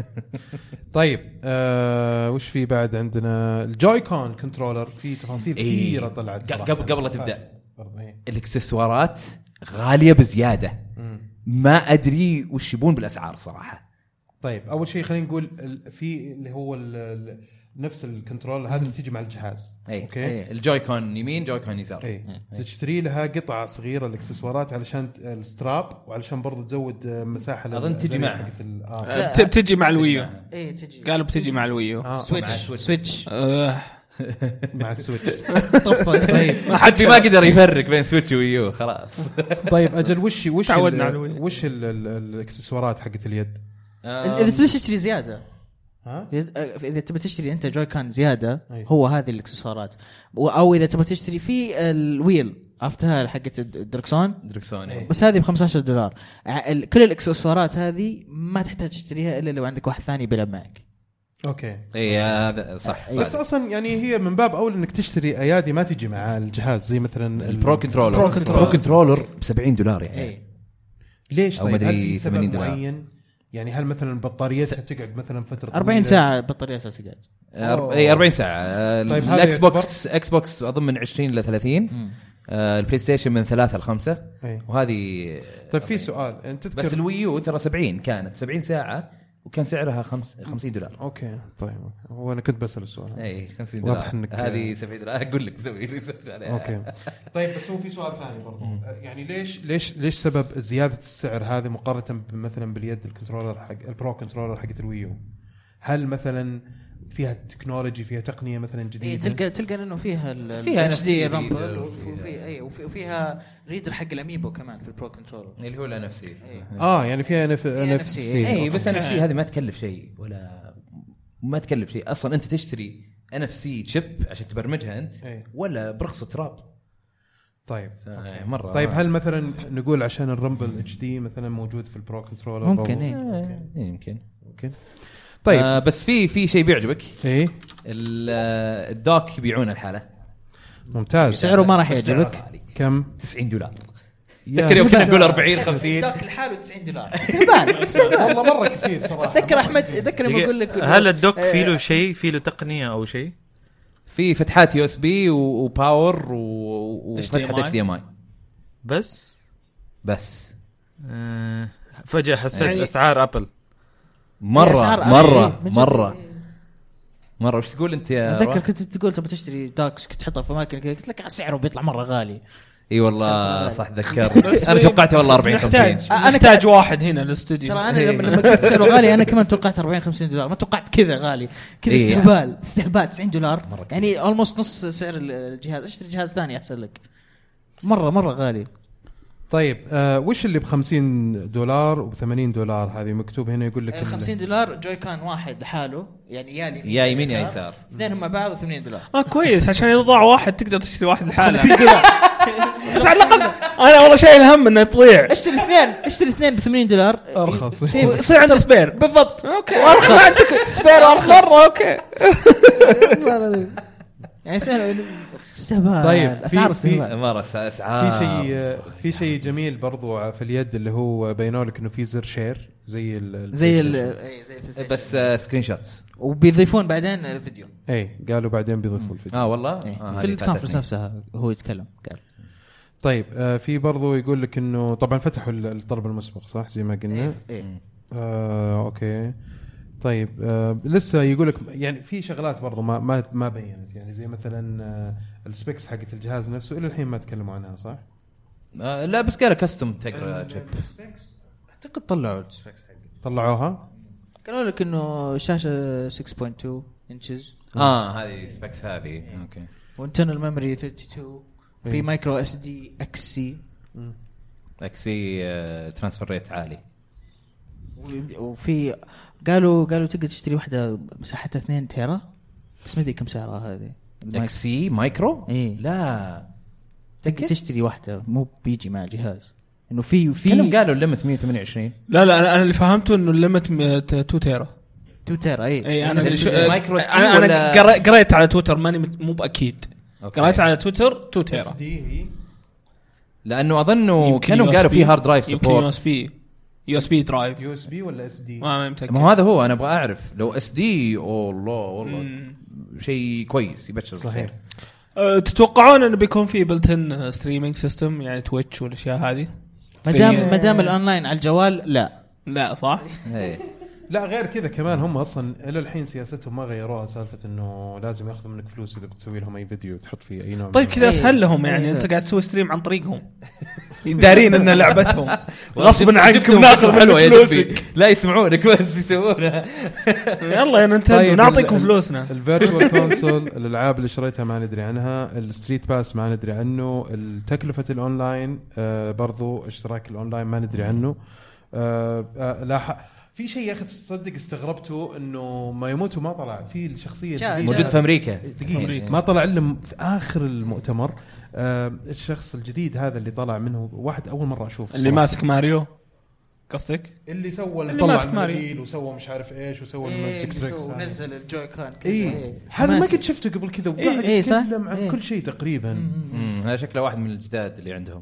Speaker 1: طيب آه وش في بعد عندنا الجوي كون كنترولر في تفاصيل
Speaker 3: إيه.
Speaker 1: كثيره طلعت صراحة.
Speaker 3: قبل- قبل لا تبدأ.
Speaker 1: فاجأة برضو، إيه.
Speaker 3: الاكسسوارات غاليه بزياده
Speaker 1: مم.
Speaker 3: ما ادري وش يبون بالاسعار صراحه
Speaker 1: طيب اول شيء خلينا نقول ال- في اللي هو ال- ال- نفس الكنترول هذا اللي تيجي مع الجهاز
Speaker 3: اي
Speaker 1: اوكي
Speaker 3: أي. الجويكون يمين جويكون يسار
Speaker 1: اي تشتري لها قطعه صغيره الاكسسوارات علشان ت- الستراب وعلشان برضو تزود آه، مساحه لل-
Speaker 3: أظن تجي
Speaker 1: زي
Speaker 3: معها.
Speaker 1: حقت ال- آه.
Speaker 2: آه، ت- بتجي مع الويو
Speaker 5: ايه تجي
Speaker 2: قالوا بتجي مع الويو
Speaker 1: آه،
Speaker 5: سويتش
Speaker 3: مع سويتش.
Speaker 5: سويتش
Speaker 2: آه،
Speaker 1: مع السويتش
Speaker 5: طفت
Speaker 1: طيب
Speaker 3: ما حد ما قدر يفرق بين سويتش ويو خلاص
Speaker 1: طيب اجل وش وش
Speaker 2: تعودنا على
Speaker 1: ال-
Speaker 2: الويل.
Speaker 1: وش ال- ال- الاكسسوارات حقت اليد؟
Speaker 5: اذا سويتش تشتري زياده
Speaker 1: ها؟
Speaker 5: إذا- اذا تبي تشتري انت جوي كان زياده
Speaker 1: أي.
Speaker 5: هو هذه الاكسسوارات و- او اذا تبي تشتري في الويل عرفتها حقت الد- الدركسون
Speaker 3: دركسون إيه.
Speaker 5: بس هذه ب 15 دولار ع- ال- كل الاكسسوارات هذه ما تحتاج تشتريها الا لو عندك واحد ثاني بيلعب معك
Speaker 1: اوكي
Speaker 3: اي إيه، هذا صح
Speaker 1: بس
Speaker 3: صح.
Speaker 1: اصلا يعني هي من باب اول انك تشتري ايادي ما تجي مع الجهاز زي مثلا
Speaker 3: البرو كنترولر
Speaker 1: البرو كنترولر.
Speaker 3: البرو كنترولر ب 70 دولار يعني
Speaker 5: اي
Speaker 1: ليش
Speaker 3: أو
Speaker 1: طيب؟ هل
Speaker 3: مدري
Speaker 1: في سبب
Speaker 3: 80 دولار.
Speaker 1: معين؟ يعني هل مثلا بطاريتها تقعد مثلا فتره
Speaker 5: 40
Speaker 1: طويلة؟
Speaker 5: ساعه بطاريه اساسيه قاعد
Speaker 3: أر- إيه،
Speaker 1: أوه.
Speaker 3: اي 40 ساعه
Speaker 1: طيب هذا
Speaker 3: الاكس
Speaker 1: يعتبر؟
Speaker 3: بوكس اكس بوكس اظن من 20 ل 30 آه، البلاي ستيشن من 3 ل 5
Speaker 1: إيه.
Speaker 3: وهذه
Speaker 1: طيب في سؤال انت تذكر
Speaker 3: بس الوي يو ترى 70 كانت 70 ساعه وكان سعرها خمس 50 دولار
Speaker 1: اوكي طيب هو انا كنت بسال السؤال هذا.
Speaker 3: اي 50
Speaker 1: واضح
Speaker 3: دولار
Speaker 1: إنك-
Speaker 3: هذه 70 دولار اقول لك سوي ريسيرش عليها
Speaker 1: اوكي طيب بس هو في سؤال ثاني برضو آه، يعني ليش ليش ليش سبب زياده السعر هذه مقارنه مثلا باليد الكنترولر حق البرو كنترولر حقت الويو هل مثلا فيها تكنولوجي فيها تقنيه مثلا
Speaker 5: اي
Speaker 1: جديده
Speaker 5: إيه، تلقى تلقى انه فيها
Speaker 3: فيها
Speaker 5: فيها اتش دي
Speaker 3: NFC
Speaker 5: رامبل
Speaker 3: reader
Speaker 5: وفي اي وفي- وفيها ريدر حق الاميبو كمان في البرو كنترولر
Speaker 3: اللي هو لا نفسي إيه.
Speaker 1: اه يعني فيها نف...
Speaker 5: NFC.
Speaker 1: إيه،
Speaker 3: اي إيه، بس انا
Speaker 1: آه.
Speaker 3: شيء هذه ما تكلف شيء ولا ما تكلف شيء اصلا انت تشتري ان اف سي تشيب عشان تبرمجها انت
Speaker 1: إيه.
Speaker 3: ولا برخص تراب
Speaker 1: طيب
Speaker 3: آه، مره
Speaker 1: طيب هل مثلا نقول عشان الرامبل اتش دي مثلا موجود في البرو كنترولر
Speaker 5: ممكن،
Speaker 1: برضو؟
Speaker 5: إيه.
Speaker 1: أوكي،
Speaker 3: إيه، يمكن
Speaker 1: ممكن
Speaker 3: طيب
Speaker 1: طيب
Speaker 3: آه بس في في شيء بيعجبك
Speaker 1: ايه
Speaker 3: ال- آه، الدوك يبيعونه الحالة
Speaker 1: ممتاز
Speaker 5: سعره ما راح
Speaker 3: بس سعره
Speaker 5: يعجبك
Speaker 3: عالي.
Speaker 1: كم
Speaker 3: 90 دولار تذكر يوم كنا نقول 40 50
Speaker 5: ذاك لحاله 90 دولار استهبال استهبال
Speaker 1: والله مره كثير صراحه
Speaker 5: اتذكر احمد اتذكر لما اقول لك
Speaker 4: هل الدوك في له
Speaker 5: آه،
Speaker 4: شيء في له تقنيه او شيء
Speaker 3: في فتحات يو اس بي وباور و- وفتحه اتش
Speaker 2: HDMI.
Speaker 3: دي ام اي
Speaker 4: بس
Speaker 3: بس
Speaker 4: آه فجاه حسيت
Speaker 2: يعني-
Speaker 4: اسعار ابل
Speaker 3: مره
Speaker 5: أسعار-
Speaker 3: مره
Speaker 5: إيه، من جد.
Speaker 3: مره مره وش تقول انت يا
Speaker 5: اتذكر
Speaker 3: روان؟
Speaker 5: كنت تقول تبغى تشتري داكس كنت تحطها في اماكن كذا قلت لك آه، سعره بيطلع مره غالي
Speaker 3: اي والله
Speaker 5: شرط
Speaker 3: صح تذكرت انا توقعته والله 40
Speaker 2: نحتاج
Speaker 3: 50
Speaker 5: أنا
Speaker 2: نحتاج واحد هنا إيه. الاستوديو
Speaker 5: ترى انا
Speaker 3: إيه.
Speaker 5: لما لما قلت سعره غالي انا كمان توقعت 40 50 دولار ما توقعت كذا غالي كذا
Speaker 3: إيه.
Speaker 5: استهبال استهبال 90 دولار يعني اولموست نص سعر ال- الجهاز اشتري جهاز ثاني احسن لك مره مره غالي
Speaker 1: طيب آه وش اللي ب 50 دولار وب 80 دولار هذه مكتوب هنا يقول لك
Speaker 5: ال 50 يعني دولار جوي كان واحد لحاله يعني يا اليمين
Speaker 3: يا يمين يا يسار
Speaker 5: اثنين هم بعض و80 دولار
Speaker 2: اه كويس عشان اذا ضاع واحد تقدر تشتري واحد لحاله
Speaker 5: 50 دولار
Speaker 2: بس على الاقل انا والله شايل هم انه يطيع
Speaker 5: اشتري اثنين اشتري اثنين ب 80 دولار
Speaker 1: أرخص.
Speaker 5: سيف-
Speaker 2: يصير عندي سبير
Speaker 5: بالضبط
Speaker 2: اوكي
Speaker 5: وارخص سبير وارخص
Speaker 2: مره اوكي
Speaker 5: يعني اثنين استهبال
Speaker 1: طيب، في-
Speaker 5: اسعار
Speaker 1: في-
Speaker 5: استهبال
Speaker 3: مره س- اسعار
Speaker 1: في شيء آه، في شيء جميل برضو في اليد اللي هو بينوا لك انه في زر شير زي ال ال
Speaker 5: زي ال
Speaker 1: PlayStation.
Speaker 5: إيه، زي البلايستيشن.
Speaker 3: بس آه، سكرين شوتس
Speaker 5: وبيضيفون بعدين فيديو
Speaker 1: اي إيه، قالوا بعدين بيضيفوا الفيديو
Speaker 3: اه والله
Speaker 5: إيه،
Speaker 3: آه،
Speaker 5: في
Speaker 3: هذه
Speaker 5: الكونفرنس
Speaker 3: فاتتني.
Speaker 5: نفسها هو يتكلم إيه، قال
Speaker 1: طيب آه في برضو يقول لك انه طبعا فتحوا ال- الضرب المسبق صح زي ما قلنا
Speaker 5: إيه، إيه.
Speaker 1: آه اوكي طيب آه لسه يقول لك يعني في شغلات برضو ما ما ما بينت يعني زي مثلا آه السبيكس حقت الجهاز نفسه الى الحين ما تكلموا عنها صح؟
Speaker 3: آه، لا بس قالوا كاستم تقرا تشيب
Speaker 5: اعتقد طلعوا السبيكس
Speaker 1: طلعوها؟
Speaker 5: قالوا لك انه شاشه 6.2 انشز
Speaker 3: اه هذه سبيكس هذه اوكي
Speaker 5: وانترنال ميموري 32 في
Speaker 1: إيه.
Speaker 5: مايكرو اس دي اكس سي
Speaker 3: اكسي ترانسفير ريت آه، عالي
Speaker 5: وفي قالوا قالوا تقدر تشتري واحده مساحتها 2 تيرا بس ما ادري كم سعرها هذه المايك-
Speaker 3: اكسي مايكرو؟
Speaker 5: إيه.
Speaker 3: لا
Speaker 5: تقدر تشتري واحده مو بيجي مع جهاز انه في في
Speaker 3: كلهم قالوا الليمت 128
Speaker 2: لا لا أنا- انا اللي فهمته انه الليمت 2 تيرا
Speaker 5: 2 تيرا
Speaker 2: اي
Speaker 5: يعني
Speaker 2: انا اللي إيه، شو-
Speaker 3: مايكرو ستيل
Speaker 2: انا
Speaker 3: ولا-
Speaker 2: انا قرا- قريت على تويتر ماني مت- مو باكيد
Speaker 3: أوكي.
Speaker 2: قريت على تويتر 2 تيرا
Speaker 3: لانه اظنه
Speaker 2: يمكن
Speaker 3: كانوا
Speaker 2: USB
Speaker 3: قالوا في هارد درايف
Speaker 2: يمكن يو اس
Speaker 3: سبورت
Speaker 2: بي يو اس بي درايف
Speaker 1: يو اس بي ولا اس دي؟
Speaker 2: ما متاكد
Speaker 3: ما هو هذا هو انا ابغى اعرف لو اس دي الله والله
Speaker 2: مم.
Speaker 3: شيء كويس يبشر
Speaker 1: صحيح.
Speaker 3: بالخير.
Speaker 2: أه، تتوقعون انه بيكون في بلتن ستريمينج سيستم يعني تويتش والاشياء هذه؟
Speaker 5: ما دام
Speaker 3: سيء.
Speaker 5: ما دام الاونلاين على الجوال لا
Speaker 2: لا صح؟
Speaker 3: إيه.
Speaker 1: لا غير كذا كمان هم اصلا الى الحين سياستهم ما غيروها سالفه انه لازم ياخذوا منك فلوس اذا بتسوي لهم اي فيديو تحط فيه اي نوع
Speaker 2: طيب
Speaker 1: من-
Speaker 2: كذا اسهل لهم يعني
Speaker 5: إيه.
Speaker 2: انت قاعد تسوي ستريم عن طريقهم دارين انها لعبتهم غصبا
Speaker 3: جبتهم
Speaker 2: عنكم ناخذ
Speaker 3: فكرة حلوة يا
Speaker 2: منك
Speaker 3: دبي.
Speaker 2: فلوسك
Speaker 3: لا يسمعونك بس يسوونها
Speaker 5: إيه،
Speaker 2: يلا يا نينتندو
Speaker 1: طيب،
Speaker 2: نعطيكم
Speaker 1: ال-
Speaker 2: فلوسنا
Speaker 1: الفيرتشوال كونسول الالعاب اللي شريتها ما ندري عنها الستريت باس ما ندري عنه تكلفه الاونلاين آه برضو اشتراك الاونلاين ما ندري عنه آه آه لا ح... في شيء يا اخي تصدق استغربته انه ما يموت وما طلع في الشخصيه
Speaker 5: جاء-
Speaker 1: الجديدة.
Speaker 3: موجود في امريكا
Speaker 1: دقيقة
Speaker 2: أمريكا.
Speaker 1: ما طلع الا في اخر المؤتمر آه الشخص الجديد هذا اللي طلع منه واحد اول مرة اشوفه
Speaker 2: اللي
Speaker 1: صراحة.
Speaker 2: ماسك ماريو قصدك؟
Speaker 1: اللي سوى اللي
Speaker 2: اللي
Speaker 1: طلع
Speaker 2: ماسك ماريو.
Speaker 1: المديل وسوى مش عارف ايش وسوى
Speaker 5: إيه،
Speaker 1: الماجيك تريكس هذا.
Speaker 5: ونزل الجوي كان
Speaker 1: اي
Speaker 5: كذا، إيه.
Speaker 1: هذا ما
Speaker 5: ماسك.
Speaker 1: قد شفته قبل كذا وقاعد
Speaker 5: إيه، صح؟
Speaker 1: يتكلم عن
Speaker 5: إيه.
Speaker 1: كل شيء تقريبا
Speaker 3: مم، هذا شكله واحد من الجداد اللي عندهم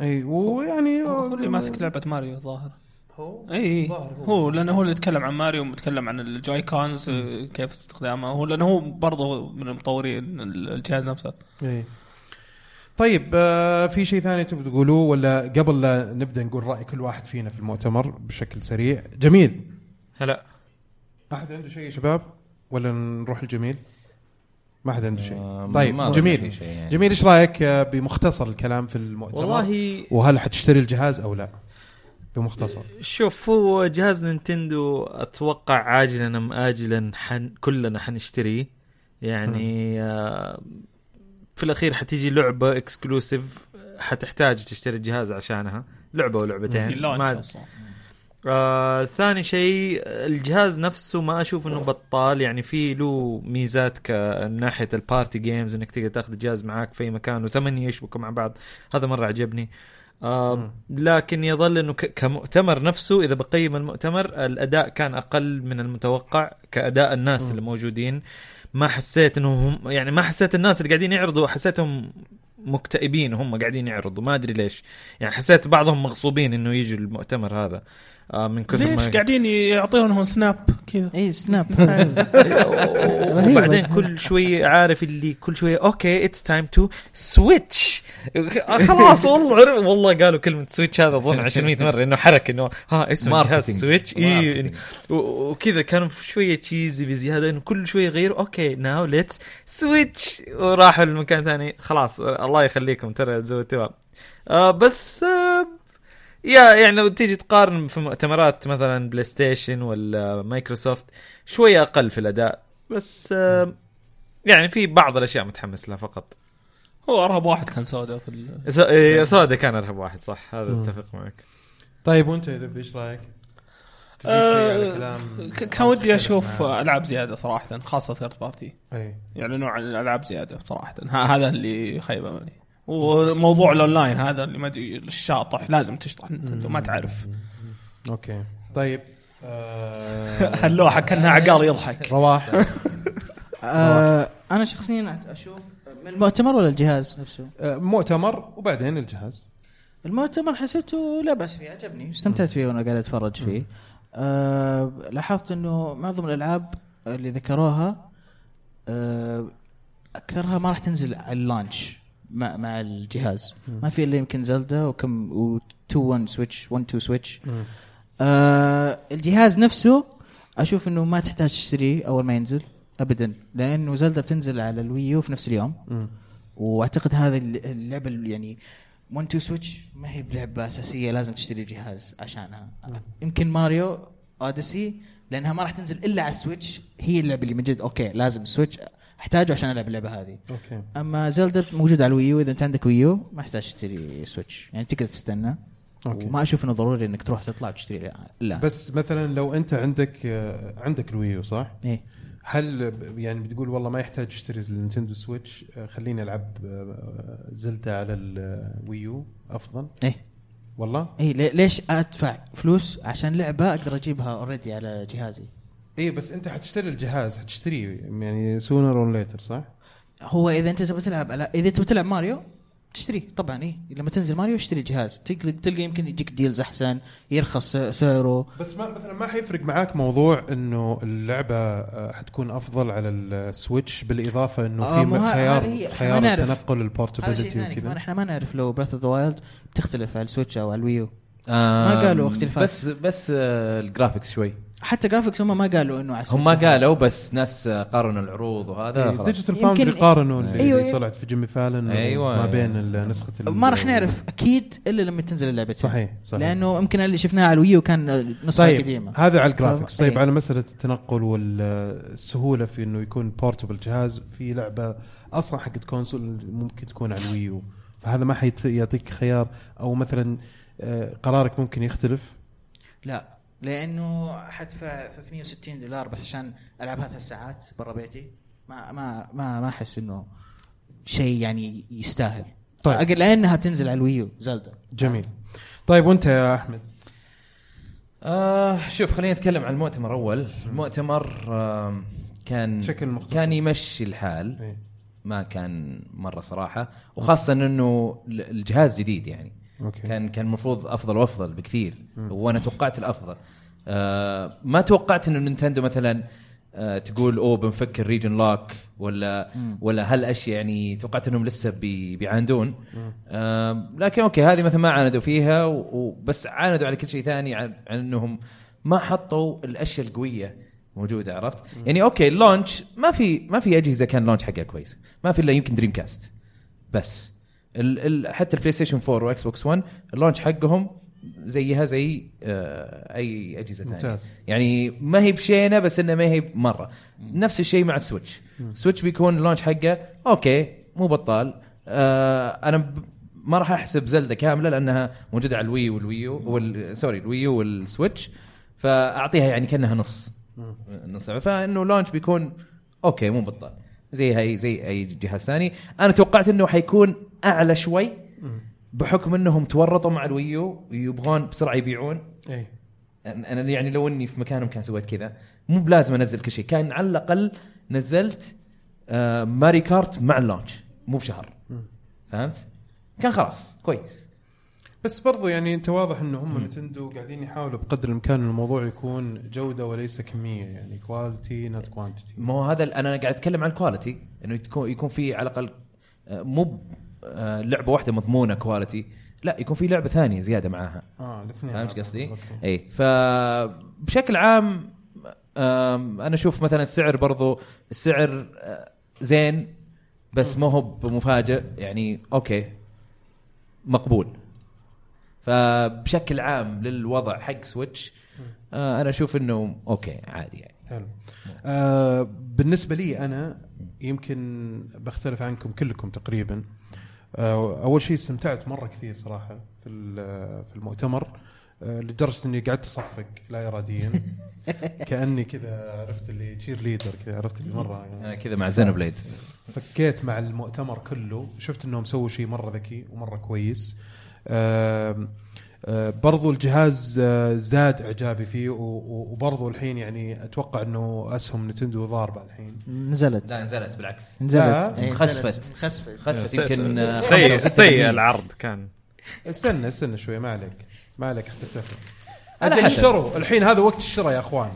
Speaker 1: اي إيه، ويعني
Speaker 2: هو اللي ماسك لعبه ماريو الظاهر
Speaker 1: هو
Speaker 2: اي
Speaker 1: ظاهر هو.
Speaker 2: إيه، هو لانه هو اللي يتكلم عن ماريو ومتكلم عن الجوي كونز آه، كيف استخدامه هو لانه هو برضه من المطورين الجهاز نفسه
Speaker 1: إيه. طيب آه في شيء ثاني تبغوا تقولوه ولا قبل لا نبدا نقول راي كل واحد فينا في المؤتمر بشكل سريع جميل
Speaker 4: هلا
Speaker 1: احد عنده شيء يا شباب ولا نروح لجميل ما حد عنده شيء
Speaker 3: آه، ما
Speaker 1: طيب
Speaker 3: أظن في
Speaker 1: جميل
Speaker 3: شيء يعني.
Speaker 1: جميل ايش رايك آه، بمختصر الكلام في المؤتمر
Speaker 4: والله
Speaker 1: وهل حتشتري الجهاز او لا بمختصر
Speaker 4: شوف هو جهاز نينتندو اتوقع عاجلا ام اجلا حن كلنا حنشتريه يعني آه، في الاخير حتيجي لعبه اكسكلوسيف حتحتاج تشتري الجهاز عشانها لعبه ولعبتين
Speaker 2: اللونش
Speaker 4: يعني ما
Speaker 2: اصلا
Speaker 4: آه ثاني شيء الجهاز نفسه ما اشوف انه بطال يعني في له ميزات كناحيه البارتي جيمز انك تقدر تاخذ الجهاز معاك في اي مكان وثمانيه يشبكوا مع بعض هذا مره عجبني آه لكن يظل انه ك- كمؤتمر نفسه اذا بقيم المؤتمر الاداء كان اقل من المتوقع كاداء الناس اللي موجودين ما حسيت انهم يعني ما حسيت الناس اللي قاعدين يعرضوا حسيتهم مكتئبين هم قاعدين يعرضوا ما ادري ليش يعني حسيت بعضهم مغصوبين انه يجوا المؤتمر هذا آه، من كثر
Speaker 2: ليش
Speaker 4: ما
Speaker 2: قاعدين يعطونهم سناب كذا
Speaker 5: اي سناب رهيبة.
Speaker 4: وبعدين كل شوي عارف اللي كل شوي اوكي اتس تايم تو سويتش آه، خلاص والله عرف- والله قالوا كلمه سويتش هذا اظن 200 مره انه حرك انه ها اسمه "آه، جهاز
Speaker 3: Marketing.
Speaker 4: سويتش اي
Speaker 1: إيه.
Speaker 3: Marketing.
Speaker 4: و- وكذا كانوا شويه تشيزي بزياده انه كل شويه غيروا اوكي ناو ليتس سويتش وراحوا لمكان ثاني خلاص الله يخليكم ترى زودتوها آه بس آه يا يعني لو تيجي تقارن في مؤتمرات مثلا بلاي ستيشن ولا مايكروسوفت شويه اقل في الاداء بس آه يعني في بعض الاشياء متحمس لها فقط
Speaker 2: هو ارهب واحد كان سودا في ال...
Speaker 4: س- إيه، سودا كان ارهب واحد صح هذا اتفق معك
Speaker 1: طيب وانت يا ذب ايش رايك؟ تزيد شيء على
Speaker 2: آه،
Speaker 1: كلام-
Speaker 2: ك- كان ودي اشوف العاب زياده صراحه خاصه ثيرد بارتي
Speaker 1: أي.
Speaker 2: يعلنوا عن الالعاب زياده صراحه ها هذا اللي خيبه مني وموضوع الاونلاين هذا اللي ما ادري الشاطح لازم تشطح نتندو ما تعرف
Speaker 1: اوكي طيب آه،
Speaker 2: اللوحه كانها عقال يضحك
Speaker 1: رواح
Speaker 5: آه، انا شخصيا اشوف من المؤتمر ولا الجهاز نفسه؟
Speaker 1: آه، مؤتمر وبعدين الجهاز
Speaker 5: المؤتمر حسيته لا باس فيه عجبني استمتعت فيه وانا قاعد اتفرج فيه آه لاحظت انه معظم الالعاب اللي ذكروها آه اكثرها ما راح تنزل على اللانش مع مع الجهاز ما في الا يمكن زلدا وكم و 2 1 سويتش 1 2 سويتش آه الجهاز نفسه اشوف انه ما تحتاج تشتريه اول ما ينزل ابدا لانه زلدا بتنزل على الويو في نفس اليوم واعتقد هذا الل- اللعبه اللي يعني 1 2 سويتش ما هي بلعبه اساسيه لازم تشتري الجهاز عشانها يمكن ماريو اوديسي لانها ما راح تنزل الا على السويتش هي اللعبه اللي من جد اوكي لازم السويتش احتاجه عشان العب اللعبه هذه
Speaker 1: اوكي
Speaker 5: اما زلدا موجود على الويو اذا انت عندك ويو ما يحتاج تشتري سويتش يعني تقدر تستنى
Speaker 1: أوكي.
Speaker 5: أوكي. وما اشوف انه ضروري انك تروح تطلع وتشتري لا بس
Speaker 1: بس مثلا لو انت عندك آه، عندك الويو صح؟
Speaker 5: إيه.
Speaker 1: هل ب- يعني بتقول والله ما يحتاج اشتري النينتندو سويتش آه، خليني العب آه، زلدة على الويو افضل
Speaker 5: ايه
Speaker 1: والله
Speaker 5: ايه لي- ليش ادفع فلوس عشان لعبه اقدر اجيبها اوريدي على جهازي
Speaker 1: اي إيه، بس انت حتشتري الجهاز حتشتريه يعني سونر اور ليتر صح؟
Speaker 5: هو اذا انت تبي تلعب على اذا تبي تلعب ماريو تشتريه طبعا ايه لما تنزل ماريو اشتري الجهاز تلقى, تلقى يمكن يجيك ديلز احسن يرخص سعره
Speaker 1: بس ما مثلا ما حيفرق معاك موضوع انه اللعبه آه، حتكون افضل على السويتش بالاضافه انه
Speaker 5: آه،
Speaker 1: في
Speaker 5: ما
Speaker 1: م-
Speaker 5: هذه
Speaker 1: خيار
Speaker 5: هي-
Speaker 1: خيار
Speaker 5: ما نعرف.
Speaker 1: التنقل
Speaker 5: هذا شيء
Speaker 1: البورتبيلتي
Speaker 5: ثاني كمان
Speaker 1: وكذا
Speaker 5: احنا ما نعرف لو براث اوف ذا وايلد بتختلف على السويتش او على الويو
Speaker 3: ما
Speaker 5: قالوا اختلافات.
Speaker 3: بس بس آه، الجرافيكس شوي
Speaker 5: حتى جرافيكس هم ما قالوا انه على
Speaker 3: هم ما
Speaker 5: السويتش.
Speaker 3: قالوا بس ناس آه، قارنوا العروض
Speaker 1: إيه،
Speaker 3: وهذا خلاص
Speaker 1: ديجيتال
Speaker 5: يمكن-
Speaker 1: فاوندري قارنوا اللي,
Speaker 5: أيوة،
Speaker 1: اللي
Speaker 5: أيوة.
Speaker 1: طلعت في جيمي فالن
Speaker 3: أيوة.
Speaker 1: ما بين ال- نسخه ال-
Speaker 5: ما راح نعرف اكيد الا لما تنزل اللعبه
Speaker 1: صحيح صحيح
Speaker 5: لانه يمكن اللي شفناه على الويو كان نسخه
Speaker 1: طيب
Speaker 5: قديمه
Speaker 1: هذا على الجرافكس طيب
Speaker 5: أي.
Speaker 1: على مساله التنقل والسهوله في انه يكون بورتبل جهاز في لعبه اصلا حقت كونسول ممكن تكون على الويو فهذا ما حيعطيك خيار او مثلا آه، قرارك ممكن يختلف
Speaker 5: لا لانه حدفع 360 دولار بس عشان العب ثلاث ساعات برا بيتي ما ما ما ما احس انه شيء يعني يستاهل
Speaker 1: طيب.
Speaker 5: طيب اقل لانها بتنزل على الويو زلدا
Speaker 1: جميل طيب وانت يا احمد
Speaker 3: آه شوف خلينا نتكلم عن المؤتمر اول المؤتمر آه كان
Speaker 1: بشكل مختصر.
Speaker 3: كان يمشي الحال
Speaker 1: إيه.
Speaker 3: ما كان مره صراحه وخاصه انه ال- الجهاز جديد يعني
Speaker 1: أوكي.
Speaker 3: كان كان المفروض افضل وافضل بكثير وانا توقعت الافضل آه ما توقعت انه نينتندو مثلا آه تقول اوه بنفك الريجن لوك ولا ولا هالاشياء يعني توقعت انهم لسه بي بيعاندون آه لكن اوكي هذه مثلا ما عاندوا فيها و- وبس عاندوا على كل شيء ثاني عن, عن انهم ما حطوا الاشياء القويه موجوده عرفت؟ يعني اوكي اللونش ما في ما في اجهزه كان لونش حقها كويس، ما في الا يمكن دريم كاست بس ال ال حتى البلاي ستيشن 4 واكس بوكس 1 اللونش حقهم زيها زي آه اي اجهزه ثانيه
Speaker 1: ممتاز.
Speaker 3: يعني ما هي بشينه بس انها ما هي مره نفس الشيء مع السويتش السويتش بيكون اللونش حقه اوكي مو بطال آه انا ب- ما راح احسب زلده كامله لانها موجوده على الوي والويو وال سوري الويو والسويتش فاعطيها يعني كانها نص نص فانه لونش بيكون اوكي مو بطال زي هاي زي اي جهاز ثاني انا توقعت انه حيكون اعلى شوي بحكم انهم تورطوا مع الويو ويبغون بسرعه يبيعون
Speaker 1: اي
Speaker 3: انا أنا يعني لو اني في مكانهم كان سويت كذا مو بلازم انزل كل شيء كان على الاقل نزلت آه ماري كارت مع اللونش مو بشهر فهمت؟ كان خلاص كويس
Speaker 1: بس برضو يعني انت واضح انه هم نتندو قاعدين يحاولوا بقدر الامكان إن الموضوع يكون جوده وليس كميه يعني كواليتي نوت كوانتيتي
Speaker 3: ما هو هذا ال- انا قاعد اتكلم عن الكواليتي انه يكون يكون في على الاقل آه، مو ب- آه، لعبه واحده مضمونه كواليتي لا يكون في لعبه ثانيه زياده معاها
Speaker 1: اه الاثنين
Speaker 3: فهمت قصدي؟
Speaker 1: أوكي.
Speaker 3: اي فبشكل إيه. عام آم، انا اشوف مثلا السعر برضو السعر آه، زين بس ما هو بمفاجئ يعني اوكي مقبول فبشكل عام للوضع حق سويتش آه، انا اشوف انه اوكي عادي يعني
Speaker 1: حلو آه بالنسبه لي انا يمكن بختلف عنكم كلكم تقريبا آه اول شيء استمتعت مره كثير صراحه في ال- في المؤتمر آه لدرجه اني قعدت اصفق لا اراديا كاني كذا عرفت اللي تشير ليدر كذا عرفت اللي يعني. مره
Speaker 3: انا كذا مع زينوبليد
Speaker 1: فكيت مع المؤتمر كله شفت انهم سووا شيء مره ذكي ومره كويس آم، آه، برضو الجهاز آه، زاد اعجابي فيه و- و- وبرضو الحين يعني اتوقع انه اسهم نتندو ضاربه الحين
Speaker 5: نزلت
Speaker 3: لا نزلت بالعكس
Speaker 4: آه،
Speaker 1: لا،
Speaker 5: نزلت إيه،
Speaker 3: خسفت.
Speaker 5: نزلت. خسفت
Speaker 3: خسفت يمكن آه،
Speaker 4: سيء
Speaker 3: 65%.
Speaker 4: سيء العرض كان
Speaker 1: استنى استنى شوي ما عليك ما عليك حتى تفهم
Speaker 3: على
Speaker 1: اجل
Speaker 3: حسب.
Speaker 1: اشتروا الحين هذا وقت الشراء يا اخوان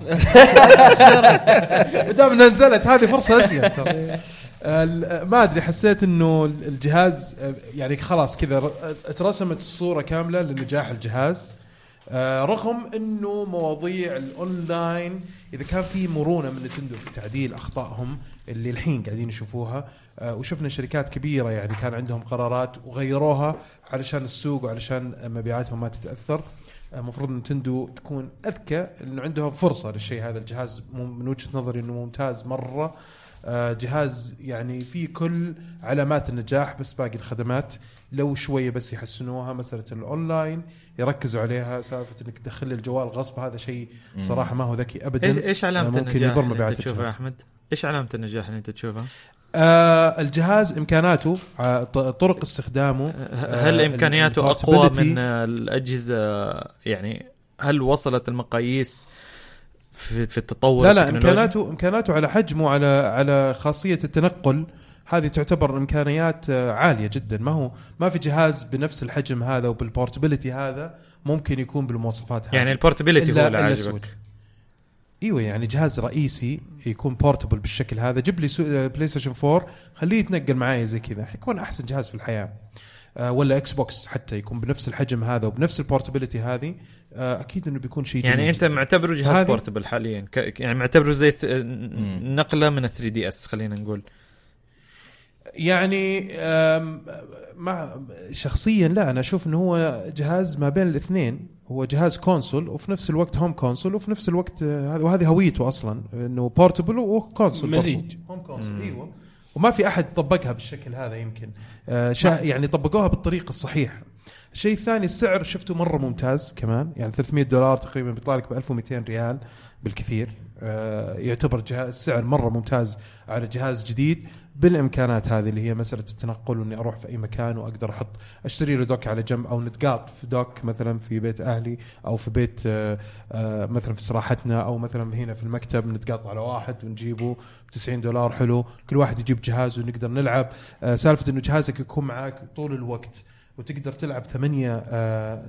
Speaker 1: ما دام انها نزلت هذه فرصه ازين ترى ال- ما ادري حسيت انه ال- الجهاز آه، يعني خلاص كذا ر- اترسمت الصوره كامله لنجاح الجهاز آه، رغم انه مواضيع الاونلاين اذا كان في مرونه من نتندو في تعديل اخطائهم اللي الحين قاعدين يشوفوها آه، وشفنا شركات كبيره يعني كان عندهم قرارات وغيروها علشان السوق وعلشان مبيعاتهم ما تتاثر المفروض نتندو تكون اذكى انه عندهم فرصه للشيء هذا الجهاز مم- من وجهه نظري انه ممتاز مره آه، جهاز يعني فيه كل علامات النجاح بس باقي الخدمات لو شويه بس يحسنوها مساله الاونلاين يركزوا عليها سالفه انك تدخل لي الجوال غصب هذا شيء صراحه ما هو ذكي ابدا
Speaker 4: ايش إيش علامه
Speaker 1: يعني ممكن
Speaker 4: النجاح
Speaker 1: يضر
Speaker 4: اللي
Speaker 1: مبيعات
Speaker 4: انت تشوفها يا
Speaker 1: الجهاز
Speaker 4: احمد؟ ايش علامه النجاح اللي انت تشوفها؟
Speaker 1: آه الجهاز امكاناته آه ط- طرق استخدامه آه،
Speaker 4: هل
Speaker 1: ال-
Speaker 4: امكانياته اقوى
Speaker 1: الportability.
Speaker 4: من آه، الاجهزه يعني هل وصلت المقاييس في, في التطور
Speaker 1: لا لا
Speaker 4: التكنولوجي؟
Speaker 1: امكاناته امكاناته على حجمه على على خاصيه التنقل هذه تعتبر امكانيات آه، عاليه جدا ما هو ما في جهاز بنفس الحجم هذا وبالبورتبيلتي هذا ممكن يكون بالمواصفات هذه
Speaker 4: يعني البورتبيلتي هو اللي عاجبك
Speaker 1: سويتش. ايوه يعني جهاز رئيسي يكون بورتبل بالشكل هذا جيب لي سو... آه، بلاي ستيشن 4 خليه يتنقل معاي زي كذا حيكون احسن جهاز في الحياه آه، ولا اكس بوكس حتى يكون بنفس الحجم هذا وبنفس البورتبيلتي هذه آه، اكيد انه بيكون شيء
Speaker 4: يعني
Speaker 1: جميل
Speaker 4: انت
Speaker 1: جداً.
Speaker 4: معتبره جهاز
Speaker 1: هذه-
Speaker 4: بورتبل حاليا ك... يعني معتبره زي ث... نقله من 3 دي اس خلينا نقول
Speaker 1: يعني أم، ما شخصيا لا انا اشوف انه هو جهاز ما بين الاثنين هو جهاز كونسول وفي نفس الوقت هوم كونسول وفي نفس الوقت آه، وهذه هويته اصلا انه بورتبل وكونسول
Speaker 2: مزيج.
Speaker 1: هوم كونسول ايوه وما في احد طبقها بالشكل هذا يمكن آه، شا يعني طبقوها بالطريق الصحيح الشيء الثاني السعر شفته مره ممتاز كمان يعني 300 دولار تقريبا بيطلع لك ب 1200 ريال بالكثير آه، يعتبر جهاز السعر مره ممتاز على جهاز جديد بالامكانات هذه اللي هي مساله التنقل واني اروح في اي مكان واقدر احط اشتري له دوك على جنب او نتقاط في دوك مثلا في بيت اهلي او في بيت آه، آه، مثلا في استراحتنا او مثلا هنا في المكتب نتقاط على واحد ونجيبه ب 90 دولار حلو كل واحد يجيب جهاز ونقدر نلعب آه، سالفه انه جهازك يكون معاك طول الوقت وتقدر تلعب ثمانية آه،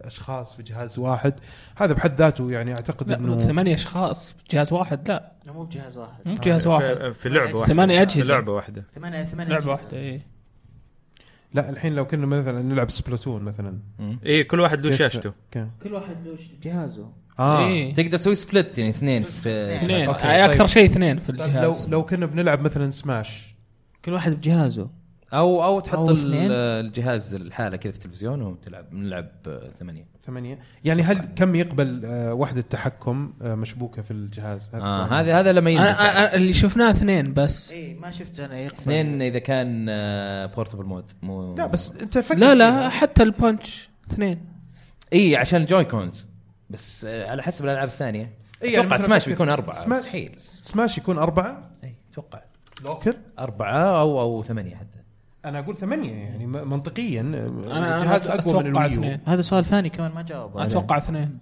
Speaker 1: أشخاص في جهاز واحد هذا بحد ذاته يعني أعتقد
Speaker 2: لا
Speaker 1: أنه
Speaker 2: ثمانية اشخاص بجهاز واحد لا
Speaker 5: مو بجهاز واحد
Speaker 1: آه،
Speaker 2: مو بجهاز واحد
Speaker 4: في- في لعبه واحده
Speaker 2: ثمانية
Speaker 4: في
Speaker 2: اجهزة
Speaker 4: لعبه واحده
Speaker 5: ثمانية ثمانية
Speaker 2: لعبة واحدة اي
Speaker 1: لا الحين لو كنا مثلا نلعب سبلاتون مثلا
Speaker 4: اي إيه، كل واحد له
Speaker 1: كيف-
Speaker 4: شاشته
Speaker 1: كان-
Speaker 5: كل واحد له جهازه
Speaker 1: آه
Speaker 2: إيه.
Speaker 3: تقدر تسوي سبلت يعني اثنين في
Speaker 2: اثنين
Speaker 1: أوكي،
Speaker 2: آه، اكثر
Speaker 1: طيب.
Speaker 2: شيء اثنين في
Speaker 1: طيب لو
Speaker 2: الجهاز
Speaker 1: لو كنا بنلعب مثلا سماش
Speaker 5: كل واحد بجهازه
Speaker 3: او او تحط
Speaker 5: أو اثنين.
Speaker 3: ال- الجهاز الحالة كذا في التلفزيون وتلعب نلعب آه، ثمانية
Speaker 1: ثمانية يعني هل كم يقبل آه، وحدة تحكم آه، مشبوكة في الجهاز
Speaker 2: آه،
Speaker 3: اه
Speaker 1: سؤال.
Speaker 3: هذا هذا لما
Speaker 2: أنا-
Speaker 1: آه،
Speaker 3: ينزل
Speaker 2: أنا- أنا إيه، آه، اللي شفناه اثنين بس
Speaker 1: إيه.
Speaker 5: اي إيه، ما شفت انا يقبل
Speaker 3: اثنين اذا كان بورتبل مود مو
Speaker 1: لا بس أنت فكر
Speaker 2: لا
Speaker 1: فيها.
Speaker 2: لا حتى البانش اثنين
Speaker 3: اي عشان الجوي كونز بس آه، على حسب الالعاب الثانيه
Speaker 1: إي، يعني
Speaker 3: اتوقع
Speaker 1: مثلاً
Speaker 3: سماش
Speaker 1: فكر-
Speaker 3: بيكون اربعه
Speaker 1: سماش.
Speaker 3: مستحيل
Speaker 1: سماش يكون أربعة
Speaker 3: اي اتوقع
Speaker 1: لوكر
Speaker 3: اربعه او او ثمانيه حتى
Speaker 1: أنا أقول ثمانية يعني م- منطقيا
Speaker 2: أنا-
Speaker 1: آه،
Speaker 2: أنا
Speaker 1: الجهاز أقوى من
Speaker 2: أتوقع
Speaker 1: الويو
Speaker 2: اثنين.
Speaker 5: هذا سؤال ثاني كمان ما جاوب
Speaker 2: اتوقع اثنين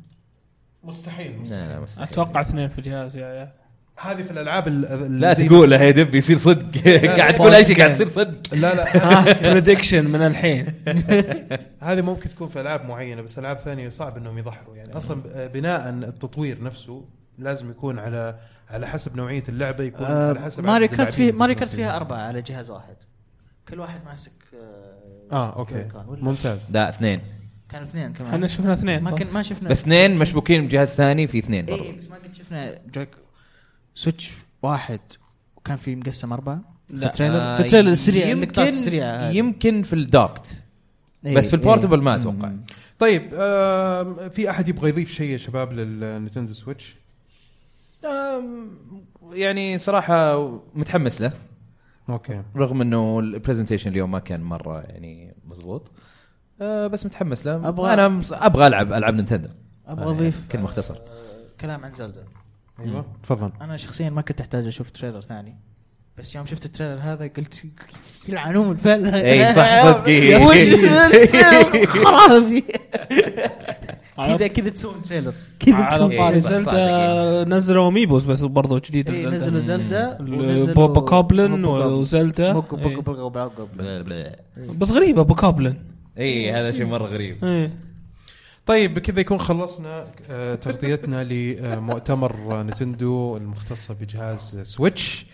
Speaker 1: مستحيل
Speaker 5: نعم.
Speaker 3: لا لا مستحيل
Speaker 2: اتوقع اثنين في الجهاز يا عيال
Speaker 1: هذه في الالعاب ال- ال-
Speaker 3: لا
Speaker 1: زي-
Speaker 3: تقولها يا دب يصير صدق قاعد تقول اي شيء قاعد
Speaker 1: يعني.
Speaker 3: تصير صدق
Speaker 1: لا لا
Speaker 2: بريدكشن آه، من الحين
Speaker 1: هذه ممكن تكون في العاب معينه بس العاب ثانيه صعب انهم يضحوا يعني
Speaker 5: نعم.
Speaker 1: اصلا بناء التطوير نفسه لازم يكون على على حسب نوعيه اللعبه يكون
Speaker 5: آه،
Speaker 1: على حسب
Speaker 5: ماري
Speaker 1: عدد
Speaker 5: كارت فيه
Speaker 1: اللاعبين. نعم.
Speaker 5: ماري كارت فيها اربعه على جهاز واحد كل واحد ماسك آه،
Speaker 1: اه اوكي
Speaker 5: كان ولا-
Speaker 1: ممتاز
Speaker 3: لا اثنين
Speaker 5: كان اثنين كمان
Speaker 1: آه.
Speaker 2: احنا شفنا اثنين
Speaker 5: ما كن ما شفنا
Speaker 3: بس اثنين مشبوكين بجهاز ثاني في اثنين
Speaker 5: اي
Speaker 3: برضه
Speaker 5: إي، بس ما قد شفنا جويك سويتش واحد وكان في مقسم اربعه في
Speaker 2: لا،
Speaker 5: التريلر
Speaker 3: آه،
Speaker 5: في التريلر السريع
Speaker 3: يمكن
Speaker 5: النقطات السريعه هذه.
Speaker 3: يمكن في الدوكت
Speaker 5: إي،
Speaker 3: بس في
Speaker 5: إي.
Speaker 3: البورتبل ما أتوقع.
Speaker 5: مم.
Speaker 1: طيب آه في احد يبغى يضيف شيء يا شباب للنتندو سويتش
Speaker 3: أم، يعني صراحه متحمس له
Speaker 5: نعم.
Speaker 1: اوكي
Speaker 3: رغم انه البرزنتيشن اليوم ما كان مره يعني مزبوط أه بس متحمس له
Speaker 5: أبغى-
Speaker 3: ابغى انا مس- ابغى العب العاب نينتندو
Speaker 5: ابغى
Speaker 3: يعني
Speaker 5: اضيف
Speaker 3: كلمة مختصر.
Speaker 5: آه، كلام عن زلدا
Speaker 1: ايوه تفضل
Speaker 5: انا شخصيا ما كنت احتاج اشوف تريلر ثاني بس يوم شفت التريلر هذا قلت يلعنهم الفل
Speaker 3: إي، إيه، صح، صدقي.
Speaker 5: وش التريلر خرافي كذا
Speaker 2: على-
Speaker 5: كذا تسوون تريلر كذا
Speaker 2: على
Speaker 5: تسوون
Speaker 2: طاري
Speaker 3: صح، صح،
Speaker 2: زلدا نزلوا اميبوس بس برضو جديد
Speaker 5: إي، إيه، نزلوا زلدا ونزلوا-
Speaker 2: بوبا كوبلن
Speaker 5: بوبا-
Speaker 2: وزلدا
Speaker 5: بوكو
Speaker 2: إي.
Speaker 5: بوكو بوكو بوكو
Speaker 2: إيه، بس غريبه ابو كوبلن
Speaker 3: اي إيه، هذا شيء مره غريب
Speaker 2: إيه.
Speaker 1: طيب بكذا يكون خلصنا آه، تغطيتنا لمؤتمر آه، نتندو المختصة بجهاز آه، سويتش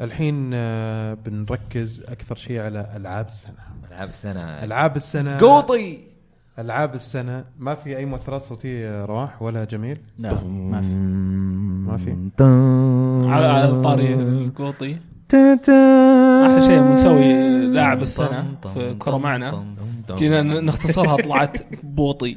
Speaker 1: الحين آه، بنركز أكثر شيء على ألعاب السنة
Speaker 3: العاب السنه
Speaker 1: ألعاب السنة
Speaker 3: قوطي
Speaker 1: ألعاب السنة ما في أي مؤثرات صوتية يا رواح ولا جميل
Speaker 5: لا ما في
Speaker 1: ما في
Speaker 2: على على طاري القوطي احلى شيء بنسوي لاعب السنه في كره معنا جينا ن- نختصرها طلعت بوطي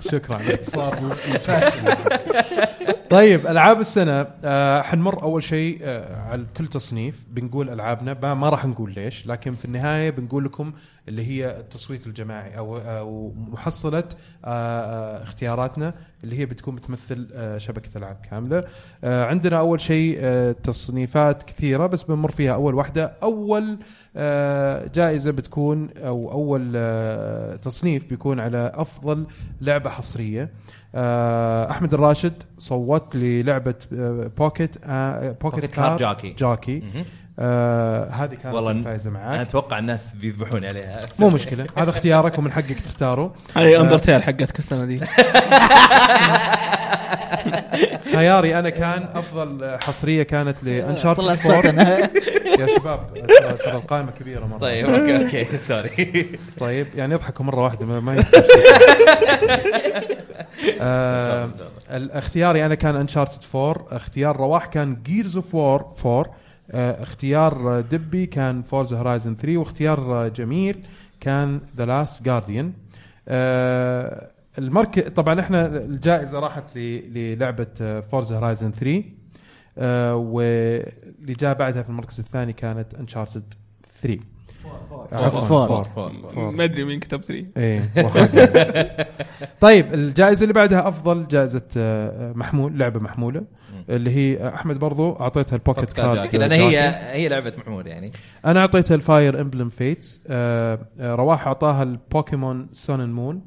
Speaker 1: شكرا على الاختصار طيب العاب السنه آه حنمر اول شيء آه على كل تصنيف بنقول العابنا ما, ما راح نقول ليش لكن في النهايه بنقول لكم اللي هي التصويت الجماعي او او محصله آه آه اختياراتنا اللي هي بتكون بتمثل آه شبكه العاب كامله آه عندنا اول شيء آه تصنيفات كثيره بس بنمر فيها اول واحده اول آه جائزه بتكون او اول آه تصنيف بيكون على افضل لعبه حصريه آه، احمد الراشد صوت للعبه آه، بوكيت آه، بوكيت
Speaker 3: بوكيت
Speaker 1: كار
Speaker 3: كار
Speaker 1: جاكي
Speaker 3: جاكي.
Speaker 1: جاكي آه، هذه كانت
Speaker 3: والله ن-
Speaker 1: الفائزه
Speaker 3: انا
Speaker 1: معك
Speaker 3: اتوقع الناس بيذبحون عليها
Speaker 1: مو مشكله هذا اختيارك ومن حقك تختاره
Speaker 2: هاي اندرتيل حقتك السنه دي
Speaker 1: خياري انا كان افضل آه، حصريه كانت لانشارتد
Speaker 5: طلعت صوت
Speaker 1: 4
Speaker 5: انا
Speaker 1: يا شباب ترى- ترى القائمه كبيره مره
Speaker 3: طيب اوكي اوكي سوري
Speaker 1: طيب يعني يضحكوا مره واحده ما, ما آه اختياري انا كان انشارتد 4 اختيار رواح كان جيرز اوف وور 4 آه اختيار آه، دبي كان فورز هورايزن 3 واختيار آه، جميل كان ذا لاست جارديان آه، المركز طبعا احنا الجائزه راحت ل- للعبه فورز هورايزن 3 آه واللي جاء بعدها في المركز الثاني كانت انشارتد 3
Speaker 5: Four.
Speaker 1: فور
Speaker 2: ما ادري مين كتب 3
Speaker 1: ايه طيب الجائزه اللي بعدها افضل جائزه آه، محمول لعبه محموله اللي هي احمد برضو اعطيتها البوكيت كارد
Speaker 3: لان هي هي لعبه محمود يعني
Speaker 1: انا اعطيتها الفاير امبلم فيتس آه، رواح اعطاها البوكيمون سون اند مون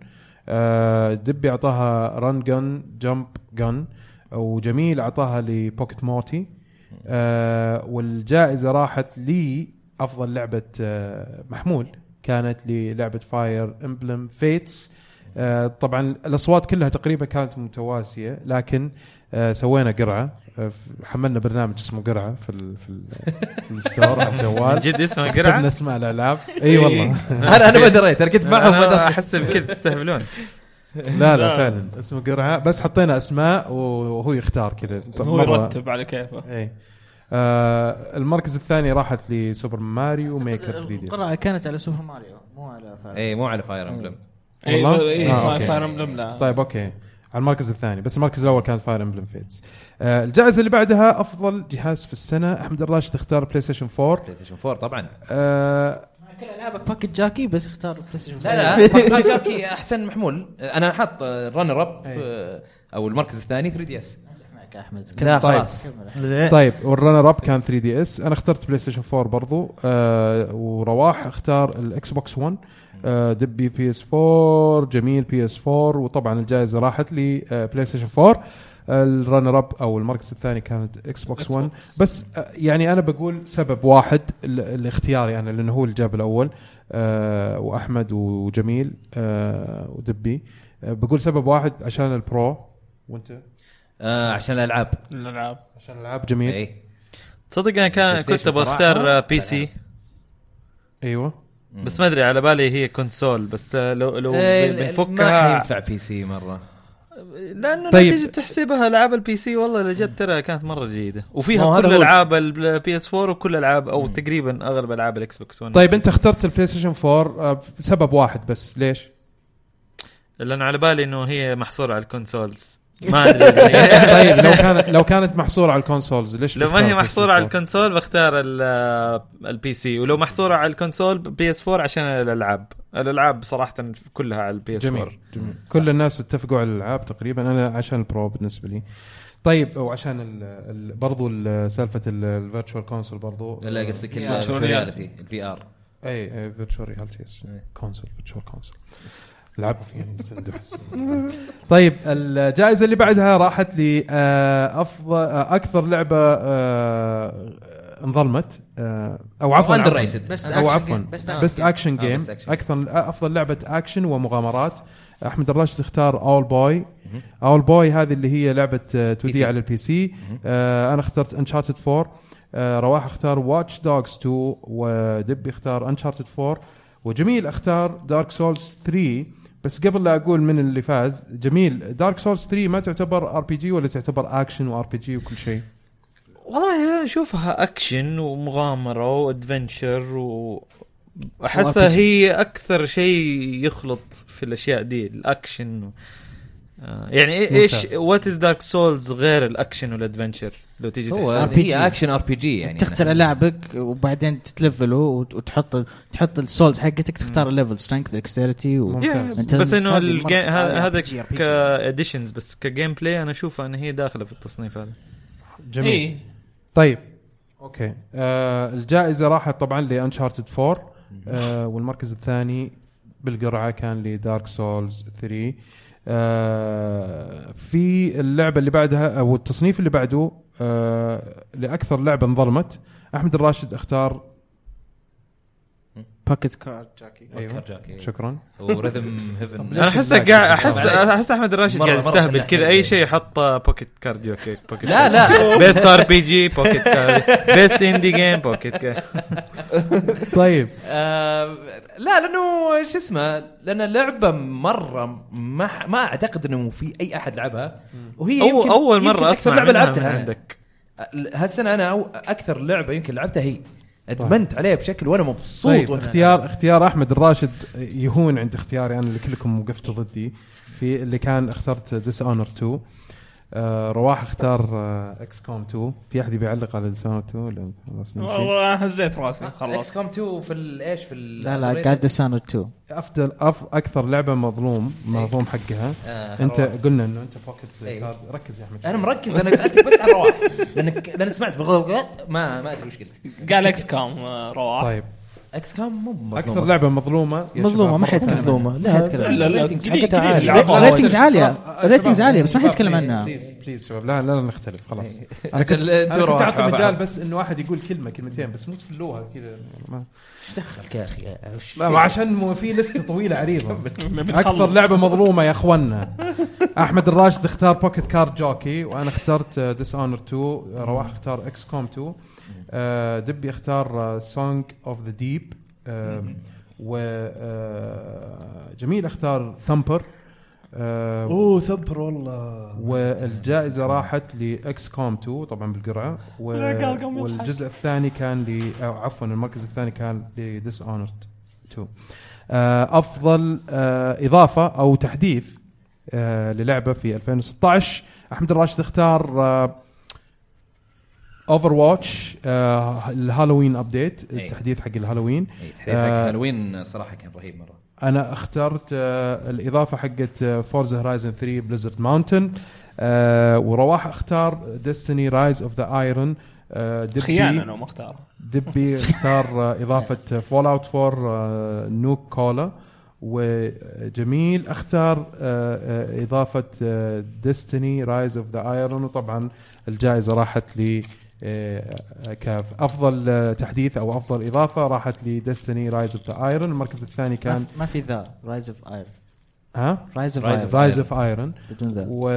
Speaker 1: آه، دبي اعطاها ران جن جمب جن وجميل اعطاها لبوكيت مورتي آه، والجائزه راحت لي افضل لعبه آه، محمول كانت للعبه فاير امبلم فيتس طبعا الاصوات آه، كلها تقريبا كانت متواسيه لكن آه، سوينا قرعه آه، ف- حملنا برنامج اسمه قرعه في ال في, ال في الستور على الجوال
Speaker 4: من جد اسمه
Speaker 1: كتبنا
Speaker 4: قرعه
Speaker 1: اسماء الالعاب اي والله
Speaker 3: انا انا ما دريت انا كنت معهم ما
Speaker 4: أنا
Speaker 3: دريت
Speaker 4: احس بكذا تستهبلون
Speaker 1: لا لا فعلا اسمه قرعه بس حطينا اسماء وهو يختار كذا
Speaker 2: هو يرتب على كيفه
Speaker 1: اي آه المركز الثاني راحت لسوبر ماريو ميكر 3 دي
Speaker 5: القرعه كانت على سوبر ماريو مو على فاير
Speaker 3: اي مو على فاير امبلم
Speaker 1: والله؟
Speaker 2: اي
Speaker 1: آه، أوكي.
Speaker 2: فاير امبلم لا
Speaker 1: طيب اوكي على المركز الثاني بس المركز الاول كان فاير امبلم فيتس آه الجائزه اللي بعدها افضل جهاز في السنه احمد الراشد اختار بلاي ستيشن 4
Speaker 3: بلاي ستيشن 4 طبعا
Speaker 1: آه
Speaker 5: كل العابك باكت جاكي بس اختار بلاي ستيشن
Speaker 3: لا لا فاير جاكي احسن محمول انا حاط رانر اب
Speaker 1: أي.
Speaker 3: او المركز الثاني 3 دي اس
Speaker 5: معك يا احمد
Speaker 3: لا
Speaker 5: كمل.
Speaker 3: خلاص.
Speaker 5: كمل.
Speaker 1: طيب والرنر اب كان 3 دي اس انا اخترت بلاي ستيشن 4 برضو آه ورواح اختار الاكس بوكس 1 آه دبي بي اس 4 جميل بي اس 4 وطبعا الجائزه راحت لي آه بلاي ستيشن 4 الرانر اب او المركز الثاني كانت اكس بوكس 1 بس آه، يعني انا بقول سبب واحد الاختياري يعني انا لانه هو اللي جاب الاول آه، واحمد وجميل آه، ودبي آه، بقول سبب واحد عشان البرو وانت
Speaker 3: آه عشان الالعاب
Speaker 2: الالعاب
Speaker 1: عشان العاب جميل
Speaker 3: اي
Speaker 4: تصدق انا كان
Speaker 3: بلاي
Speaker 4: كنت
Speaker 3: ستيشن صراحة. آه، يعني.
Speaker 4: بختار بي سي
Speaker 1: ايوه
Speaker 4: بس ما ادري على بالي هي كونسول بس آه، لو لو
Speaker 3: إيه، ما
Speaker 4: بنفكها
Speaker 3: ينفع بي سي مره
Speaker 4: لانه
Speaker 1: طيب.
Speaker 4: طيب. نتيجه تحسبها العاب البي سي والله اللي جت ترى كانت مره جيده
Speaker 3: ما هو
Speaker 4: وفيها
Speaker 3: هذا
Speaker 4: كل
Speaker 3: هو
Speaker 4: العاب البي اس 4 وكل العاب او تقريبا اغلب العاب الاكس بوكس 1
Speaker 1: طيب انت اخترت البلاي ستيشن 4 آه، سبب واحد بس ليش؟
Speaker 4: لانه على بالي انه هي محصوره على الكونسولز ما ادري
Speaker 1: طيب لو كانت لو كانت محصوره على الكونسولز ليش
Speaker 4: لو
Speaker 1: بتختار
Speaker 4: ما هي
Speaker 1: PlayStation
Speaker 4: محصوره على
Speaker 1: 4؟
Speaker 4: الكونسول بختار ال- البي سي ولو محصوره على الكونسول بي اس 4 عشان الالعاب الالعاب صراحه كلها على البي اس 4
Speaker 1: جميل جميل كل الناس اتفقوا على الالعاب تقريبا انا عشان البرو بالنسبه لي طيب وعشان ال ال برضو ال- سالفه الفيرتشوال كونسول برضو
Speaker 3: لا قصدك
Speaker 1: اي
Speaker 2: Virtual
Speaker 3: الرياليتي الفي ار
Speaker 1: اي فيرتشوال ريالتي
Speaker 3: إيه.
Speaker 1: كونسول فيرتشوال كونسول لعبوا فيها نينتندو أحس. طيب الجائزه اللي بعدها راحت لي آه، افضل آه، اكثر لعبه آه، انظلمت آه، او عفوا
Speaker 3: Underrated.
Speaker 1: عفواً.
Speaker 6: بس
Speaker 1: او عفوا بس اكشن
Speaker 3: آه،
Speaker 1: جيم
Speaker 3: best action.
Speaker 1: اكثر افضل لعبه اكشن ومغامرات احمد الراشد اختار اول بوي اول بوي هذه اللي هي لعبه 2
Speaker 3: PC.
Speaker 1: دي على البي سي آه انا اخترت انشارتد 4 آه رواح اختار واتش دوجز 2 ودبي اختار انشارتد 4 وجميل اختار دارك سولز 3 بس قبل لا اقول من اللي فاز جميل دارك سولز 3 ما تعتبر ار بي جي ولا تعتبر اكشن وار بي جي وكل شيء
Speaker 4: والله انا اشوفها اكشن ومغامره وادفنشر و احسها
Speaker 1: وأبيك.
Speaker 4: هي اكثر شيء يخلط في الاشياء دي الاكشن و... آه، يعني إي-
Speaker 1: ممتاز.
Speaker 4: ايش وات از دارك سولز غير الاكشن والادفنشر لو تيجي
Speaker 3: هو
Speaker 4: تحسب.
Speaker 5: RPG.
Speaker 3: هي اكشن ار بي جي يعني
Speaker 5: تختار لاعبك وبعدين تتلفله وت- وتحط تحط السولز حقتك تختار الليفل سترينث دكستيرتي و...
Speaker 1: ممتاز
Speaker 5: أنت
Speaker 4: بس
Speaker 5: هذه
Speaker 4: انه الجا-
Speaker 5: المرة-
Speaker 4: ه-
Speaker 5: آه،
Speaker 4: هذا
Speaker 5: RPG.
Speaker 4: كاديشنز بس كجيم بلاي انا اشوفها ان هي داخله في التصنيف هذا
Speaker 1: جميل طيب اوكي آه الجائزه راحت طبعا لانشارتد 4 آه والمركز الثاني بالقرعه كان لدارك سولز 3 آه في اللعبه اللي بعدها او التصنيف اللي بعده آه لاكثر لعبه انظلمت احمد الراشد اختار
Speaker 5: باكيت كارد جاكي
Speaker 3: أيوه.
Speaker 1: ايوه شكرا
Speaker 3: ورذم هيفن
Speaker 4: انا احسه قاعد احس
Speaker 3: معليش.
Speaker 4: احس احمد الراشد
Speaker 3: مرة-
Speaker 4: قاعد
Speaker 3: مرة
Speaker 4: يستهبل
Speaker 3: فلاح
Speaker 4: كذا
Speaker 3: يعني.
Speaker 4: اي شيء يحط بوكيت كارديو كيك بوكيت
Speaker 3: لا لا
Speaker 4: بيست ار بي جي بوكيت كارديو بيست اندي جيم بوكيت كارديو
Speaker 1: طيب
Speaker 3: آه، لا لانه شو اسمه لان اللعبه مره ما ما اعتقد انه في اي احد لعبها وهي
Speaker 4: أو
Speaker 3: يمكن
Speaker 4: اول
Speaker 3: يمكن
Speaker 4: مره
Speaker 3: أكثر
Speaker 4: اسمع
Speaker 3: لعبه
Speaker 4: لعبه
Speaker 3: لعبتها
Speaker 4: لعبتها
Speaker 3: أنا.
Speaker 4: عندك
Speaker 3: هالسنه انا أو اكثر لعبه يمكن لعبتها هي ادمنت عليها بشكل وانا مبسوط
Speaker 1: طيب
Speaker 3: وأنا-
Speaker 1: اختيار اختيار احمد الراشد يهون عند اختياري انا اللي كلكم وقفتوا ضدي في اللي كان اخترت ديس اونر 2 آه رواح اختار آه، اكس كوم 2 في احد بيعلق على ديس اونر 2 ولا خلاص نمشي
Speaker 2: والله هزيت راسي خلاص
Speaker 3: اكس كوم 2 في ال- ايش في ال-
Speaker 5: لا لا قاعد سانو 2
Speaker 1: افضل أف اكثر لعبه مظلوم
Speaker 5: إيه.
Speaker 1: مظلوم حقها
Speaker 3: آه،
Speaker 1: انت
Speaker 3: رواح.
Speaker 1: قلنا انه انت بوكيت
Speaker 3: إيه.
Speaker 1: كارد ركز يا احمد
Speaker 3: انا مركز انا سالتك بس عن رواح لانك لان سمعت بغض- ما ما ادري وش قلت
Speaker 2: قال اكس كام آه، رواح
Speaker 1: طيب
Speaker 3: اكس كام مو مظلومة.
Speaker 1: اكث- اكثر لعبه مظلومه يا
Speaker 5: مظلومه
Speaker 1: شباب.
Speaker 5: ما حد يتكلم عنها.
Speaker 3: مظلومة. لا،
Speaker 5: ما حد
Speaker 1: طيب.
Speaker 5: يتكلم عنها.
Speaker 2: لا، لا،
Speaker 3: Ratings
Speaker 2: قليل-
Speaker 3: حقتها
Speaker 2: قليل
Speaker 3: عالية.
Speaker 2: يلعبها.
Speaker 5: لا، ratings عالية.
Speaker 1: خلاص، آه،
Speaker 5: ratings
Speaker 1: شباب،
Speaker 5: عالية، بس ما حد يتكلم
Speaker 1: بليز،
Speaker 5: عنها. إيه.
Speaker 1: بليز بليز شباب لا لا لا نختلف خلاص
Speaker 3: أنا كنت- أنا كنت
Speaker 1: كنت اعطي
Speaker 3: أعطي
Speaker 1: مجال بس انه واحد يقول كلمه كلمتين بس مو تفلوها كذا ما-
Speaker 3: دخلك يا اخي وش
Speaker 1: لا ما عشان مو- في لسته طويله عريضه اكثر
Speaker 2: بتخلص.
Speaker 1: لعبه مظلومه يا اخوانا احمد الراشد اختار بوكيت كارد جوكي وانا اخترت ديس اونر 2 رواح اختار اكس كوم 2 آه، دبي اختار آه، سونج اوف ذا ديب و آه، جميل اختار ثمبر اوه ثمبر والله والجائزه راحت لاكس كوم 2 طبعا بالقرعه و...
Speaker 2: لا، قال قام يضحك.
Speaker 1: والجزء الثاني كان ل أو عفوا المركز الثاني كان لديس اونرد 2 آه، افضل آه، اضافه او تحديث آه، للعبه في 2016 احمد الراشد اختار آه، اوفر واتش آه، الهالوين ابديت
Speaker 3: أي.
Speaker 1: التحديث حق الهالوين
Speaker 3: إيه، تحديث حق
Speaker 1: آه.
Speaker 3: هالوين صراحه كان رهيب مره
Speaker 1: انا اخترت آه، الاضافه حقت آه، فورزا هورايزن 3 بليزرد ماونتن ورواح آه، اختار ديستني رايز اوف ذا ايرون آه،
Speaker 2: خيانه لو ما اختار
Speaker 1: دبي اختار آه، اضافه فول اوت 4 نوك كولا آه، وجميل اختار آه، آه، اضافه ديستني رايز اوف ذا ايرون وطبعا الجائزه راحت آه، ل كافضل آه، تحديث او افضل اضافه راحت لديستني رايز اوف ذا ايرون المركز الثاني كان
Speaker 5: كان ما في ذا رايز اوف ايرون
Speaker 1: ها
Speaker 5: رايز اوف
Speaker 3: Rise of
Speaker 5: ايرون
Speaker 1: رايز اوف ايرون
Speaker 5: بدون ذا
Speaker 1: و...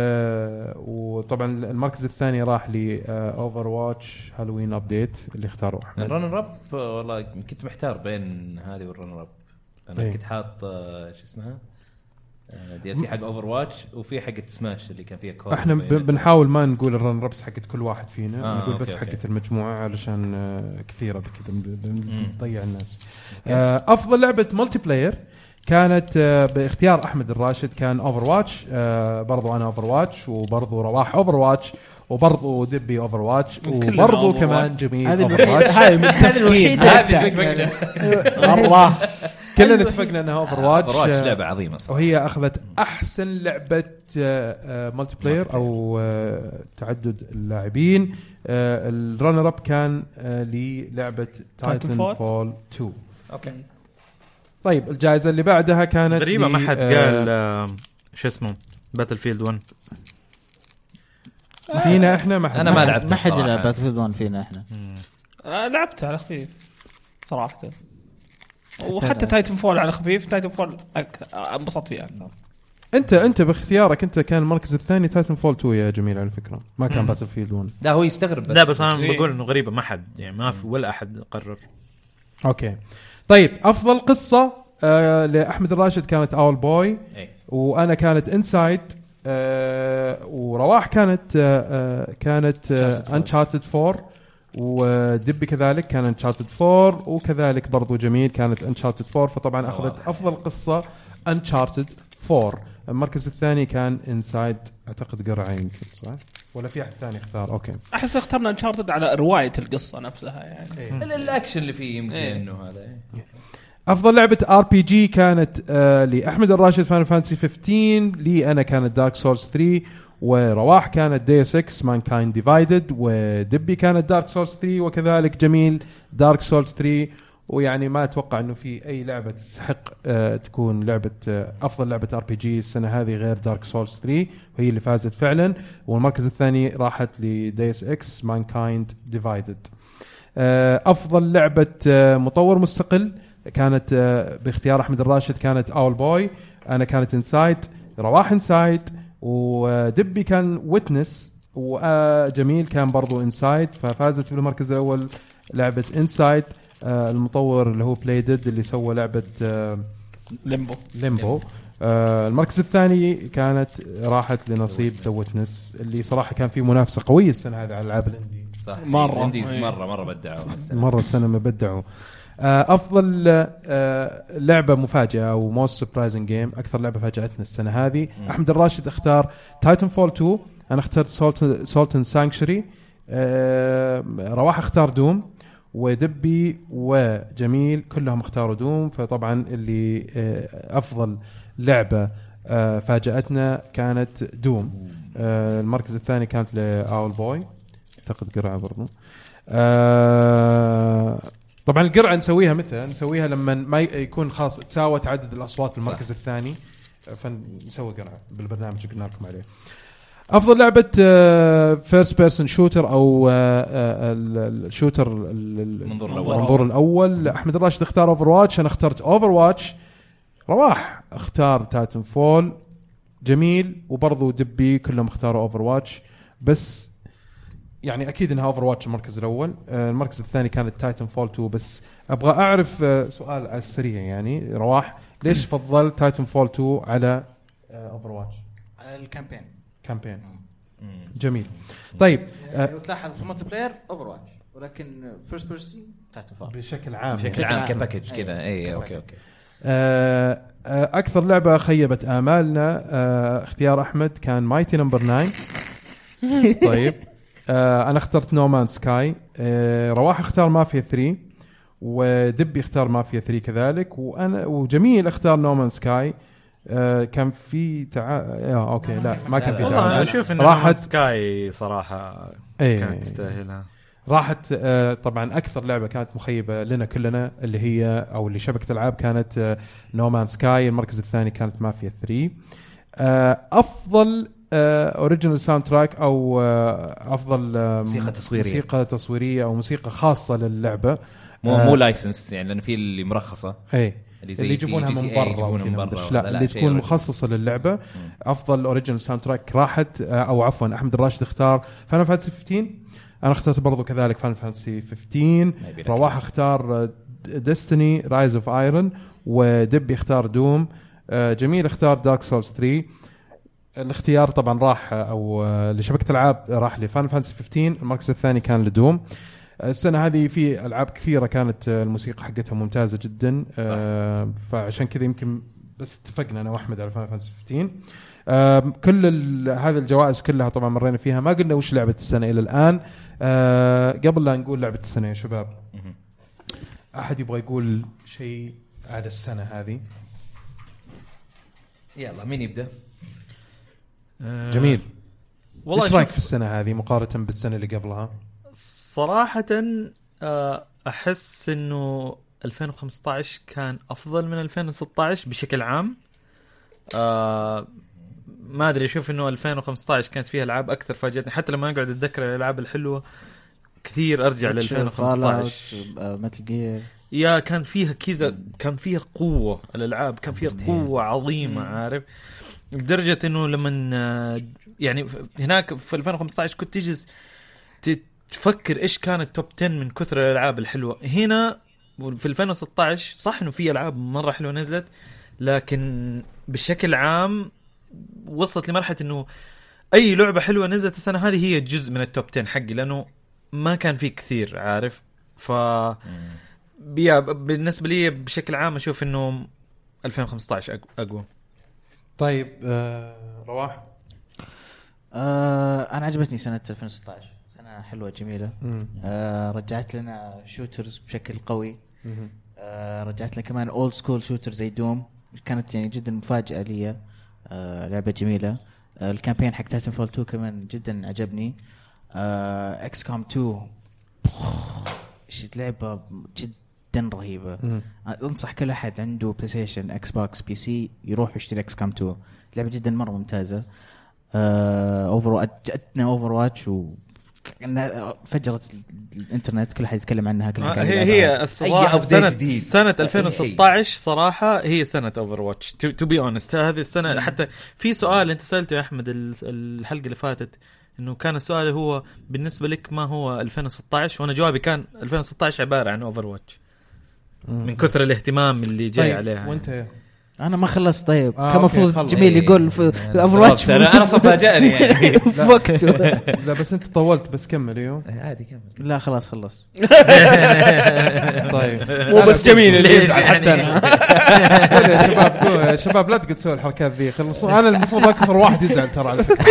Speaker 1: وطبعا المركز الثاني راح ل آه، اوفر واتش هالوين ابديت اللي اختاروه
Speaker 3: الرنر اب والله كنت محتار بين هذه والرنر اب انا
Speaker 1: إيه.
Speaker 3: كنت حاط آه، شو اسمها آه، دي سي حق اوفر واتش وفي حق سماش اللي كان فيها كور
Speaker 1: احنا ب... بنحاول ما نقول الرن ربس حقت كل واحد فينا
Speaker 3: يعني. آه،
Speaker 1: آه نقول
Speaker 3: أوكي،
Speaker 1: بس
Speaker 3: أوكي.
Speaker 1: حقت المجموعه علشان آه، كثيره بكذا بن- بن-
Speaker 3: مم.
Speaker 1: بنضيع الناس آه افضل لعبه ملتي بلاير كانت آه، باختيار احمد الراشد كان اوفر واتش برضو انا اوفر واتش وبرضو رواح اوفر واتش وبرضو دبي اوفر واتش
Speaker 2: كلنا
Speaker 1: وبرضو
Speaker 2: Overwatch.
Speaker 1: كمان جميل
Speaker 5: هذه
Speaker 1: اوفر
Speaker 5: الوحيدة-
Speaker 1: واتش
Speaker 2: هاي من التفكير
Speaker 3: هذه الفكره
Speaker 2: مره
Speaker 1: كلنا اتفقنا انها اوفر
Speaker 3: اوفر واتش
Speaker 1: واتش
Speaker 3: لعبه عظيمه صراحه
Speaker 1: وهي اخذت احسن لعبه آه، مالتي بلاير او آه، تعدد اللاعبين آه، الرنر اب كان آه، للعبه تايتن
Speaker 2: Titanfall.
Speaker 1: فول 2
Speaker 3: اوكي
Speaker 1: طيب الجائزه اللي بعدها كانت
Speaker 4: غريبه
Speaker 1: ل-
Speaker 4: ما حد
Speaker 1: آه،
Speaker 4: قال آه، شو اسمه باتل فيلد 1
Speaker 1: فينا احنا ما حد
Speaker 3: أنا ما لعبتها
Speaker 5: ما حد
Speaker 3: الصراحة.
Speaker 5: يلعب باتل 1 فينا احنا
Speaker 2: آه، لعبتها على خفيف صراحه
Speaker 5: حتى
Speaker 2: وحتى تايتن فول على خفيف تايتن فول أك- انبسطت فيها اكثر
Speaker 1: انت انت باختيارك انت كان المركز الثاني تايتن فول 2 يا جميل على فكره ما كان باتل فيلد 1
Speaker 3: لا هو يستغرب بس
Speaker 4: لا بس انا
Speaker 2: إيه.
Speaker 4: بقول انه غريبه ما حد يعني ما في ولا احد قرر
Speaker 1: اوكي طيب افضل قصه آه، لاحمد الراشد كانت اول بوي
Speaker 3: إيه.
Speaker 1: وانا كانت انسايد آه ورواح كانت آه آه، كانت انشارتد 4 ودبي كذلك كان انشارتد 4 وكذلك برضو جميل كانت انشارتد 4 فطبعا اخذت
Speaker 3: واضح.
Speaker 1: افضل قصه انشارتد 4 المركز الثاني كان انسايد اعتقد قرعه يمكن صح؟ ولا في احد ثاني اختار اوكي
Speaker 2: احس اخترنا انشارتد على روايه القصه نفسها يعني
Speaker 3: ال- الاكشن اللي فيه يمكن
Speaker 2: إيه.
Speaker 3: انه هذا إيه.
Speaker 1: افضل لعبه ار بي جي كانت آه لاحمد الراشد فان فانسي 15 لي انا كانت دارك سورس 3 ورواح كانت دي 6 مان كاين ديفايدد ودبي كانت دارك سورس 3 وكذلك جميل دارك سورس 3 ويعني ما اتوقع انه في اي لعبه تستحق آه تكون لعبه آه افضل لعبه ار بي جي السنه هذه غير دارك سورس 3 وهي اللي فازت فعلا والمركز الثاني راحت لديس اكس مان كايند ديفايدد افضل لعبه آه، مطور مستقل كانت آه، باختيار احمد الراشد كانت اول بوي انا كانت انسايد رواح انسايد ودبي كان ويتنس وجميل كان برضو انسايد ففازت في المركز الاول لعبه انسايد آه، المطور اللي هو بلاي ديد اللي سوى لعبه آه،
Speaker 2: ليمبو
Speaker 1: ليمبو آه المركز الثاني كانت راحت لنصيب ذا ويتنس اللي صراحه كان في منافسه قويه السنه هذه على العاب الاندي
Speaker 3: صح
Speaker 2: مرة.
Speaker 3: الانديز
Speaker 2: إيه.
Speaker 3: مره مره بدعوا هالسنة.
Speaker 1: مره السنه ما بدعوا آه، افضل آه، لعبه مفاجاه او موست سبرايزنج جيم اكثر لعبه فاجاتنا السنه هذه احمد الراشد اختار تايتن فول 2 انا اخترت سولت سولتن سانكشري آه، رواح اختار دوم ودبي وجميل كلهم اختاروا دوم فطبعا اللي آه، افضل لعبه آه، فاجاتنا كانت دوم آه، المركز الثاني كانت لاول بوي اعتقد قرعه برضو آه، طبعا القرعه نسويها متى؟ نسويها لما ما ي- يكون خلاص تساوت عدد الاصوات في المركز الثاني آه، فنسوي قرعه بالبرنامج اللي قلنا لكم عليه. آه، افضل لعبه فيرست بيرسون شوتر او آه، آه، ال- ال- الشوتر ال- ال-
Speaker 3: المنظور الأول.
Speaker 1: المنظور الاول احمد راشد اختار اوفر واتش انا اخترت اوفر واتش رواح اختار تاتن فول جميل وبرضو دبي كلهم اختاروا اوفر واتش بس يعني اكيد انها اوفر واتش المركز الاول آه، المركز الثاني كانت تايتن فول 2 بس ابغى اعرف آه، سؤال على السريع يعني رواح ليش فضلت تايتن فول 2 على آه، اوفر واتش
Speaker 5: الكامبين
Speaker 1: كامبين
Speaker 3: مم.
Speaker 1: جميل طيب آه،
Speaker 5: لو تلاحظ في الملتي بلاير اوفر واتش ولكن فيرست بيرسون تايتن فول
Speaker 1: بشكل عام
Speaker 3: بشكل
Speaker 1: يعني.
Speaker 3: عام
Speaker 5: عام.
Speaker 3: كباكج كذا إيه،
Speaker 5: أي.
Speaker 3: اي اوكي
Speaker 5: كباكج.
Speaker 3: اوكي
Speaker 1: آه، آه، اكثر لعبه خيبت امالنا آه، اختيار احمد كان مايتي نمبر 9 طيب آه، انا اخترت نومان سكاي آه، رواح اختار مافيا 3 ودبي اختار مافيا 3 كذلك وانا وجميل اختار نومان سكاي آه، كان في تع... آه، اوكي لا ما كان في
Speaker 4: والله انا
Speaker 1: تعادل
Speaker 4: اشوف ان
Speaker 1: راحت-
Speaker 4: راحت سكاي صراحه
Speaker 1: إيه.
Speaker 4: كانت تستاهلها
Speaker 1: راحت آه، طبعا اكثر لعبه كانت مخيبه لنا كلنا اللي هي او اللي شبكه العاب كانت آه، نومان سكاي المركز الثاني كانت مافيا 3 آه، افضل اوريجينال ساوند تراك او آه، افضل آه،
Speaker 3: موسيقى تصويرية.
Speaker 1: موسيقى تصويريه او موسيقى خاصه للعبه
Speaker 3: مو
Speaker 1: آه.
Speaker 3: مو لايسنس يعني لان في اللي مرخصه
Speaker 1: اي
Speaker 3: اللي
Speaker 1: إيه، اللي يجيبونها
Speaker 3: GTA
Speaker 1: من برا
Speaker 3: إيه، يجيبونها من
Speaker 1: وكذا
Speaker 3: برا
Speaker 1: لا
Speaker 3: وهذا،
Speaker 1: اللي
Speaker 3: شيء
Speaker 1: تكون
Speaker 3: original.
Speaker 1: مخصصه للعبه افضل اوريجينال ساوند تراك راحت آه، او عفوا احمد الراشد اختار فاينل فانتسي 15 انا اخترت برضو كذلك فاينل فانتسي 15
Speaker 3: ما يبي لك.
Speaker 1: رواح اختار آه، ديستني رايز اوف ايرون ودبي اختار دوم جميل اختار دارك سولز 3 الاختيار طبعا راح آه، او آه، لشبكه العاب راح لفان فانسي 15 المركز الثاني كان لدوم السنه هذه في العاب كثيره كانت آه، الموسيقى حقتها ممتازه جدا آه، فعشان كذا يمكن بس اتفقنا انا واحمد على فان فانسي 15 آم، كل ال- هذه الجوائز كلها طبعا مرينا فيها ما قلنا وش لعبه السنه الى الان آه، قبل لا نقول لعبه السنه يا شباب
Speaker 3: مهم.
Speaker 1: احد يبغى يقول شيء على السنه هذه
Speaker 3: يلا مين يبدا؟
Speaker 1: جميل
Speaker 4: آه، والله
Speaker 1: ايش رايك
Speaker 4: شوف،
Speaker 1: في السنه هذه مقارنه بالسنه اللي قبلها
Speaker 4: صراحة آه، احس انه 2015 كان افضل من 2016 بشكل عام آه، ما ادري اشوف انه 2015 كانت فيها العاب اكثر فاجاتني حتى لما اقعد اتذكر الالعاب الحلوه كثير ارجع ل 2015
Speaker 5: متل جير
Speaker 4: يا كان فيها كذا كان فيها قوة الألعاب كان فيها قوة عظيمة عارف لدرجة انه لما آه، يعني ف- هناك في 2015 كنت تجلس ت- تفكر ايش كانت توب 10 من كثر الألعاب الحلوة هنا في 2016 صح انه في ألعاب مرة حلوة نزلت لكن بشكل عام وصلت لمرحلة انه اي لعبة حلوة نزلت السنة هذه هي جزء من التوب 10 حقي لانه ما كان في كثير عارف ف يا ب- بالنسبه لي بشكل عام اشوف انه 2015 أق- اقوى
Speaker 1: طيب آه، رواح
Speaker 5: آه انا عجبتني سنه 2016 سنه حلوه جميله آه رجعت لنا شوترز بشكل قوي آه رجعت لنا كمان اولد سكول شوتر زي دوم كانت يعني جدا مفاجاه لي آه لعبه جميله آه الكامبين حق تايتن فول 2 كمان جدا عجبني آه اكس كوم 2 شت لعبه جدا رهيبه آه، انصح كل احد عنده بلاي ستيشن اكس بوكس بي سي يروح يشتري اكس كام 2 لعبه جدا مره ممتازه آه، اوفر واتش جتنا اوفر واتش و كأنها فجرت الانترنت كل احد يتكلم عنها كل احد قاعد
Speaker 4: آه، هي
Speaker 5: يلعبها.
Speaker 4: هي الصراحه
Speaker 3: أي update
Speaker 4: سنه
Speaker 3: جديد.
Speaker 4: سنه
Speaker 3: أي-
Speaker 4: 2016 صراحه هي سنه اوفر واتش تو بي اونست هذه السنه حتى في سؤال انت سالته يا احمد ال- الحلقه اللي فاتت انه كان السؤال هو بالنسبه لك ما هو 2016 وانا جوابي كان 2016 عباره عن اوفر واتش من كثر الاهتمام اللي جاي
Speaker 1: طيب،
Speaker 4: عليها
Speaker 1: وانت يا-
Speaker 5: انا ما خلصت طيب
Speaker 1: آه،
Speaker 5: كان
Speaker 1: أوكي،
Speaker 5: المفروض
Speaker 1: خلص.
Speaker 5: جميل
Speaker 3: إيه.
Speaker 5: يقول في
Speaker 3: أنا
Speaker 5: اوفر واتش
Speaker 3: استغربت. أنا- أنا أصلاً فاجأني يعني.
Speaker 5: في وقته
Speaker 1: لا بس انت طولت بس كمل ايوه
Speaker 3: إيه، عادي كمل
Speaker 5: لا خلاص خلص
Speaker 1: طيب
Speaker 2: مو بس جميل اللي
Speaker 4: ليش
Speaker 2: يزعل
Speaker 4: يعني؟
Speaker 2: حتى انا
Speaker 1: كذا يا شباب قو- يا شباب لا تقعد تسوي الحركات ذي خلصوا انا المفروض اكثر واحد يزعل ترى على فكره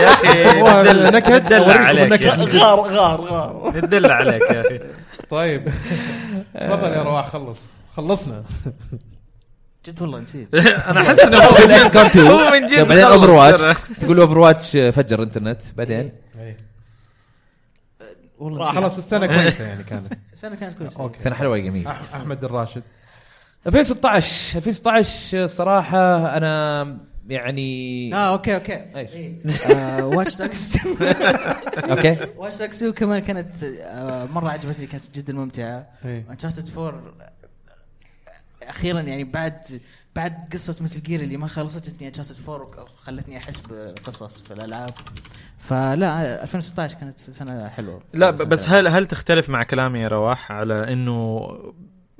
Speaker 4: يا اخي
Speaker 1: والله
Speaker 4: ندلع-
Speaker 1: نكد.
Speaker 4: ندلع
Speaker 1: أوريكم
Speaker 4: عليك يا
Speaker 1: النكد.
Speaker 4: أخي.
Speaker 2: غار غار غار
Speaker 4: ندلع عليك يا اخي
Speaker 1: طيب تفضل يا رواح خلص خلصنا
Speaker 5: جد والله نسيت
Speaker 4: انا احس انه هو من
Speaker 3: اكس كوم
Speaker 4: جد-
Speaker 3: 2
Speaker 4: هو من جد
Speaker 3: طيب، بعدين
Speaker 4: خلص
Speaker 3: اوفر
Speaker 4: ترى.
Speaker 3: واتش تقول اوفر واتش فجر الانترنت بعدين
Speaker 5: والله
Speaker 3: آه،
Speaker 5: نسيت.
Speaker 1: خلاص السنه كويسه يعني كانت
Speaker 5: السنه كانت كويسه
Speaker 1: اوكي
Speaker 3: سنه حلوه جميله
Speaker 1: أح- احمد الراشد
Speaker 3: 2016 2016 صراحه انا يعني
Speaker 5: اه اوكي اوكي
Speaker 3: إيش؟
Speaker 5: واتش دوكس
Speaker 3: اوكي
Speaker 5: واتش دوكس كمان كانت آه، مره عجبتني كانت جدا ممتعه
Speaker 1: إيه.
Speaker 5: انشارتد 4 اخيرا يعني بعد بعد قصه مثل جير اللي ما خلصت جتني انشارتد 4 وخلتني احس بقصص في الالعاب فلا 2016 كانت سنه حلوه
Speaker 4: لا ب- بس هل هل تختلف مع كلامي يا رواح على انه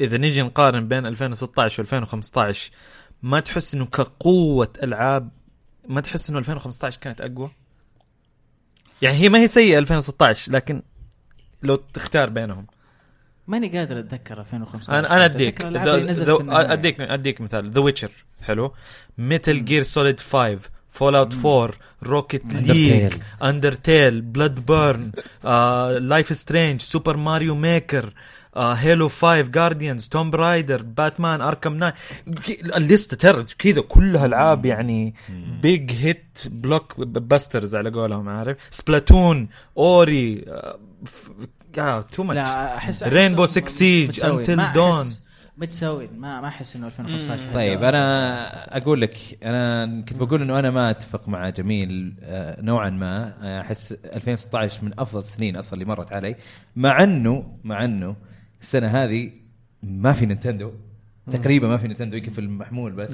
Speaker 4: اذا نيجي نقارن بين 2016 و2015 ما تحس انه كقوه العاب ما تحس انه 2015 كانت اقوى؟ يعني هي ما هي سيئه 2016 لكن لو تختار بينهم
Speaker 5: ماني قادر اتذكر 2015
Speaker 4: انا انا
Speaker 5: بس
Speaker 4: اديك
Speaker 5: أتذكر الألعاب اللي
Speaker 4: The-
Speaker 5: نزلت
Speaker 4: the-
Speaker 5: في النهاية.
Speaker 4: اديك اديك مثال ذا ويتشر حلو ميتال جير سوليد 5 فول اوت 4 روكيت ليج اندرتيل بلاد بيرن لايف سترينج سوبر ماريو ميكر هيلو 5 جارديانز توم برايدر باتمان اركم ناين الليسته ترى كذا كلها العاب يعني
Speaker 3: Hmm.
Speaker 4: بيج هيت آه، بلوك باسترز على قولهم عارف سبلاتون اوري تو ماتش
Speaker 5: لا احس
Speaker 4: Rainbow Six Siege Until Dawn.
Speaker 5: متساويين ما ما احس انه 2015 كان
Speaker 3: طيب
Speaker 5: جواب.
Speaker 3: انا اقول لك انا كنت بقول انه انا ما اتفق مع جميل آه، نوعا ما أنا احس 2016 من افضل السنين اصلا اللي مرت علي مع انه مع انه السنه هذه ما في نينتندو تقريبا ما في نينتندو يمكن في المحمول بس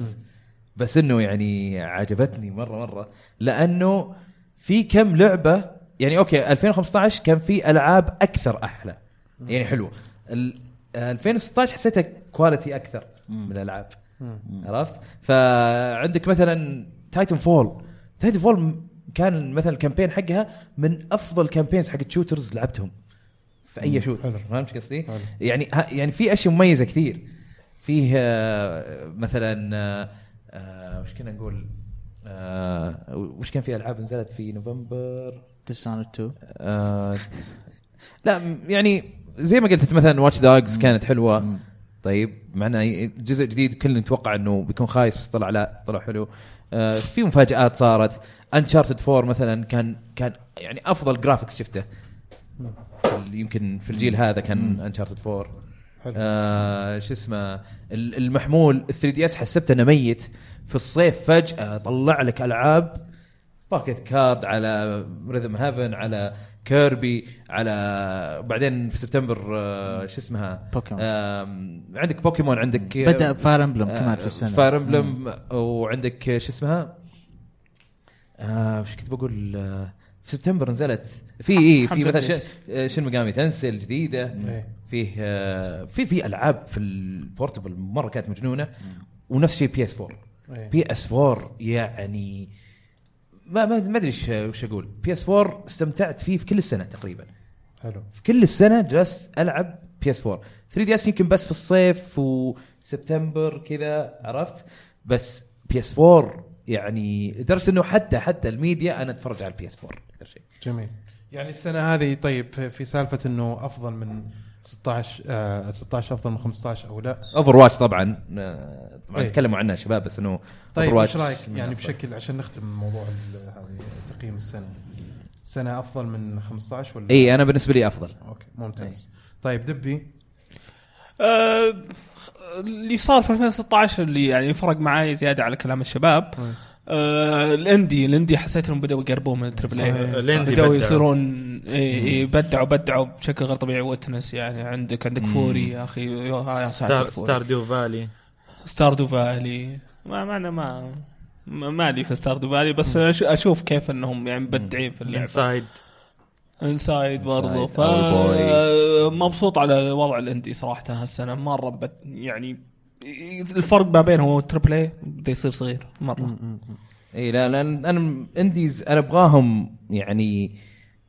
Speaker 3: بس انه يعني عجبتني مره مره لانه في كم لعبه يعني اوكي 2015 كان في العاب اكثر احلى يعني حلوه ال- آه، 2016 حسيتها كواليتي اكثر من الالعاب عرفت فعندك مثلا تايتن فول تايتن فول كان مثلا الكامبين حقها من افضل كامبينز حق شوترز لعبتهم في اي شوت
Speaker 1: حلو.
Speaker 3: فهمت قصدي؟
Speaker 1: حلو.
Speaker 3: يعني ها- يعني في اشياء مميزه كثير فيه آه، مثلا آه، آه، وش كنا نقول آه، وش كان في العاب نزلت في نوفمبر
Speaker 5: Dishonored 2
Speaker 3: آه، لا م- يعني زي ما قلت أنت مثلا واتش دوجز كانت حلوه طيب معنا جزء جديد كلنا نتوقع انه بيكون خايس بس طلع لا طلع حلو آه، في مفاجات صارت انشارتد 4 مثلا كان كان يعني افضل جرافيكس شفته اللي يمكن في الجيل هذا كان انشارتد 4
Speaker 1: حلو.
Speaker 3: آه شو اسمه ال- المحمول 3 دي اس حسبته انه ميت في الصيف فجاه طلع لك العاب باكيت كارد على ريذم هيفن على كيربي على بعدين في سبتمبر آه، شو اسمها
Speaker 5: بوكيمون.
Speaker 3: آم، عندك بوكيمون عندك آه،
Speaker 5: بدا بفاير امبلم كمان في السنه
Speaker 3: فاير امبلم وعندك آه، شو اسمها آه، وش كنت بقول آه، في سبتمبر نزلت في اي في
Speaker 2: حمزة
Speaker 3: مثلا
Speaker 2: بليكس.
Speaker 3: ش- آه، شن مقامي تنسل الجديده
Speaker 1: إيه.
Speaker 3: فيه آه، في في العاب في البورتبل مره كانت مجنونه ونفس الشيء بي اس 4
Speaker 1: إيه.
Speaker 3: بي اس 4 يعني ما ما ما ادري إيش- وش اقول بي اس 4 استمتعت فيه في كل السنه تقريبا
Speaker 1: حلو
Speaker 3: في كل السنه جلست العب بي اس 4 3 دي اس يمكن بس في الصيف وسبتمبر كذا عرفت بس بي اس 4 يعني لدرجه انه حتى حتى الميديا انا اتفرج على البي اس 4 اكثر شيء
Speaker 1: جميل يعني السنه هذه طيب في- في سالفه انه افضل من 16 آه 16 افضل من 15 او لا
Speaker 3: اوفر واتش طبعا آه، طبعا
Speaker 1: إيه.
Speaker 3: تكلموا عنها شباب بس انه
Speaker 1: طيب
Speaker 3: Overwatch
Speaker 1: وش رايك
Speaker 3: من
Speaker 1: يعني
Speaker 3: أفضل.
Speaker 1: بشكل عشان نختم موضوع ال- هذه تقييم السنه سنه افضل من 15 ولا
Speaker 3: اي انا بالنسبه لي افضل
Speaker 1: اوكي ممتاز
Speaker 3: إيه.
Speaker 1: طيب دبي
Speaker 2: آه، اللي صار في 2016 اللي يعني فرق معي زياده على كلام الشباب آه الاندي الاندي حسيت انهم بداوا يقربون من التربل
Speaker 1: صحيح.
Speaker 2: اي
Speaker 4: الإندي
Speaker 2: بداوا
Speaker 4: بدعوا.
Speaker 2: يصيرون إي- إي، بدعوا بدعوا بشكل غير طبيعي ويتنس يعني عندك عندك فوري يا اخي يا-
Speaker 4: ستار
Speaker 2: يا ساتر
Speaker 4: ستار
Speaker 2: فوري.
Speaker 4: ديو فالي
Speaker 2: ستاردو فالي ما ما انا ما ما- مالي في ستاردو فالي بس أش- اشوف كيف انهم يعني مبدعين في اللعبه
Speaker 4: انسايد
Speaker 2: انسايد برضو ف
Speaker 3: All
Speaker 2: مبسوط على وضع الاندي صراحه هالسنه مره بت... يعني الفرق ما بينهم والتربل اي بدا يصير صغير مره
Speaker 3: اي لا لان انا م- انديز انا ابغاهم يعني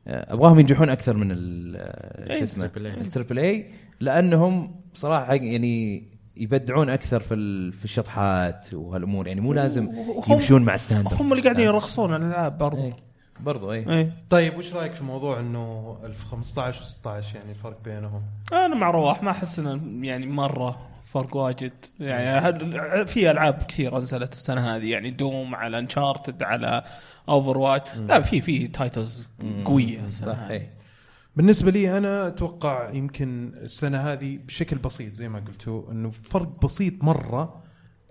Speaker 3: آه، ابغاهم ينجحون اكثر من ال- آه،
Speaker 2: إيه،
Speaker 3: شو اسمه
Speaker 4: التربل إيه.
Speaker 3: التربل اي لانهم صراحه حق- يعني يبدعون اكثر في ال- في الشطحات وهالامور يعني مو لازم
Speaker 2: وهم-
Speaker 3: يمشون مع ستاندرد
Speaker 2: هم اللي قاعدين يرخصون الالعاب برضو إيه.
Speaker 3: إيه، برضو اي
Speaker 2: اي
Speaker 1: طيب وش رايك في موضوع انه ال 15 و16 يعني الفرق بينهم
Speaker 2: انا مع رواح ما احس انه يعني مره فرق واجد يعني هل- في العاب كثيره نزلت السنه هذه يعني دوم على انشارتد على اوفر واتش لا في في تايتلز قويه السنه
Speaker 3: صح
Speaker 2: هذه
Speaker 3: إيه.
Speaker 1: بالنسبه لي انا اتوقع يمكن السنه هذه بشكل بسيط زي ما قلتوا انه فرق بسيط مره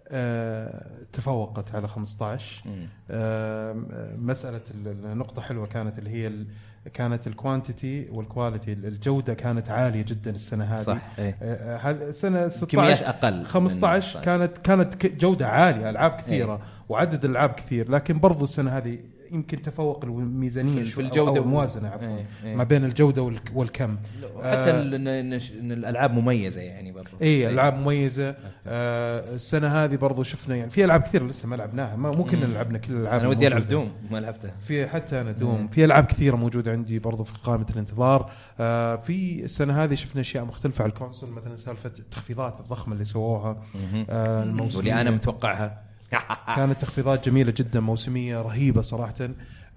Speaker 1: آه، تفوقت على 15
Speaker 3: مم.
Speaker 1: آم، آه، مساله ال- النقطه حلوه كانت اللي هي ال- كانت الكوانتيتي والكواليتي الجوده كانت عاليه جدا السنه هذه
Speaker 3: صح اي
Speaker 1: آه، هل- السنه
Speaker 3: كميات
Speaker 1: 16
Speaker 3: اقل من
Speaker 1: 15 كانت كانت ك- جوده عاليه العاب كثيره
Speaker 3: إيه.
Speaker 1: وعدد العاب كثير لكن برضو السنه هذه يمكن تفوق الميزانيه
Speaker 3: في
Speaker 1: شوي، أو-
Speaker 3: الجودة
Speaker 1: أو
Speaker 3: وال-
Speaker 1: الموازنه عفوا
Speaker 3: إيه، إيه.
Speaker 1: ما بين الجوده والك- والكم
Speaker 3: حتى
Speaker 1: آه،
Speaker 3: ال- إن- إن- ان الالعاب مميزه يعني برضو
Speaker 1: اي العاب مميزه إيه، آه السنه هذه برضو شفنا يعني في العاب كثير لسه ما لعبناها ما مو كلنا لعبنا كل الالعاب
Speaker 3: انا إيه. ودي العب
Speaker 1: الموجودة.
Speaker 3: دوم إيه. ما لعبته
Speaker 1: في حتى انا دوم في العاب كثيره موجوده عندي برضو في قائمه الانتظار آه في السنه هذه شفنا اشياء مختلفه على الكونسول مثلا سالفه التخفيضات الضخمه اللي سووها آه الموسمية.
Speaker 3: واللي انا متوقعها
Speaker 1: كانت تخفيضات جميله جدا موسميه رهيبه صراحه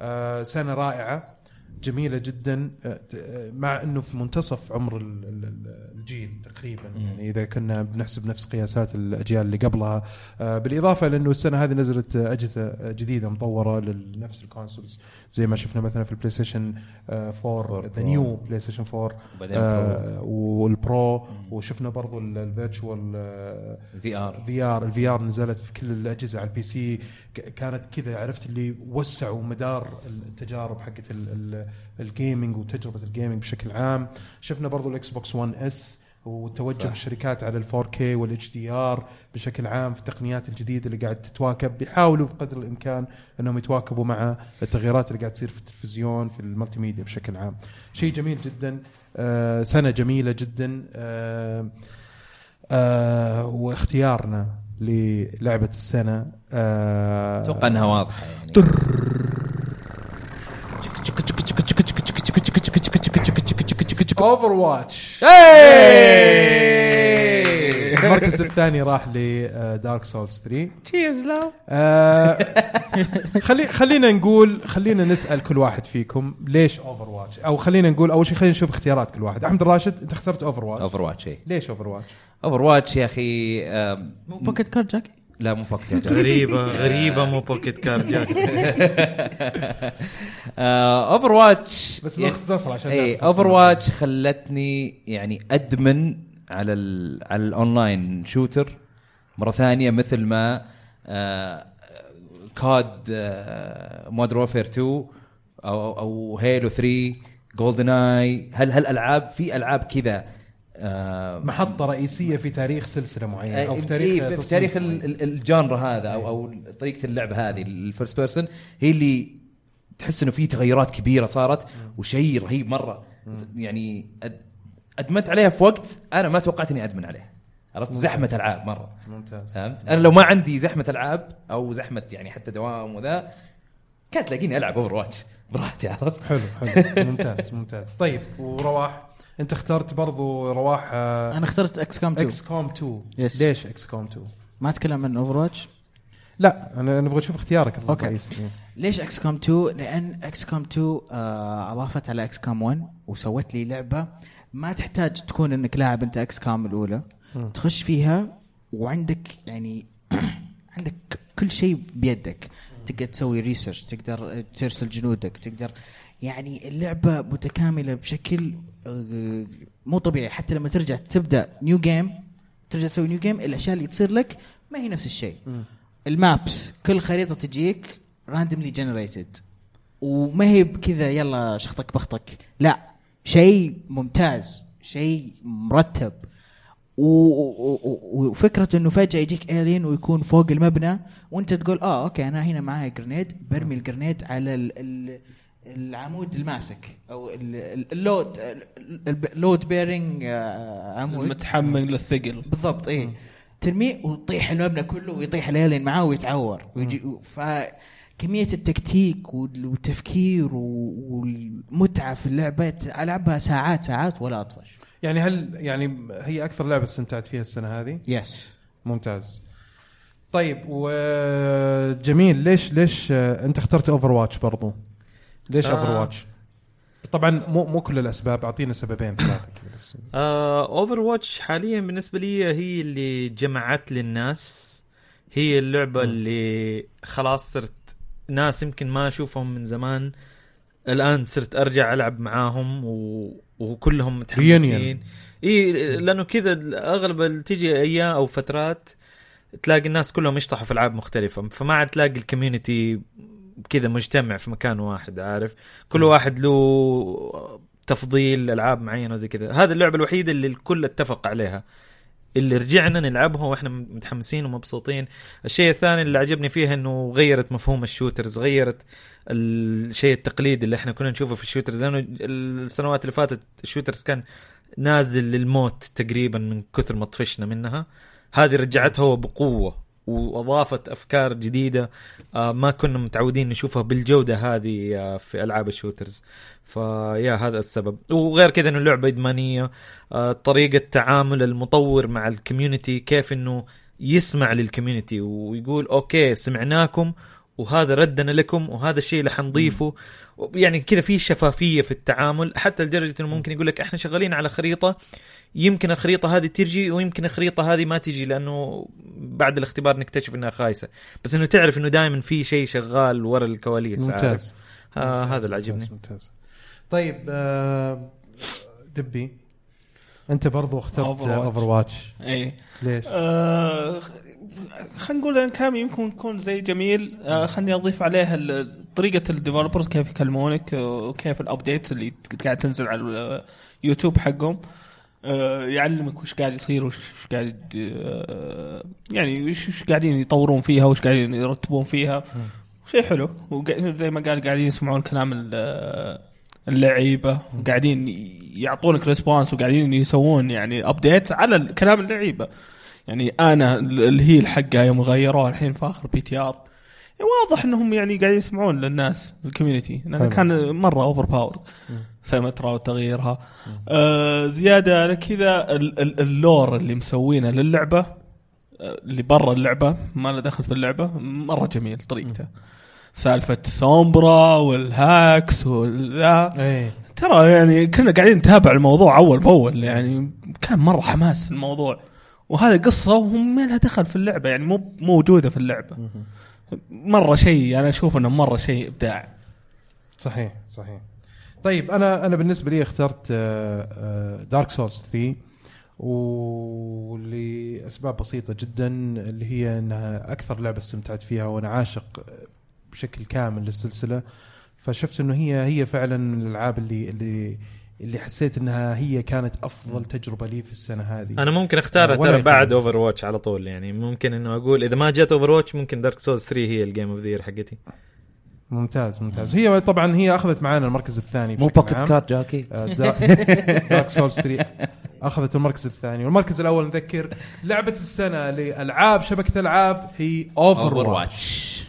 Speaker 1: آه، سنه رائعه جميله جدا آه، ت- آه، مع انه في منتصف عمر ال- ال- ال- الجيل تقريبا يعني اذا كنا بنحسب نفس قياسات الاجيال اللي قبلها آه، بالاضافه لانه السنه هذه نزلت آه، اجهزه آه، جديده مطوره لنفس الكونسولز زي ما شفنا مثلا في البلاي ستيشن آه، 4 ذا نيو بلاي ستيشن 4
Speaker 3: وبعدين
Speaker 1: آه والبرو وشفنا برضو الفيرتشوال
Speaker 3: في ار
Speaker 1: في ار الفي ار نزلت في كل الاجهزه على البي سي ك- كانت كذا عرفت اللي وسعوا مدار التجارب حقت الجيمنج وتجربه الجيمنج بشكل عام شفنا برضو الاكس بوكس 1 اس وتوجه صح. الشركات على ال 4K وال HDR بشكل عام في التقنيات الجديدة اللي قاعد تتواكب بيحاولوا بقدر الإمكان أنهم يتواكبوا مع التغييرات اللي قاعد تصير في التلفزيون في الملتي ميديا بشكل عام شيء جميل جدا آه سنة جميلة جدا آه آه واختيارنا للعبة السنة آه
Speaker 3: اتوقع انها واضحه يعني
Speaker 1: اوفر واتش المركز الثاني راح آه، لدارك سولز 3
Speaker 2: تشيرز لا
Speaker 1: آه خلي خلينا نقول خلينا نسال كل واحد فيكم ليش اوفر واتش او خلينا نقول اول شيء خلينا نشوف اختيارات كل واحد احمد الراشد انت اخترت اوفر واتش
Speaker 3: اوفر واتش اي
Speaker 1: ليش اوفر واتش
Speaker 3: اوفر واتش إيه. يا اخي آم،
Speaker 5: مو باكيت كارد جاكي
Speaker 3: لا مو فكر
Speaker 4: غريبه غريبه مو بوكيت كارد جاك
Speaker 3: اوفر واتش
Speaker 1: بس مختصر عشان
Speaker 3: اي
Speaker 1: نعرف
Speaker 3: اوفر
Speaker 1: نفسنا.
Speaker 3: واتش إيه، خلتني يعني ادمن على ال على الاونلاين شوتر مره ثانيه مثل ما آه، كاد مود وورفير 2 او او هيلو 3 جولدن اي هل هالالعاب في العاب كذا آه،
Speaker 1: محطه رئيسيه في تاريخ سلسله معينه او في
Speaker 3: إيه،
Speaker 1: تاريخ
Speaker 3: في- في
Speaker 1: تصنيف
Speaker 3: تاريخ
Speaker 1: معين.
Speaker 3: ال- ال- الجانر هذا او او طريقه اللعب هذه الفيرست بيرسون هي اللي تحس انه في تغيرات كبيره صارت وشيء رهيب مره يعني أد- ادمنت عليها في وقت انا ما توقعت اني ادمن عليها عرفت زحمه العاب مره
Speaker 1: ممتاز
Speaker 3: فهمت انا لو ما عندي زحمه العاب او زحمه يعني حتى دوام وذا كانت تلاقيني العب اوفر واتش براحتي عرفت
Speaker 1: حلو حلو ممتاز ممتاز طيب ورواح انت اخترت برضو رواح آه،
Speaker 5: انا اخترت اكس كام 2
Speaker 1: اكس كوم 2
Speaker 5: Yes.
Speaker 1: ليش اكس كوم 2
Speaker 5: ما اتكلم عن اوفر واتش
Speaker 1: لا انا نبغى نشوف اختيارك أفضل
Speaker 5: أوكي.
Speaker 1: رئيس.
Speaker 5: ليش اكس كوم 2 لان اكس كوم 2 آه اضافت على اكس كوم 1 وسوت لي لعبه ما تحتاج تكون انك لاعب انت اكس كوم الاولى تخش فيها وعندك يعني عندك كل شيء بيدك تقدر تسوي ريسيرش تقدر ترسل جنودك تقدر يعني اللعبه متكامله بشكل آه، مو طبيعي حتى لما ترجع تبدا نيو جيم ترجع تسوي نيو جيم الاشياء اللي تصير لك ما هي نفس الشيء المابس كل خريطه تجيك راندملي جنريتد وما هي بكذا يلا شخطك بخطك لا شيء ممتاز شيء مرتب و- و- و- وفكره انه فجاه يجيك الين ويكون فوق المبنى وانت تقول اه اوكي انا هنا معايا جرنيد برمي الجرنيد على ال ال العمود الماسك او ال- ال- اللود ال- ال- اللود بيرنج آه، عمود
Speaker 2: متحمل للثقل
Speaker 5: بالضبط اي ترميه ويطيح المبنى كله ويطيح الالين معاه ويتعور ويجي فكمية التكتيك وال- والتفكير و- والمتعة في اللعبة ت- ألعبها ساعات ساعات ولا أطفش
Speaker 1: يعني هل يعني هي اكثر لعبه استمتعت فيها السنه هذه
Speaker 5: يس
Speaker 1: ممتاز طيب وجميل ليش ليش آه، انت اخترت اوفر واتش برضو ليش
Speaker 4: آه.
Speaker 1: اوفر واتش طبعا مو مو كل الاسباب اعطينا سببين ثلاثه كذا بس
Speaker 4: اوفر واتش حاليا بالنسبه لي هي اللي جمعت لي الناس هي اللعبه اللي خلاص صرت ناس يمكن ما اشوفهم من زمان الان صرت ارجع العب معاهم و... وكلهم متحمسين اي لانه كذا اغلب اللي تجي ايام او فترات تلاقي الناس كلهم يشطحوا في العاب مختلفه فما عاد تلاقي الكوميونتي كذا مجتمع في مكان واحد عارف كل واحد له تفضيل العاب معينه وزي كذا هذه اللعبه الوحيده اللي الكل اتفق عليها اللي رجعنا نلعبها واحنا متحمسين ومبسوطين الشيء الثاني اللي عجبني فيها انه غيرت مفهوم الشوترز غيرت الشيء التقليدي اللي احنا كنا نشوفه في الشوترز لانه السنوات اللي فاتت الشوترز كان نازل للموت تقريبا من كثر ما طفشنا منها هذه رجعتها بقوه واضافت افكار جديده آه، ما كنا متعودين نشوفها بالجوده هذه آه، في العاب الشوترز فيا هذا السبب وغير كذا انه اللعبه ادمانيه آه، طريقه تعامل المطور مع الكوميونتي كيف انه يسمع للكوميونتي ويقول اوكي سمعناكم وهذا ردنا لكم وهذا الشيء اللي حنضيفه يعني كذا في شفافيه في التعامل حتى لدرجه انه ممكن يقول لك احنا شغالين على خريطه يمكن الخريطه هذه ترجي ويمكن الخريطه هذه ما تجي لانه بعد الاختبار نكتشف انها خايسه بس انه تعرف انه دائما في شيء شغال ورا الكواليس عارف؟
Speaker 1: ممتاز
Speaker 4: آه
Speaker 1: ممتاز،
Speaker 4: هذا اللي عجبني
Speaker 1: ممتاز، ممتاز طيب آه، دبي انت برضو اخترت
Speaker 2: Overwatch.
Speaker 1: اوفر واتش
Speaker 2: اي
Speaker 1: ليش؟
Speaker 2: آه خلينا نقول ان كان يمكن يكون زي جميل آه خلني اضيف عليه ال- طريقه الديفلوبرز كيف يكلمونك آه، وكيف الابديت اللي قاعد تنزل على اليوتيوب حقهم آه يعلمك وش قاعد يصير وش وش قاعد آه يعني وش وش قاعدين يطورون فيها وش قاعدين يرتبون فيها شيء حلو وقا- زي ما قال قاعدين يسمعون كلام ال- اللعيبه وقاعدين يعطونك ريسبونس وقاعدين يسوون يعني ابديت على ال- كلام اللعيبه يعني انا ال- الهيل حقها يوم غيروها الحين فاخر بي تي ار يعني واضح انهم يعني قاعدين يسمعون للناس الكوميونتي لانه
Speaker 1: حلو.
Speaker 2: كان مره اوفر باور سيمترا وتغييرها آه زياده على كذا ال- ال- اللور اللي مسوينه للعبه آه، اللي برا اللعبه ما له دخل في اللعبه مره جميل طريقته سالفه سومبرا والهاكس والذا
Speaker 1: ايه
Speaker 2: ترى يعني كنا قاعدين نتابع الموضوع اول باول يعني كان مره حماس الموضوع وهذا قصه وهم ما لها دخل في اللعبه يعني مو موجوده في اللعبه مره شيء يعني انا اشوف انه مره شيء ابداع
Speaker 1: صحيح صحيح طيب انا انا بالنسبه لي اخترت آه، دارك سورس 3 ولاسباب بسيطه جدا اللي هي انها اكثر لعبه استمتعت فيها وانا عاشق بشكل كامل للسلسله فشفت انه هي هي فعلا من الالعاب اللي اللي اللي حسيت انها هي كانت افضل تجربه لي في السنه هذه
Speaker 4: انا ممكن اختارها
Speaker 1: ولا
Speaker 4: ترى
Speaker 1: يهمني.
Speaker 4: بعد اوفر واتش على طول يعني ممكن انه اقول اذا ما جت اوفر واتش ممكن دارك سولز 3 هي الجيم اوف ذا حقتي
Speaker 1: ممتاز ممتاز هي طبعا هي اخذت معانا المركز الثاني
Speaker 3: مو
Speaker 1: بشكل
Speaker 3: باكت
Speaker 1: عام.
Speaker 3: كارت جاكي
Speaker 1: آه، دارك سولز 3 اخذت المركز الثاني والمركز الاول نذكر لعبه السنه لالعاب شبكه العاب هي اوفر واتش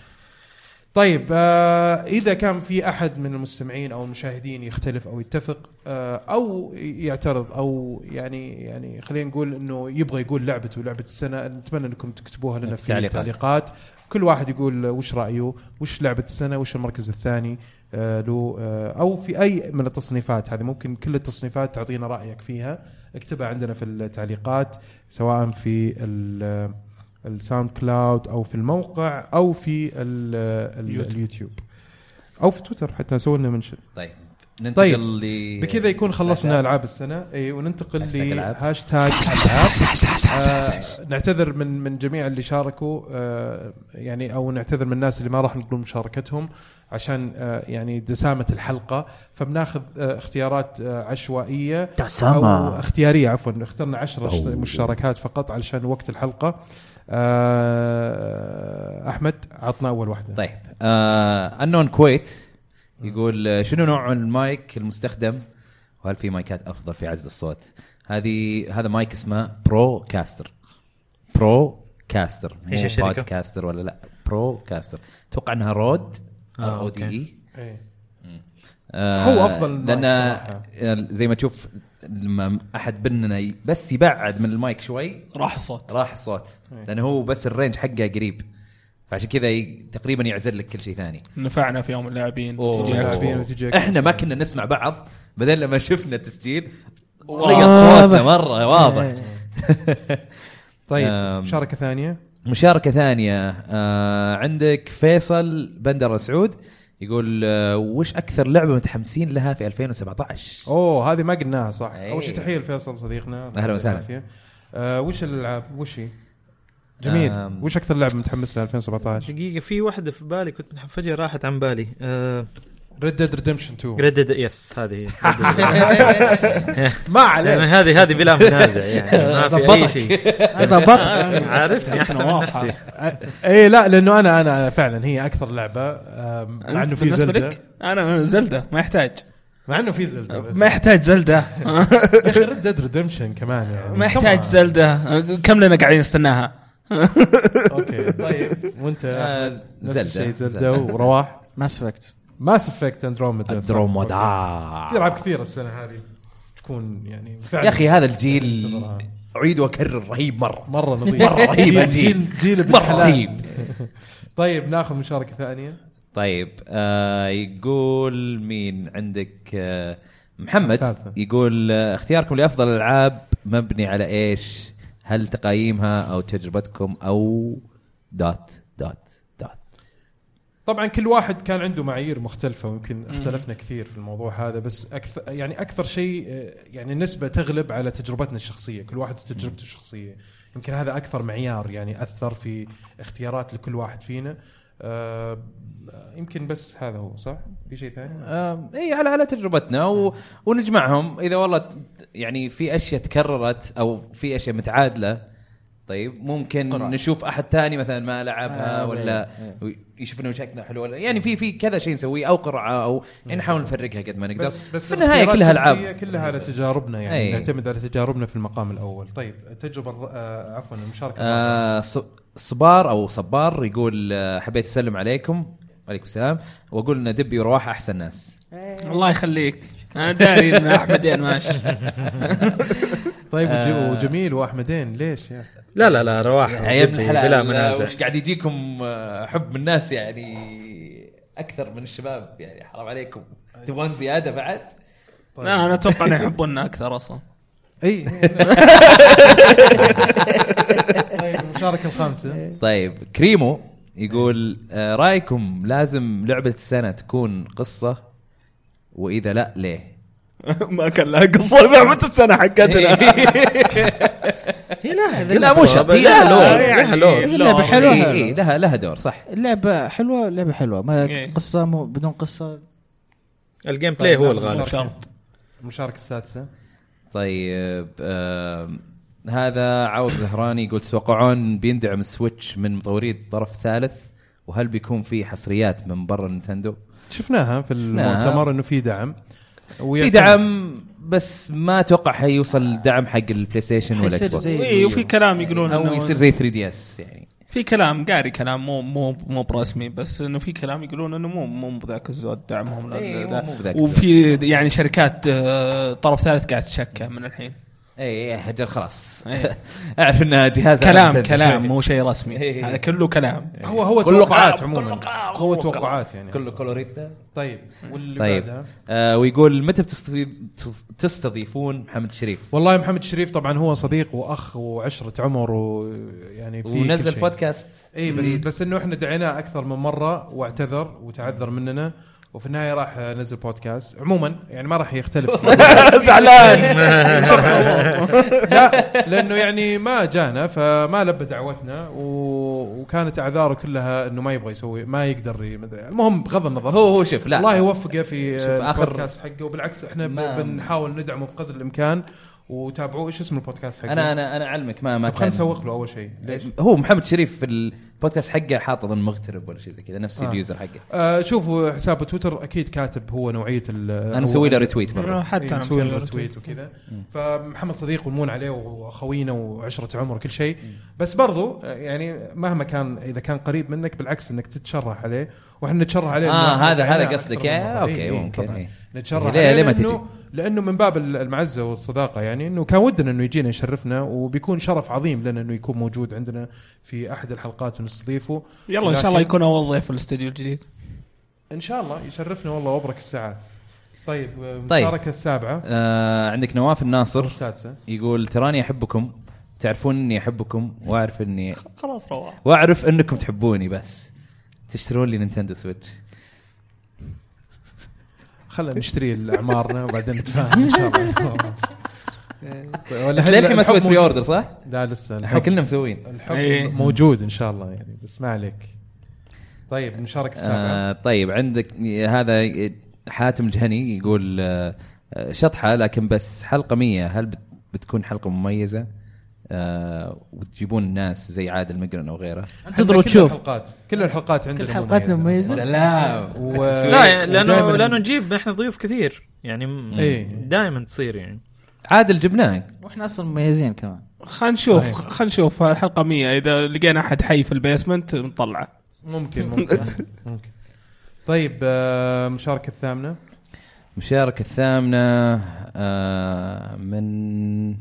Speaker 1: طيب آه اذا كان في احد من المستمعين او المشاهدين يختلف او يتفق آه او يعترض او يعني يعني خلينا نقول انه يبغى يقول لعبته لعبه السنه نتمنى انكم تكتبوها لنا في
Speaker 3: التعليقات.
Speaker 1: التعليقات كل واحد يقول وش رايه وش لعبه السنه وش المركز الثاني آه، له آه، او في اي من التصنيفات هذه ممكن كل التصنيفات تعطينا رايك فيها اكتبها عندنا في التعليقات سواء في ال- الساوند كلاود او في الموقع او في ال- ال-
Speaker 2: يوتيوب.
Speaker 1: اليوتيوب او في تويتر حتى سووا لنا منشن
Speaker 3: طيب ننتقل
Speaker 1: طيب.
Speaker 3: ل-
Speaker 1: بكذا يكون خلصنا العاب السنه اي وننتقل
Speaker 3: هاشتاج ألعاب.
Speaker 1: لهاشتاج العاب آه، نعتذر من من جميع اللي شاركوا آه، يعني او نعتذر من الناس اللي ما راح نقول مشاركتهم عشان آه، يعني دسامه الحلقه فبناخذ آه، اختيارات آه، عشوائيه او اختياريه عفوا اخترنا 10 مشاركات فقط علشان وقت الحلقه آه، احمد عطنا اول واحده
Speaker 3: طيب آه انون كويت يقول آه، شنو نوع المايك المستخدم وهل في مايكات افضل في عزل الصوت هذه هذا مايك اسمه برو كاستر برو كاستر مو
Speaker 4: إيش الشركة؟
Speaker 3: كاستر ولا لا برو كاستر اتوقع انها رود
Speaker 4: آه،
Speaker 3: او دي
Speaker 4: أوكي.
Speaker 3: اي
Speaker 1: إيه.
Speaker 3: E. آه،
Speaker 1: هو أفضل مايك
Speaker 3: لان
Speaker 1: صراحة.
Speaker 3: آه، زي ما تشوف لما احد بيننا ي- بس يبعد من المايك شوي
Speaker 2: راح الصوت
Speaker 3: راح الصوت
Speaker 1: إيه.
Speaker 3: لانه هو بس الرينج حقه قريب فعشان كذا ي- تقريبا يعزل لك كل شيء ثاني
Speaker 2: نفعنا في يوم اللاعبين
Speaker 3: أوه.
Speaker 2: تجي أكس
Speaker 1: لاعبين
Speaker 2: بو.
Speaker 1: وتجيك.
Speaker 3: احنا ما كنا نسمع بعض بعدين لما شفنا التسجيل
Speaker 2: واضح.
Speaker 3: لقط
Speaker 5: آه.
Speaker 3: صوتنا مره واضح
Speaker 1: طيب
Speaker 3: آم.
Speaker 1: مشاركه ثانيه
Speaker 3: مشاركه ثانيه آه عندك فيصل بندر سعود يقول آه وش اكثر لعبه متحمسين لها في 2017
Speaker 1: اوه هذه ما قلناها صح
Speaker 3: أي.
Speaker 1: اول شيء تحيه لفيصل صديقنا
Speaker 3: أهلا وسهلا.
Speaker 1: بالعافية. آه وش الالعاب وش هي؟ جميل
Speaker 3: آم.
Speaker 1: وش اكثر لعبه متحمس لها 2017
Speaker 4: دقيقه في واحده في بالي كنت منح- فجاه راحت عن بالي آه
Speaker 1: ريد ديد ريدمشن 2
Speaker 4: ريد يس هذه هي. Red Dead.
Speaker 1: ما
Speaker 4: يعني
Speaker 1: عليك
Speaker 4: هذه هذه بلا منازع يعني ما في اي
Speaker 5: زبطك.
Speaker 4: شيء
Speaker 5: زبط
Speaker 4: عارفني احسن من
Speaker 2: واضحة.
Speaker 4: نفسي
Speaker 1: اي إيه، لا لانه انا انا فعلا هي اكثر لعبه آم، مع انه
Speaker 2: أنت
Speaker 1: في
Speaker 2: بالنسبة
Speaker 1: زلده
Speaker 2: لك؟ انا زلده ما يحتاج
Speaker 1: مع انه في زلده
Speaker 2: ما يحتاج زلده
Speaker 1: ريد ديد ريدمشن كمان يعني
Speaker 2: ما
Speaker 1: Come
Speaker 2: يحتاج
Speaker 1: on.
Speaker 2: زلده كم لنا قاعدين نستناها
Speaker 1: اوكي طيب وانت
Speaker 3: آه،
Speaker 1: أحمد، نفس
Speaker 3: زلدة.
Speaker 1: الشيء، زلده
Speaker 3: زلدة.
Speaker 1: ورواح
Speaker 5: ماس افكت
Speaker 1: ماس افكت اندروميدا
Speaker 3: درومودا
Speaker 1: في العاب كثيره السنه هذه تكون يعني فعلا
Speaker 3: يا اخي هذا الجيل
Speaker 1: ننتظرها.
Speaker 3: اعيد واكرر رهيب مره
Speaker 1: مره نظيف
Speaker 3: مرة رهيب
Speaker 1: جيل-
Speaker 3: الجيل.
Speaker 1: جيل جيل ابن
Speaker 3: مره
Speaker 1: حلال.
Speaker 3: رهيب
Speaker 1: طيب ناخذ مشاركه ثانيه
Speaker 3: طيب آه يقول مين عندك آه محمد
Speaker 1: ثالثة.
Speaker 3: يقول آه اختياركم لافضل العاب مبني على ايش؟ هل تقييمها او تجربتكم او دات دات دات
Speaker 1: طبعا كل واحد كان عنده معايير مختلفه ويمكن اختلفنا كثير في الموضوع هذا بس اكثر يعني اكثر شيء آه، يعني النسبه تغلب على تجربتنا الشخصيه كل واحد وتجربته الشخصيه يمكن هذا اكثر معيار يعني اثر في اختيارات لكل واحد فينا آه، يمكن بس هذا هو صح في شيء ثاني
Speaker 3: آم، اي آه، على على تجربتنا و... ونجمعهم اذا والله ت- يعني في اشياء تكررت او في اشياء متعادله طيب ممكن
Speaker 5: قرأ.
Speaker 3: قرأ. نشوف احد ثاني مثلا ما لعبها آه
Speaker 5: آه،
Speaker 3: ولا يشوف انه شكلها حلو ولا يعني في في كذا شيء نسويه او قرعه او يعني نحاول نفرقها قد ما نقدر
Speaker 1: بس بس
Speaker 3: في النهايه
Speaker 1: الاختيارات
Speaker 3: كلها
Speaker 1: الشخصية
Speaker 3: العاب
Speaker 1: كلها على تجاربنا يعني
Speaker 3: أي.
Speaker 1: نعتمد على تجاربنا في المقام الاول طيب التجربه الر- آه، عفوا المشاركه الرابعة.
Speaker 3: آه ص- صبار او صبار يقول آه، حبيت اسلم عليكم وعليكم السلام واقول ان دبي ورواح احسن ناس
Speaker 5: إيه.
Speaker 2: الله يخليك انا داري ان احمدين ماشي
Speaker 1: طيب وج-
Speaker 3: آه.
Speaker 1: وجميل واحمدين ليش يعني؟ يا أخي؟
Speaker 4: لا لا لا رواح
Speaker 3: يا ابن
Speaker 4: دبي بلا
Speaker 3: الحلال آه،
Speaker 4: منازع
Speaker 3: وش قاعد يجيكم آه، حب من الناس يعني اكثر من الشباب يعني حرام عليكم تبغون زياده بعد؟
Speaker 1: طيب.
Speaker 2: لا انا اتوقع انه يحبوننا اكثر اصلا
Speaker 1: اي طيب المشاركه الخامسه
Speaker 3: طيب كريمو يقول آه، رايكم لازم لعبه السنه تكون قصه واذا لا ليه؟
Speaker 2: ما كان لها قصه لعبه السنه حقتنا
Speaker 4: هي لها
Speaker 3: إيه. لا، مو شرط. هي
Speaker 4: لها
Speaker 3: لا،
Speaker 4: لور لها
Speaker 2: يعني-
Speaker 4: لور
Speaker 5: إيه، لعبة حلوة
Speaker 3: إيه، إيه، لها لها دور صح
Speaker 5: اللعبة حلوة لعبة حلوة ما
Speaker 2: إيه.
Speaker 5: قصة مو بدون قصة
Speaker 4: الجيم بلاي هو الغالب
Speaker 1: شرط المشاركه السادسه
Speaker 3: طيب آه هذا عوض زهراني يقول تتوقعون بيندعم السويتش من مطوري طرف ثالث وهل بيكون في حصريات من برا نينتندو؟
Speaker 1: شفناها في المؤتمر انه في دعم
Speaker 3: في دعم بس ما اتوقع حيوصل دعم حق البلاي ستيشن والاكس
Speaker 5: حيصير
Speaker 3: بوكس
Speaker 5: زي-
Speaker 2: إيه، وفي كلام يقولون
Speaker 3: او
Speaker 2: انه
Speaker 3: يصير زي 3 دي اس يعني
Speaker 2: في كلام قاري كلام مو مو مو برسمي بس انه في كلام يقولون انه مو مو بذاك الزود دعمهم
Speaker 3: إيه،
Speaker 2: لل-
Speaker 3: مو بذاك
Speaker 2: وفي يعني شركات آه، طرف ثالث قاعد تشكى من الحين
Speaker 3: اي يا حجر إيه، خلاص
Speaker 2: إيه.
Speaker 3: اعرف انها جهاز
Speaker 2: كلام
Speaker 3: Nintendo.
Speaker 2: كلام مو شيء رسمي
Speaker 3: إيه.
Speaker 2: هذا كله كلام
Speaker 1: هو هو
Speaker 3: كله
Speaker 1: توقعات
Speaker 3: قرار،
Speaker 1: عموما
Speaker 3: كله قرار،
Speaker 1: هو
Speaker 3: كله
Speaker 1: توقعات يعني
Speaker 3: كله كولوريتا
Speaker 1: طيب واللي
Speaker 3: طيب.
Speaker 1: بعدها
Speaker 3: آه ويقول متى بتستضي- تستضيفون محمد شريف
Speaker 1: والله محمد الشريف طبعا هو صديق واخ وعشره عمر ويعني في كل
Speaker 3: ونزل
Speaker 1: شيء.
Speaker 3: بودكاست
Speaker 1: اي بس بس انه احنا دعيناه اكثر من مره واعتذر وتعذر مننا وفي النهايه راح نزل بودكاست عموما يعني ما راح يختلف لا لانه يعني ما جانا فما لبى دعوتنا و... وكانت اعذاره كلها انه ما يبغى يسوي ما يقدر ي- مدري- المهم بغض النظر
Speaker 3: هو هو شوف لا
Speaker 1: الله يوفقه في
Speaker 3: شوف آخر-
Speaker 1: البودكاست حقه وبالعكس احنا ب...
Speaker 3: ما-
Speaker 1: بنحاول ندعمه بقدر الامكان وتابعوه ايش اسم البودكاست حقه؟
Speaker 3: انا انا انا اعلمك ما ما
Speaker 1: طب خلينا نسوق له اول شيء ليش؟
Speaker 3: هو محمد شريف في البودكاست حقه حاط اظن مغترب ولا شيء زي كذا نفس
Speaker 1: آه.
Speaker 3: اليوزر حقه
Speaker 1: آه شوفوا حسابه تويتر اكيد كاتب هو نوعيه ال
Speaker 3: انا مسوي له ريتويت مره
Speaker 2: حتى انا
Speaker 1: مسوي
Speaker 2: مسوي
Speaker 1: له تويت وكذا فمحمد صديق ومون عليه واخوينا وعشره عمر كل شيء بس برضو آه، يعني مهما كان اذا كان قريب منك بالعكس انك تتشرح عليه واحنا نتشرح عليه
Speaker 3: آه،
Speaker 1: لأنه إحنا
Speaker 3: هذا- هذا
Speaker 1: تابعناه
Speaker 3: قصدك.
Speaker 1: أكثر من مرة.
Speaker 3: آه، أوكي،
Speaker 1: إيه، إيه،
Speaker 3: ممكن،
Speaker 1: طبعاً.
Speaker 3: إيه.
Speaker 1: نتشرح
Speaker 3: ليه-
Speaker 1: عليه
Speaker 3: ليه ما
Speaker 1: لأنه-
Speaker 3: تجي؟
Speaker 1: لانه من باب ال- المعزه والصداقه يعني انه كان ودنا انه يجينا يشرفنا وبيكون شرف عظيم لنا انه يكون موجود عندنا في احد الحلقات ونستضيفه
Speaker 2: يلا ان شاء الله
Speaker 1: لكن-
Speaker 2: يكون اول ضيف في الاستديو الجديد
Speaker 1: ان شاء الله يشرفنا والله وابرك الساعات طيب
Speaker 3: طيب.
Speaker 1: المشاركه السابعه
Speaker 3: آه عندك نواف الناصر
Speaker 1: والسادسه
Speaker 3: يقول تراني احبكم تعرفون اني احبكم واعرف اني
Speaker 2: خلاص رواح
Speaker 3: واعرف انكم تحبوني بس تشترون لي نينتندو سويتش
Speaker 1: خلينا نشتري اعمارنا وبعدين نتفاهم ان شاء الله ولا هل-
Speaker 3: للحين ما
Speaker 1: الحب
Speaker 3: سويت بري
Speaker 1: موجود؟
Speaker 3: اوردر صح؟
Speaker 1: لا لسه
Speaker 3: احنا
Speaker 1: الحب
Speaker 3: كلنا مسوين
Speaker 1: الحب
Speaker 2: إيه.
Speaker 1: موجود ان شاء الله يعني بس ما عليك طيب المشاركه السابعه
Speaker 3: آه طيب عندك هذا حاتم الجهني يقول آه شطحه لكن بس حلقه 100 هل بت- بتكون حلقه مميزه؟ آه وتجيبون الناس زي عادل مقرن او غيره
Speaker 5: انتظر
Speaker 1: عندنا كل
Speaker 5: وتشوف.
Speaker 1: الحلقات كل الحلقات عندنا
Speaker 5: كل حلقاتنا مميزة.
Speaker 3: سلام
Speaker 1: و...
Speaker 4: لا يعني لانه
Speaker 1: ودايماً-
Speaker 4: لانه نجيب احنا ضيوف كثير يعني
Speaker 1: إيه.
Speaker 4: دائما تصير يعني
Speaker 3: عادل جبناه
Speaker 5: واحنا اصلا مميزين كمان
Speaker 2: خلينا نشوف
Speaker 1: صحيح.
Speaker 2: خلينا نشوف الحلقه 100 اذا لقينا احد حي في البيسمنت نطلعه
Speaker 1: ممكن ممكن ممكن طيب آه، المشاركه الثامنه
Speaker 3: المشاركة الثامنة آه، من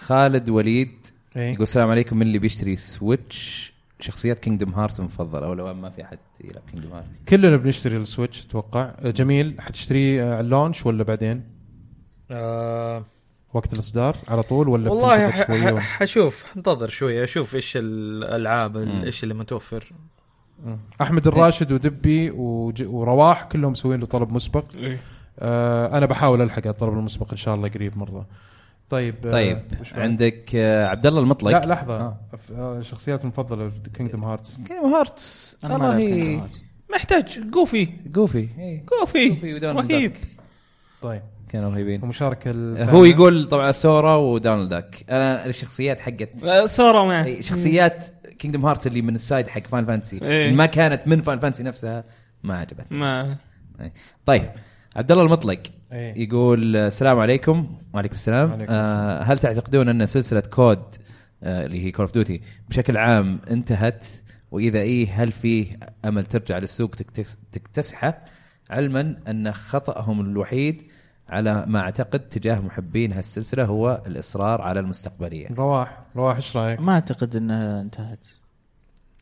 Speaker 3: خالد وليد
Speaker 1: إيه.
Speaker 3: يقول السلام عليكم من اللي بيشتري سويتش شخصيات كينجدم هارت مفضله او لو ما في احد يلعب كينجدم هارت
Speaker 1: كلنا بنشتري السويتش اتوقع آه، جميل حتشتريه آه، على اللونش ولا بعدين
Speaker 4: آه
Speaker 1: وقت الاصدار على طول ولا
Speaker 4: والله
Speaker 1: بتنتظر
Speaker 4: ح-
Speaker 1: شوية
Speaker 4: ح- حشوف انتظر شويه اشوف ايش الالعاب ال- ايش اللي متوفر
Speaker 1: مم. احمد الراشد ودبي وج... ورواح كلهم مسوين له طلب مسبق آه انا بحاول الحق على الطلب المسبق ان شاء الله قريب مره طيب آه،
Speaker 3: طيب
Speaker 1: وش بعد؟
Speaker 3: عندك آه، عبد الله المطلق
Speaker 1: لا لحظه
Speaker 3: آه.
Speaker 1: آه. آه شخصيات المفضله كينجدم هارتس
Speaker 3: كينجدم هارتس
Speaker 5: انا ما لعبت
Speaker 3: والله
Speaker 5: Kingdom Hearts.
Speaker 2: محتاج جوفي
Speaker 3: جوفي
Speaker 2: جوفي
Speaker 3: جوفي ودونالد
Speaker 2: رهيب
Speaker 3: داك.
Speaker 1: طيب
Speaker 3: كانوا رهيبين آه،
Speaker 1: ومشاركه
Speaker 3: هو يقول طبعا سورا ودونالد داك انا الشخصيات حقت
Speaker 2: آه، سورا ما
Speaker 3: أي شخصيات كينجدم هارت اللي من السايد حق فان فانسي
Speaker 2: إيه.
Speaker 3: اللي ما كانت من فان فانسي نفسها ما عجبت
Speaker 2: ما
Speaker 3: طيب عبد الله المطلق
Speaker 1: اي
Speaker 3: يقول آه، السلام عليكم وعليكم السلام
Speaker 1: وعليكم
Speaker 3: آه هل تعتقدون ان سلسله كود آه اللي هي كول اوف ديوتي بشكل عام انتهت واذا ايه هل فيه امل ترجع للسوق تكتس- تكتسحه علما ان خطاهم الوحيد على ما اعتقد تجاه محبين هالسلسله هو الاصرار على المستقبليه
Speaker 1: رواح رواح ايش رايك؟
Speaker 5: ما اعتقد انها انتهت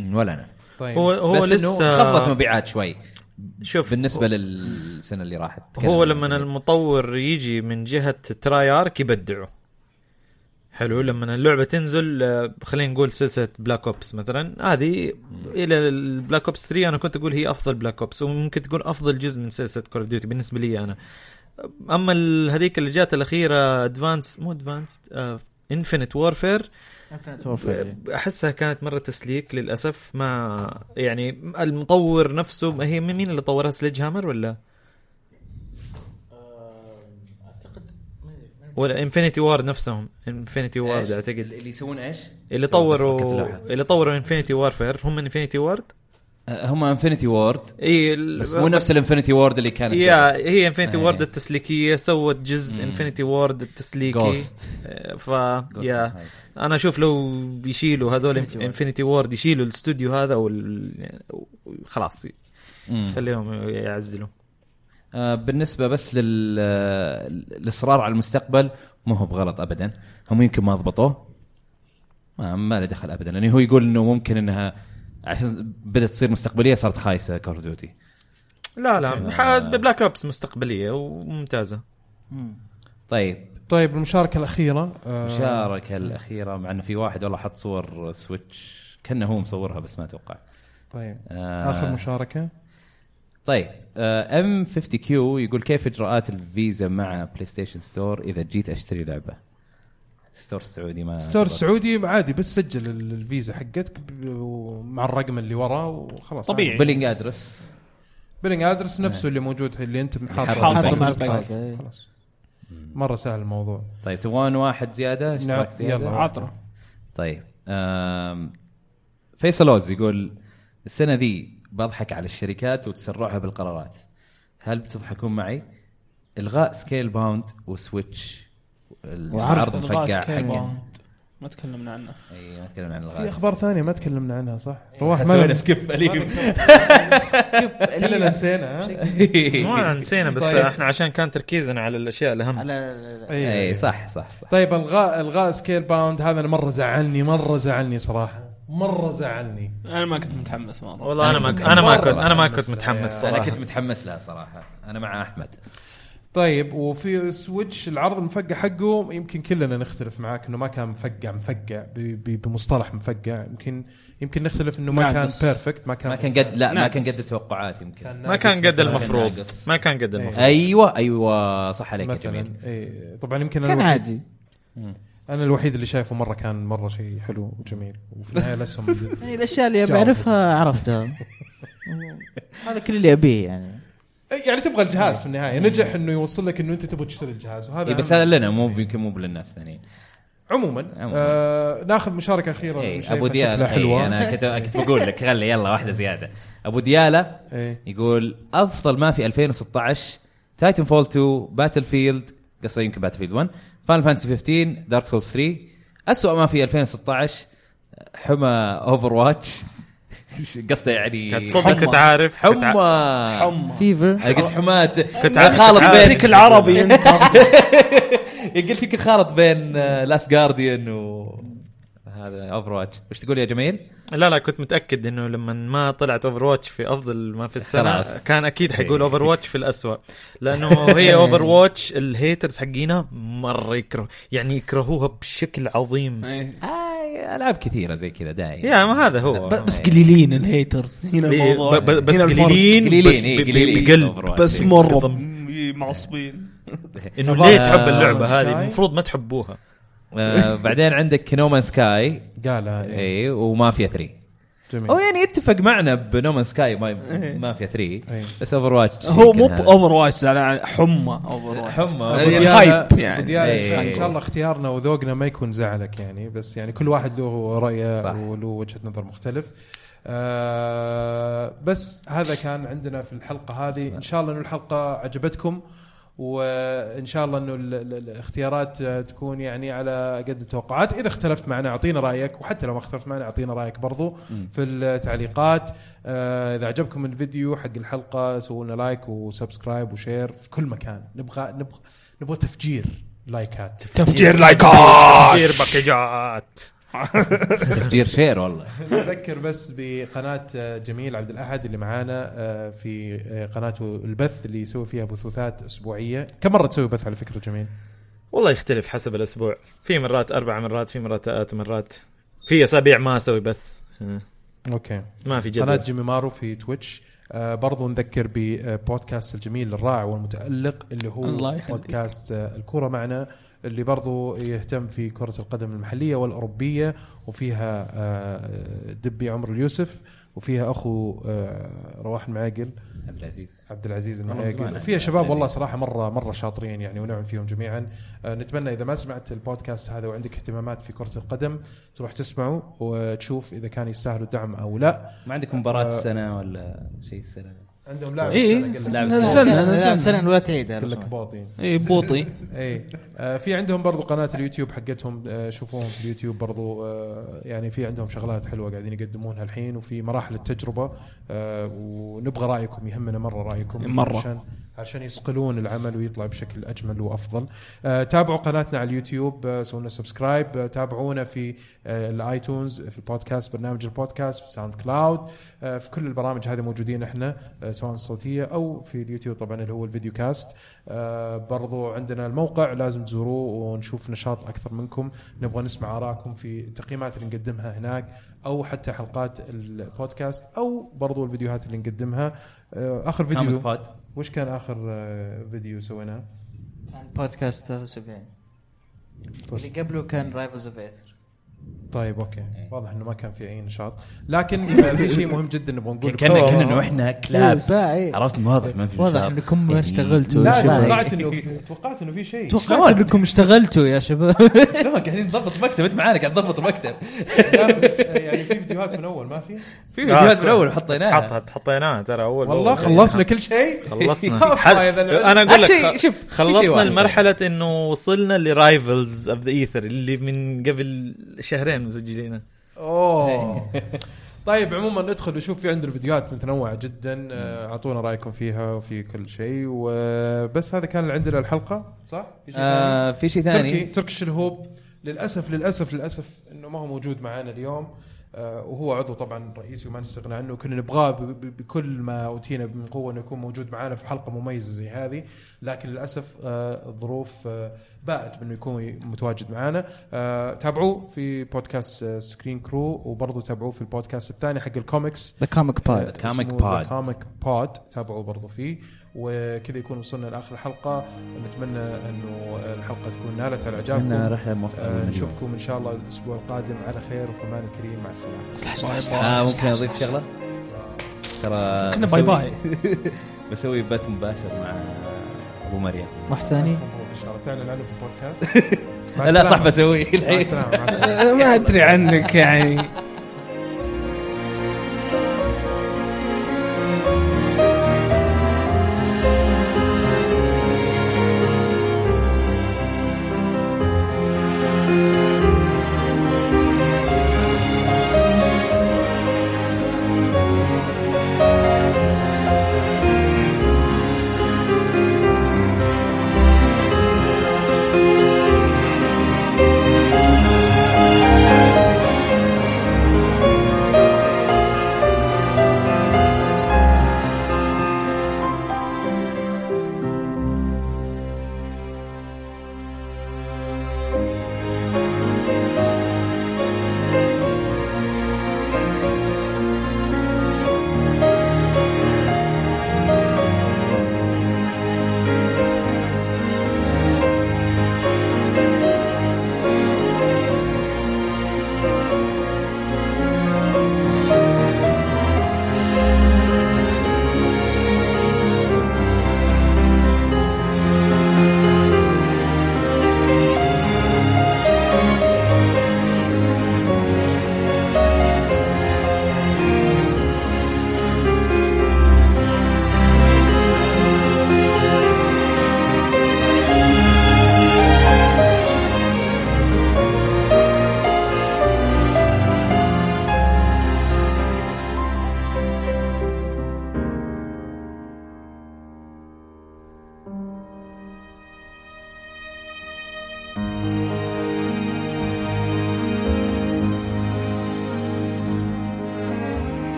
Speaker 3: ولا انا
Speaker 1: طيب
Speaker 4: هو هو
Speaker 3: بس لسه خفضت
Speaker 4: لسه
Speaker 3: مبيعات شوي
Speaker 4: شوف
Speaker 3: بالنسبه للسنه اللي راحت
Speaker 4: هو لما المطور يجي من جهه تراي ارك يبدعوا حلو لما اللعبه تنزل آه، خلينا نقول سلسله بلاك اوبس مثلا هذه الى البلاك اوبس 3 انا كنت اقول هي افضل بلاك اوبس وممكن تقول افضل جزء من سلسله كول اوف ديوتي بالنسبه لي انا اما ال- هذيك اللي جات الاخيره ادفانس مو آه، ادفانس انفينيت وورفير نعم. احسها كانت مره تسليك للاسف ما يعني المطور نفسه ما هي مين اللي طورها سليج هامر ولا ولا انفينيتي وارد نفسهم انفينيتي وارد اعتقد
Speaker 3: اللي يسوون ايش؟
Speaker 4: اللي
Speaker 3: بس
Speaker 4: طوروا
Speaker 3: ركبت لوحة.
Speaker 4: اللي طوروا انفينيتي وارفير هم انفينيتي وارد
Speaker 3: آه، هم انفنتي وورد
Speaker 4: اي
Speaker 3: بس مو نفس الانفنتي وورد اللي كانت
Speaker 4: يا هي انفينيتي
Speaker 3: إيه.
Speaker 4: وورد التسليكيه سوت جزء انفينيتي وورد التسليكي
Speaker 3: جوست
Speaker 4: آه، ف يا انا اشوف لو بيشيلوا هذول انفينيتي وورد يشيلوا الاستوديو هذا وال... خلاص خليهم يعزلوا
Speaker 3: آه، بالنسبه بس لل آه، الاصرار على المستقبل ما هو بغلط ابدا هم يمكن ما ضبطوه ما, ما له دخل ابدا لانه هو يقول انه ممكن انها عشان بدات تصير مستقبليه صارت خايسه كول اوف ديوتي
Speaker 4: لا لا ح- بلاك اوبس مستقبليه وممتازه
Speaker 3: طيب
Speaker 1: طيب المشاركه الاخيره آه،
Speaker 3: المشاركة الأخيرة مع أنه في واحد والله حط صور سويتش كأنه هو مصورها بس ما أتوقع
Speaker 1: طيب
Speaker 3: آه
Speaker 1: اخر مشاركه
Speaker 3: طيب ام 50 كيو يقول كيف إجراءات الفيزا مع بلاي ستيشن ستور إذا جيت أشتري لعبة؟ ستور السعودي ما
Speaker 1: ستور السعودي عادي بس سجل ال- الفيزا حقتك ب- و- مع الرقم اللي وراه وخلاص
Speaker 2: طبيعي.
Speaker 3: بلينج أدرس
Speaker 1: بيلينج ادرس نفسه اللي موجود اللي انت حاطه
Speaker 3: حاطه
Speaker 1: حاطه
Speaker 5: مع
Speaker 1: مع
Speaker 5: البنك.
Speaker 1: البنك. خلاص مره سهل الموضوع
Speaker 3: طيب تبغون واحد زيادة؟ اشتراك
Speaker 1: نعم،
Speaker 3: زيادة؟
Speaker 1: يلا.
Speaker 2: عطره
Speaker 3: طيب آم، فيصل اوز يقول السنه ذي بضحك على الشركات وتسرعها بالقرارات هل بتضحكون معي؟ الغاء سكيل باوند وسويتش العرض الفقاع حقه
Speaker 2: ما تكلمنا عنه
Speaker 3: اي ما تكلمنا عن
Speaker 1: في
Speaker 3: الغاء
Speaker 1: اخبار ثانيه ما تكلمنا عنها صح؟ رواح
Speaker 3: إيه. سوينا
Speaker 1: ما
Speaker 3: سكيب اليم
Speaker 1: كلنا نسينا ها؟
Speaker 3: إيه،
Speaker 4: ما نسينا بس
Speaker 1: طيب.
Speaker 4: احنا عشان كان تركيزنا على الاشياء الاهم
Speaker 5: على
Speaker 1: أيوة.
Speaker 3: اي إيه، صح صح صح
Speaker 1: طيب الغاء الغاء سكيل باوند هذا أنا مره زعلني مره زعلني صراحه مره زعلني
Speaker 2: انا ما كنت متحمس مره
Speaker 4: والله انا ما انا ما كنت انا ما كنت متحمس
Speaker 3: انا
Speaker 4: صراحه
Speaker 3: كنت متحمس لها صراحه انا مع احمد
Speaker 1: طيب وفي سويتش العرض المفقع حقه يمكن كلنا نختلف معاك انه ما كان مفقع مفقع ب- ب- بمصطلح مفقع يمكن يمكن نختلف انه
Speaker 4: نعم.
Speaker 1: ما كان
Speaker 2: ناقص.
Speaker 1: بيرفكت ما كان
Speaker 3: ما كان قد لا ما
Speaker 2: ناقص.
Speaker 3: كان قد التوقعات يمكن
Speaker 4: ما كان قد
Speaker 1: ناقص
Speaker 4: المفروض
Speaker 3: ناقص.
Speaker 4: ما كان قد المفروض
Speaker 3: ايوه ايوه صح عليك يا جميل
Speaker 1: مثلا إيه طبعا يمكن
Speaker 5: كان
Speaker 1: الوحيد-
Speaker 5: عادي
Speaker 1: انا الوحيد اللي شايفه مره كان مره شيء حلو وجميل وفي النهايه الاسهم
Speaker 5: يعني الاشياء اللي
Speaker 1: جاوبت.
Speaker 5: بعرفها عرفتها هذا كل اللي ابيه يعني
Speaker 1: يعني تبغى الجهاز في النهايه نجح انه يوصل لك انه انت تبغى تشتري الجهاز وهذا
Speaker 3: إيه بس هذا لنا مو يمكن مو للناس الثانيين
Speaker 1: عموما
Speaker 3: عموماً. إيه،
Speaker 1: آه ناخذ مشاركه اخيره
Speaker 3: اي
Speaker 1: شايفها
Speaker 3: ابو ديالا
Speaker 1: شكلها
Speaker 3: حلوة.
Speaker 1: حلوه
Speaker 3: انا كنت كنت بقول لك خلي يلا واحده زياده ابو ديالا
Speaker 1: إيه.
Speaker 3: يقول افضل ما في 2016 تايتن فول 2 باتل فيلد قصدي يمكن باتل فيلد 1 فان فانسي 15 دارك سولز 3 اسوء ما في 2016 حمى اوفر واتش قصده يعني
Speaker 4: كنت صدق كنت عارف
Speaker 3: حمى
Speaker 4: كنت ع-
Speaker 3: حمى
Speaker 2: حمى
Speaker 5: فيفر
Speaker 3: انا قلت حماة
Speaker 4: كنت عارف
Speaker 3: خالط
Speaker 4: كنت عارف.
Speaker 3: بين
Speaker 2: العربي انت
Speaker 3: قلت يمكن خارط بين لاست جارديان و هذا اوفر واتش وش تقول يا جميل؟
Speaker 4: لا لا كنت متاكد انه لما ما طلعت اوفر واتش في افضل ما في السنه
Speaker 3: خلاص.
Speaker 4: خلاص. كان اكيد حيقول اوفر واتش في الأسوأ لانه هي اوفر واتش الهيترز حقينا مره يكره يعني يكرهوها بشكل عظيم
Speaker 2: إيه.
Speaker 3: آه العاب كثيره زي كذا دايم آه،
Speaker 4: يا ما هذا هو
Speaker 2: ب- بس قليلين الهيترز هنا
Speaker 4: إيه،
Speaker 2: الموضوع
Speaker 4: ب- ب- بس
Speaker 2: هنا الفرق.
Speaker 4: قليلين
Speaker 3: قليلين
Speaker 4: بس
Speaker 3: إيه،
Speaker 4: ب-
Speaker 3: قليلين
Speaker 4: ب- بقلب
Speaker 3: Overwatch.
Speaker 2: بس مره
Speaker 4: بالضبط.
Speaker 2: إيه، معصبين
Speaker 4: انه ليه تحب
Speaker 3: آه،
Speaker 4: اللعبه
Speaker 1: Overwatch.
Speaker 4: هذه المفروض ما تحبوها
Speaker 3: آه بعدين عندك نومان سكاي
Speaker 1: قالها إيه.
Speaker 3: اي وما فيها 3
Speaker 1: جميل
Speaker 3: او يعني اتفق معنا بنومان سكاي ما ما فيها 3
Speaker 1: إيه.
Speaker 3: بس اوفر واتش
Speaker 2: هو مو باوفر واتش زعلان، حمى اوفر واتش
Speaker 3: حمى
Speaker 2: يعني
Speaker 1: وديانا-
Speaker 2: هايب يعني.
Speaker 1: وديانا
Speaker 3: إيه.
Speaker 1: ان شاء الله اختيارنا وذوقنا ما يكون زعلك يعني بس يعني كل واحد له رايه
Speaker 3: صح.
Speaker 1: وله وجهه نظر مختلف آه بس هذا كان عندنا في الحلقه هذه ان شاء الله انه الحلقه عجبتكم وان شاء الله انه ال- ال- الاختيارات آه، تكون يعني على قد التوقعات اذا اختلفت معنا اعطينا رايك وحتى لو ما اختلفت معنا اعطينا رايك برضو في التعليقات آه، اذا عجبكم الفيديو حق الحلقه سووا لنا لايك وسبسكرايب وشير في كل مكان نبغى نبغى نبغى تفجير لايكات
Speaker 2: تفجير لايكات
Speaker 4: كثير باكجات
Speaker 3: تفجير شير والله
Speaker 1: نذكر بس بقناه آه، جميل عبد الاحد اللي معانا آه، في آه، قناته البث اللي يسوي فيها بثوثات اسبوعيه كم مره تسوي بث على فكره جميل
Speaker 4: والله يختلف حسب الاسبوع في مرات اربع مرات في مرات ثلاث مرات في اسابيع ما اسوي بث
Speaker 1: اوكي
Speaker 4: ما في
Speaker 1: قناه
Speaker 4: جدول
Speaker 1: جيمي مارو في تويتش آه برضو نذكر ببودكاست الجميل الرائع والمتالق اللي هو
Speaker 2: الله يخليك.
Speaker 1: بودكاست آه، الكوره معنا اللي برضو يهتم في كره القدم المحليه والاوروبيه وفيها آه، دبي عمر اليوسف وفيها اخو آه، رواح المعاقل
Speaker 3: عبد العزيز
Speaker 1: عبد العزيز
Speaker 3: والله من زمان
Speaker 1: المعيقل
Speaker 3: عندنا
Speaker 1: فيها شباب
Speaker 3: عبد
Speaker 1: والله
Speaker 3: العزيز.
Speaker 1: صراحه مره مره شاطرين يعني ونعم فيهم جميعا آه، نتمنى اذا ما سمعت البودكاست هذا وعندك اهتمامات في كره القدم تروح تسمعه وتشوف اذا كان يستاهلوا الدعم او لا
Speaker 3: ما عندكم مباراه
Speaker 1: آه.
Speaker 3: السنه ولا شيء السنه
Speaker 1: عندهم لاعب
Speaker 2: إيه.
Speaker 1: السنة قال لك-
Speaker 3: لاعب
Speaker 2: نزلنا،
Speaker 3: السنه
Speaker 2: نزلنا.
Speaker 5: لا سنة ولا تعيد
Speaker 1: قال نعم. لك
Speaker 5: أنا
Speaker 1: باطي
Speaker 2: اي بوطي
Speaker 1: اي آه، في عندهم برضو قناه اليوتيوب حقتهم آه، شوفوهم في اليوتيوب برضو آه، يعني في عندهم شغلات حلوه قاعدين يقدمونها الحين وفي مراحل التجربه آه، ونبغى رايكم يهمنا مره رايكم
Speaker 2: مرة.
Speaker 1: عشان عشان يصقلون العمل ويطلع بشكل اجمل وافضل آه، تابعوا قناتنا على اليوتيوب آه، سووا لنا سبسكرايب آه، تابعونا في آه، الايتونز في البودكاست برنامج البودكاست في ساوند كلاود آه، في كل البرامج هذه موجودين احنا آه، سواء الصوتيه او في اليوتيوب طبعا اللي هو الفيديو كاست آه، برضو عندنا الموقع لازم تزوروه ونشوف نشاط اكثر منكم نبغى نسمع ارائكم في التقييمات اللي نقدمها هناك او حتى حلقات البودكاست او برضو الفيديوهات اللي نقدمها آه، اخر
Speaker 3: كامل
Speaker 1: فيديو
Speaker 3: بود
Speaker 1: وش كان اخر آه، فيديو سويناه؟
Speaker 5: بودكاست 73 اللي قبله كان رايفلز اوف ايثر
Speaker 1: طيب اوكي واضح انه ما كان في اي نشاط لكن آه، في شيء مهم جدا نبغى نقول
Speaker 3: كنا كنا انه احنا
Speaker 5: إيه،
Speaker 3: كلاب
Speaker 5: عرفت
Speaker 3: عرفت واضح ما في
Speaker 5: واضح
Speaker 3: مشاعر.
Speaker 5: انكم
Speaker 3: يعني
Speaker 5: اشتغلتوا يا
Speaker 1: لا
Speaker 5: شباب.
Speaker 1: توقعت انه توقعت انه في شيء
Speaker 5: توقعت انكم اشتغلتوا يا شباب
Speaker 3: شلون قاعدين نضبط مكتب انت معانا قاعد تضبط مكتب
Speaker 1: لا، بس، آه، يعني في فيديوهات من اول ما في
Speaker 3: في فيديوهات من
Speaker 4: كويس.
Speaker 3: اول إيه، حطيناها
Speaker 4: حط حطيناها ترى اول
Speaker 1: والله
Speaker 4: أول.
Speaker 1: خلصنا كل شيء
Speaker 4: خلصنا آه،
Speaker 1: أفا يا ذا العلم.
Speaker 4: انا اقول لك
Speaker 3: شيء-
Speaker 4: خ-
Speaker 3: شوف، في شيء
Speaker 4: خلصنا
Speaker 3: واحد.
Speaker 4: لمرحله انه وصلنا لرايفلز اوف ذا ايثر اللي من قبل شهرين مسجلينه
Speaker 1: اوه طيب عموما ندخل نشوف في عندنا فيديوهات متنوعه جدا آه، اعطونا رايكم فيها وفي كل شيء وبس هذا كان اللي عندنا الحلقه صح؟ في شيء ثاني؟
Speaker 3: آه، في شيء
Speaker 1: تركي
Speaker 3: ثاني
Speaker 1: تركي الهوب للاسف للاسف للاسف انه ما هو موجود معنا اليوم آه، وهو عضو طبعا رئيسي وما نستغنى عنه كنا نبغاه ب- ب- بكل ما اوتينا من قوه انه يكون موجود معنا في حلقه مميزه زي هذه لكن للاسف آه، الظروف آه، باءت بانه يكون متواجد معنا آه، تابعوه في بودكاست آه، سكرين كرو وبرضه تابعوه في البودكاست الثاني حق الكوميكس
Speaker 5: ذا كوميك بايد
Speaker 3: Comic Pod.
Speaker 1: كوميك بود تابعوا برضو فيه وكذا يكون وصلنا لاخر الحلقه نتمنى انه الحلقه تكون نالت على
Speaker 3: كنا
Speaker 1: اعجابكم
Speaker 3: رحله موفقه
Speaker 1: آه،
Speaker 3: من اليوم.
Speaker 1: نشوفكم ان شاء الله الاسبوع القادم على خير وفي امان الكريم مع السلامه
Speaker 3: آه ممكن اضيف شغله ترى
Speaker 2: كنا باي
Speaker 3: بسوي-
Speaker 2: باي
Speaker 3: بسوي بث مباشر مع ابو مريم
Speaker 5: واحد ثاني
Speaker 1: ألف مبروك ان شاء الله تعلن عنه في البودكاست مع
Speaker 3: لا
Speaker 1: السلامة.
Speaker 3: صح بسويه
Speaker 1: مع
Speaker 3: الحين
Speaker 1: السلامه مع السلامه
Speaker 2: ما ادري عنك يعني